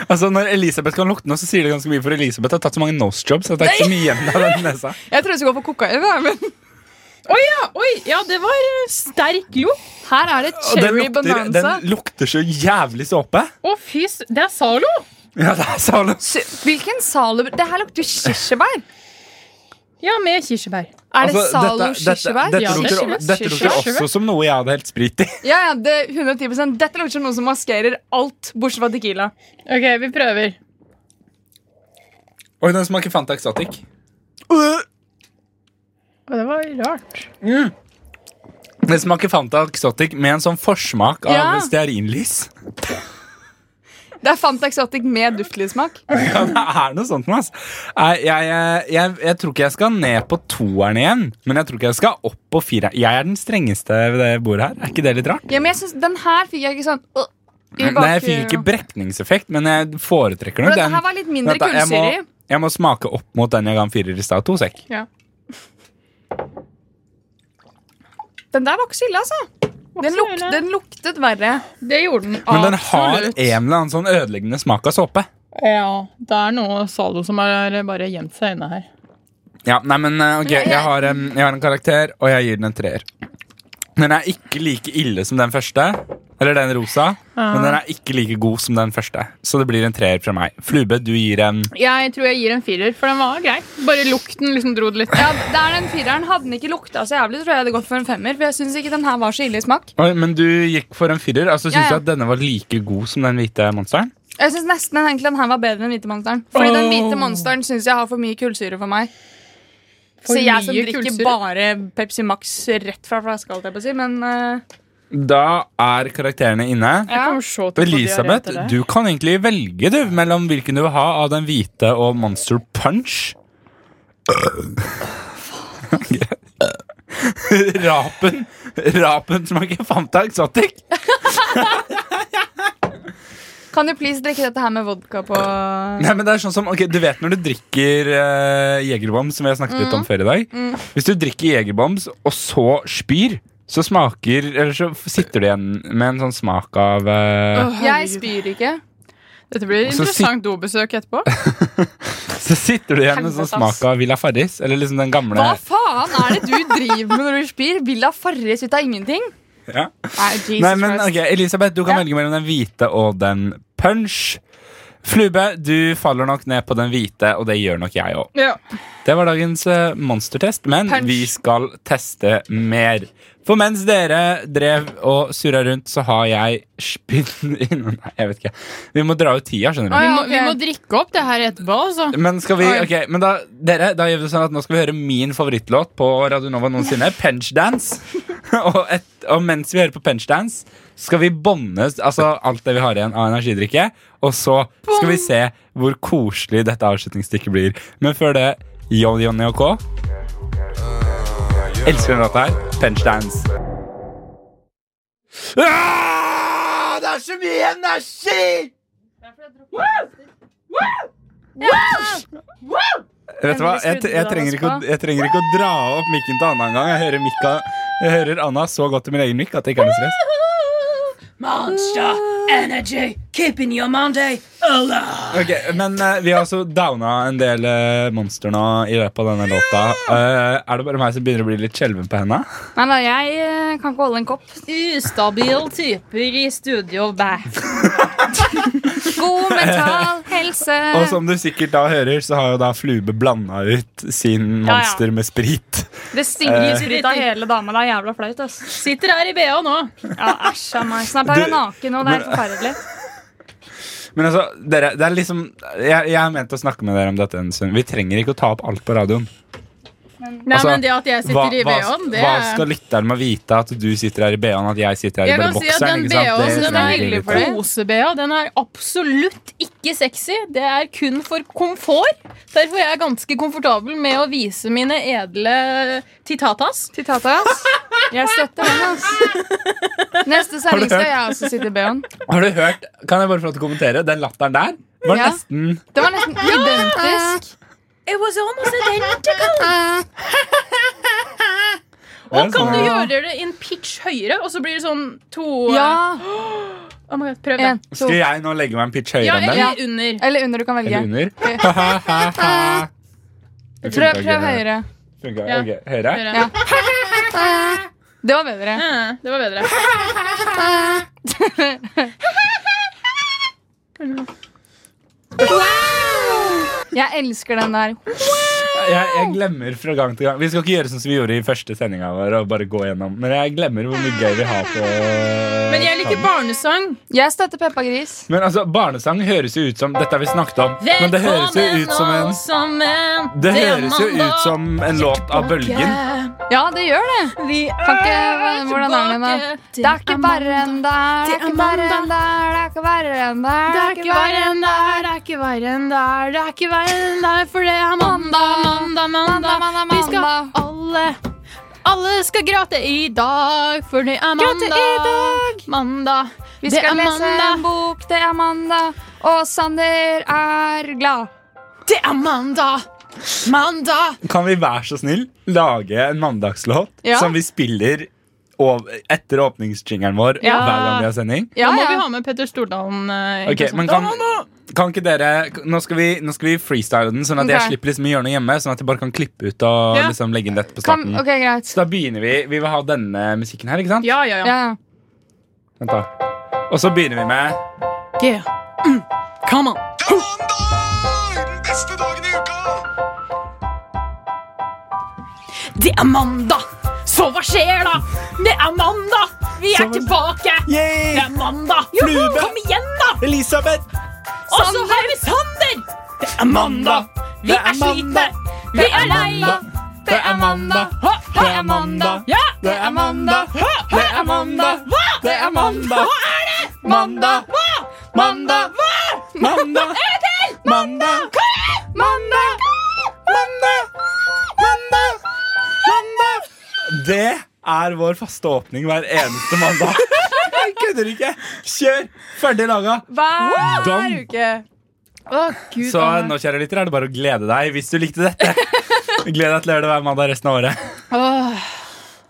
[SPEAKER 3] Altså Når Elisabeth kan lukte noe, så sier det ganske mye, for Elisabeth har tatt så mange nosejobs. at Det er ikke så mye igjen av den nesa
[SPEAKER 4] Jeg trodde jeg skulle gå for kokain. da, Men
[SPEAKER 5] Oi, ja, oi, ja, det var eh, sterk lukt. Her er det
[SPEAKER 3] Og den lukter, den lukter så jævlig såpe.
[SPEAKER 5] Å, fy s- Det er Zalo!
[SPEAKER 3] Ja, det er Zalo.
[SPEAKER 4] Hvilken Zalo Det her lukter jo kirsebær.
[SPEAKER 5] Ja, med kirsebær.
[SPEAKER 4] Er det
[SPEAKER 3] Altså,
[SPEAKER 4] Zalo
[SPEAKER 3] dette- dette-
[SPEAKER 4] kirsebær?
[SPEAKER 3] Dette lukter, dette lukter også som noe jeg hadde helt sprit i.
[SPEAKER 4] Ja, ja, det 110 Dette lukter som noe som maskerer alt, bortsett fra Tequila.
[SPEAKER 5] Ok, vi prøver.
[SPEAKER 3] Oi, den smaker Fanta Exotic. Øh!
[SPEAKER 5] Og det var rart.
[SPEAKER 3] Den smaker Fanta Exotic med en sånn forsmak av
[SPEAKER 4] Ja.
[SPEAKER 3] stearinlys.
[SPEAKER 4] Det er Fanta Exotic med duftlydsmak.
[SPEAKER 3] Ja, det er noe sånt med, ass. Nei, Jeg, jeg, jeg, jeg tror ikke jeg skal ned på toeren igjen, men jeg tror ikke jeg skal opp på fireren. Jeg er den strengeste ved det bordet her. Er ikke det litt rart?
[SPEAKER 4] Ja, men jeg synes, Den her fikk jeg ikke sånn øh, i
[SPEAKER 3] Nei, jeg
[SPEAKER 4] bak-
[SPEAKER 3] fikk ikke brekningseffekt, men jeg foretrekker nok
[SPEAKER 4] For dette
[SPEAKER 3] den.
[SPEAKER 4] her var litt mindre
[SPEAKER 3] Vent da, jeg
[SPEAKER 4] kullsyre i.
[SPEAKER 3] må- Jeg må smake opp mot den jeg ga en firer i stad. To sekk.
[SPEAKER 4] Ja. Den der var ikke så ille, altså. Den, luk, den luktet verre.
[SPEAKER 5] Det gjorde den.
[SPEAKER 3] Men den har en eller annen sånn ødeleggende smak av såpe.
[SPEAKER 5] Ja, det er noe Zalo som har bare gjemt seg inne her.
[SPEAKER 3] Ja, nei, men eh, ok, jeg har, em, jeg har en karakter, og jeg gir den en treer. Den er ikke like ille som den første, eller den rosa,
[SPEAKER 5] Ja.
[SPEAKER 3] men den er ikke like god som den første. Så det blir en treer fra meg. Flube, du gir en
[SPEAKER 5] Jeg tror jeg gir en firer, for den var grei. Bare lukten liksom dro det litt.
[SPEAKER 4] Ja, der den fireren hadde den ikke lukta så jævlig, tror jeg jeg hadde gått for en femmer. For jeg synes ikke den her var så ille i smak.
[SPEAKER 3] Oi, men du gikk for en firer. Altså, Syns
[SPEAKER 4] Ja, ja.
[SPEAKER 3] du at denne var like god som den hvite monsteren?
[SPEAKER 4] Jeg synes nesten den- egentlig den her var bedre enn Hvite monsteren. Fordi den hvite
[SPEAKER 3] Åh.
[SPEAKER 4] monsteren synes jeg har for mye kullsyre for meg.
[SPEAKER 5] For
[SPEAKER 4] så jeg som
[SPEAKER 5] mye
[SPEAKER 4] drikker
[SPEAKER 5] kullsyre?
[SPEAKER 4] bare Pepsi Max rett fra flaska, holdt jeg på å si, men eh,
[SPEAKER 3] Da er karakterene inne.
[SPEAKER 5] kommer så til å få
[SPEAKER 3] Elisabeth,
[SPEAKER 5] diaré etter det.
[SPEAKER 3] du kan egentlig velge du mellom hvilken du vil ha av den hvite og Monster Punch. rapen Rapen smaker Fanta Exotic.
[SPEAKER 4] Kan du please drikke dette her med vodka på
[SPEAKER 3] Nei, men det er sånn som, ok, Du vet når du drikker uh, Jegerbom, som vi har snakket litt om
[SPEAKER 4] Mm.
[SPEAKER 3] før i dag.
[SPEAKER 4] Mm.
[SPEAKER 3] Hvis du drikker Jegerbombs og så spyr, så smaker Eller så sitter du igjen med en sånn smak av eh,
[SPEAKER 4] Jeg spyr ikke.
[SPEAKER 5] Dette blir et
[SPEAKER 3] Så si-
[SPEAKER 5] interessant dobesøk etterpå.
[SPEAKER 3] Så sitter du igjen med en sånn
[SPEAKER 4] Helvete, ass.
[SPEAKER 3] smak av Villa Farris, eller liksom den gamle
[SPEAKER 4] Hva faen er det du driver med når du spyr? Villa Farris ut av ingenting?
[SPEAKER 3] Ja.
[SPEAKER 4] Nei, Jesus
[SPEAKER 3] Nei, men
[SPEAKER 4] Christ.
[SPEAKER 3] ok, Elisabeth, du kan velge mellom den hvite og den punch. Flube, du faller nok ned på den hvite, og det gjør nok jeg òg. Det var dagens eh, monstertest, men vi skal teste mer. For mens dere drev og surra rundt, så har jeg spinn inne Nei, jeg vet ikke. Vi må dra ut tida, skjønner du.
[SPEAKER 5] vi, må, vi må drikke opp det her etterpå, altså.
[SPEAKER 3] Men skal vi,
[SPEAKER 5] Oi.
[SPEAKER 3] ok, men da, dere, da gjør vi det sånn at nå skal vi høre min favorittlåt på Radio Nova noensinne, Punch Dance. og, et, og mens vi hører på Punch Dance, skal vi bonde altså, alt det vi har igjen av energidrikke. Og så skal vi se hvor koselig dette avslutningsstykket blir. Men før det, John Johnny og K. Elsker den låta her. Punch Dance.
[SPEAKER 6] Ah, det er så mye energi!
[SPEAKER 3] Vet du hva? Jeg, jeg, trenger ikke å, jeg trenger ikke å dra opp mikken til Anna engang. Jeg hører, Mikka, jeg hører Anna så godt i min egen mikk at det ikke er noe stress.
[SPEAKER 13] Monster energy, keeping your Monday alive.
[SPEAKER 3] Ok, Men eh, vi har altså downa en del eh, monster nå i løpet av denne låta. Eh, er det bare meg som begynner å bli litt skjelven på henda?
[SPEAKER 4] Nei, nei, jeg eh, kan ikke holde en kopp.
[SPEAKER 13] Ustabil typer i studio, bæ.
[SPEAKER 4] God mental helse.
[SPEAKER 3] Og som du sikkert da hører, så har jo da Flube blanda ut
[SPEAKER 4] Ja,
[SPEAKER 3] sin
[SPEAKER 4] ja.
[SPEAKER 3] monster med sprit.
[SPEAKER 4] Det stinker
[SPEAKER 3] Eh.
[SPEAKER 4] sprit av hele dama. Det er jævla flaut. ass.
[SPEAKER 5] Sitter her i BH nå.
[SPEAKER 4] Ja, Æsj a meg. Snart er jeg
[SPEAKER 3] Du-
[SPEAKER 4] naken, og det er
[SPEAKER 3] men-
[SPEAKER 4] forferdelig.
[SPEAKER 3] Men altså, dere, det er liksom Jeg, jeg har ment å snakke med dere om dette en stund. Vi trenger ikke å ta opp alt på radioen.
[SPEAKER 5] Nei,
[SPEAKER 3] Altså,
[SPEAKER 5] men det at jeg sitter i BH-en, det
[SPEAKER 3] Hva skal lytteren med vite at du sitter her i BH-en, at jeg sitter her
[SPEAKER 5] jeg
[SPEAKER 3] i
[SPEAKER 5] kan
[SPEAKER 3] bare
[SPEAKER 5] si at
[SPEAKER 3] bokseren?
[SPEAKER 5] den
[SPEAKER 3] ikke sant? Det
[SPEAKER 5] BH-en den
[SPEAKER 3] trenger
[SPEAKER 5] er
[SPEAKER 3] vi
[SPEAKER 5] hyggelig
[SPEAKER 3] ikke
[SPEAKER 5] for
[SPEAKER 3] å-
[SPEAKER 5] deg. Kose-BH den er absolutt ikke sexy. Det er kun for komfort. Derfor er jeg ganske komfortabel med å vise mine edle titatas.
[SPEAKER 4] Titatas? Jeg støtter den, Neste
[SPEAKER 3] Har du
[SPEAKER 4] sending skal
[SPEAKER 3] hørt?
[SPEAKER 4] jeg også sitte i BH-en.
[SPEAKER 3] Har du hørt, kan jeg bare få lov til å kommentere, den latteren der var
[SPEAKER 4] Ja.
[SPEAKER 3] nesten
[SPEAKER 4] Det var nesten identisk.
[SPEAKER 13] It was almost identical.
[SPEAKER 5] Og kan du
[SPEAKER 3] Ja.
[SPEAKER 5] gjøre det i en pitch høyere, og så blir det sånn to
[SPEAKER 4] Ja.
[SPEAKER 5] Oh my God, prøv det.
[SPEAKER 3] Skal jeg nå legge meg en pitch høyere
[SPEAKER 5] Ja,
[SPEAKER 3] enn den?
[SPEAKER 5] eller under.
[SPEAKER 4] Eller under du kan velge.
[SPEAKER 3] Eller under?
[SPEAKER 4] Ok.
[SPEAKER 3] Ha-ha-ha. Det
[SPEAKER 4] Prøv,
[SPEAKER 3] funker
[SPEAKER 4] prøv
[SPEAKER 3] ikke.
[SPEAKER 4] høyere.
[SPEAKER 3] Funker,
[SPEAKER 4] Ja.
[SPEAKER 3] ok. Høyere?
[SPEAKER 4] Ja. Det var bedre.
[SPEAKER 5] Det var bedre.
[SPEAKER 4] Jeg elsker den der.
[SPEAKER 3] Jeg, jeg glemmer fra gang til gang Vi skal ikke gjøre sånn som vi gjorde i første sendinga vår. Og bare gå gjennom Men jeg glemmer hvor mye gøy vi har på
[SPEAKER 5] Men jeg liker barnesang.
[SPEAKER 4] Jeg støtter Peppa Gris.
[SPEAKER 3] Men altså, barnesang høres jo ut som Dette har vi snakket om. Men det høres jo ut som en Det høres jo ut som en låt av Bølgen.
[SPEAKER 4] Ja, det gjør det. kan ikke,
[SPEAKER 13] Eh,
[SPEAKER 4] hvordan er den, da? Det er ikke verre enn det er, det er ikke verre enn det er, det er ikke verre enn det er,
[SPEAKER 13] Det er ikke verre enn det er, det er ikke verre enn det er, det er ikke verre enn det er, for det er mandag, mandag, mandag. Vi skal alle alle skal gråte i dag, for det er mandag. Mandag.
[SPEAKER 4] Vi
[SPEAKER 13] Det er
[SPEAKER 4] skal lese en
[SPEAKER 13] mandag.
[SPEAKER 4] bok, det er mandag, og Sander er glad.
[SPEAKER 13] Det er mandag. Mandag.
[SPEAKER 3] Kan vi være så snill lage en mandagslåt
[SPEAKER 5] Ja.
[SPEAKER 3] som vi spiller ov- etter åpningsjingeren vår
[SPEAKER 5] Ja.
[SPEAKER 3] hver gang vi har sending?
[SPEAKER 5] Ja, må vi ha med Petter Stordalen. eh,
[SPEAKER 3] Ok,
[SPEAKER 5] ikke sant?
[SPEAKER 3] men kan-
[SPEAKER 5] Da, da, da.
[SPEAKER 3] Kan ikke dere, nå skal, vi, nå skal vi freestyle den, sånn at jeg
[SPEAKER 4] Ok.
[SPEAKER 3] slipper liksom å gjøre noe hjemme. Sånn at jeg bare kan klippe ut og
[SPEAKER 4] Ja.
[SPEAKER 3] liksom legge inn dette på
[SPEAKER 4] Kan,
[SPEAKER 3] starten.
[SPEAKER 4] ok, greit.
[SPEAKER 3] Så da begynner vi. Vi vil ha denne musikken her, ikke sant?
[SPEAKER 5] Ja, ja,
[SPEAKER 4] ja.
[SPEAKER 3] Vent da. Og så begynner vi med
[SPEAKER 13] Yeah. Mm. Come on. Det er mandag, så hva skjer da? Det er mandag, vi er tilbake. Det er mandag. Kom igjen, da!
[SPEAKER 3] Elisabeth!
[SPEAKER 13] Og så har vi Sander. Det er mandag, vi
[SPEAKER 5] Det er
[SPEAKER 13] er slitne. Vi er lei.
[SPEAKER 3] Det er mandag.
[SPEAKER 13] Det er mandag. Ja, det er mandag. Det er mandag. Hva? Det er mandag. Hva er det? Mandag. Hva? Mandag. Hva?
[SPEAKER 3] Mandag.
[SPEAKER 13] En til.
[SPEAKER 3] Mandag.
[SPEAKER 13] Kom igjen. Mandag. Mandag. Mandag. Mandag.
[SPEAKER 3] Det er vår faste åpning hver eneste mandag. Jeg kødder ikke! Kjør! Ferdig laga.
[SPEAKER 4] Hver
[SPEAKER 3] Dom.
[SPEAKER 4] uke. Å, gud.
[SPEAKER 3] Så
[SPEAKER 4] Anne.
[SPEAKER 3] nå kjære lytter, er det bare å glede deg hvis du likte dette. Gled deg til å gjøre det hver mandag resten av året.
[SPEAKER 4] Åh.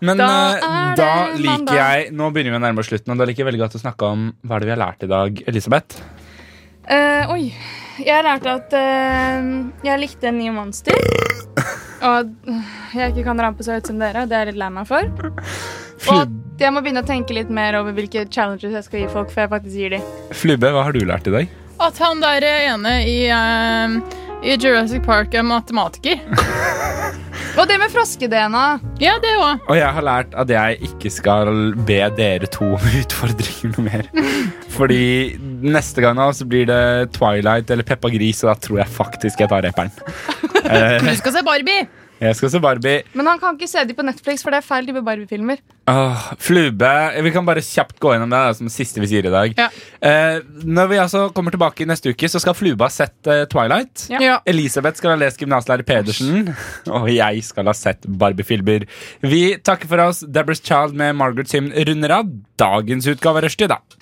[SPEAKER 3] Men da,
[SPEAKER 4] Da er
[SPEAKER 3] da
[SPEAKER 4] det mandag.
[SPEAKER 3] liker jeg Nå begynner vi å nærme oss slutten, og da liker jeg veldig godt å snakke om hva er det vi har lært i dag. Elisabeth?
[SPEAKER 4] Eh, oi. Jeg lærte at eh, jeg likte nye monster. Og at eh, jeg ikke kan rampe så høyt som dere. Det er jeg litt lei meg for. Og at jeg må begynne å tenke litt mer over hvilke challenges jeg skal gi folk. før jeg faktisk gir de.
[SPEAKER 3] Flubbe, hva har du lært i dag?
[SPEAKER 5] At han der ene i, eh, i Jurassic Park er matematiker.
[SPEAKER 4] Og det med froske-DNA.
[SPEAKER 5] Ja, det òg.
[SPEAKER 3] Og jeg har lært at jeg ikke skal be dere to om utfordringer noe mer. Fordi neste gang nå så blir det Twilight eller Peppa Gris, og da tror jeg faktisk jeg tar reperen.
[SPEAKER 5] Du
[SPEAKER 3] Eh,
[SPEAKER 5] skal se Barbie.
[SPEAKER 3] jeg skal se Barbie.
[SPEAKER 4] Men han kan ikke se de på Netflix, for det er feil type Barbie-filmer.
[SPEAKER 3] Åh, flube Vi kan bare kjapt gå gjennom det da, som siste vi sier i dag. Eh, når vi altså kommer tilbake neste uke, så skal Flube ha sett eh, Twilight.
[SPEAKER 5] Ja. Ja.
[SPEAKER 3] Elisabeth skal ha lest gymnaslærer Pedersen. Og jeg skal ha sett Barbie-filmer. Vi takker for oss. Deborah's Child med Margaret Sim runder av dagens utgave av Rushdie, da.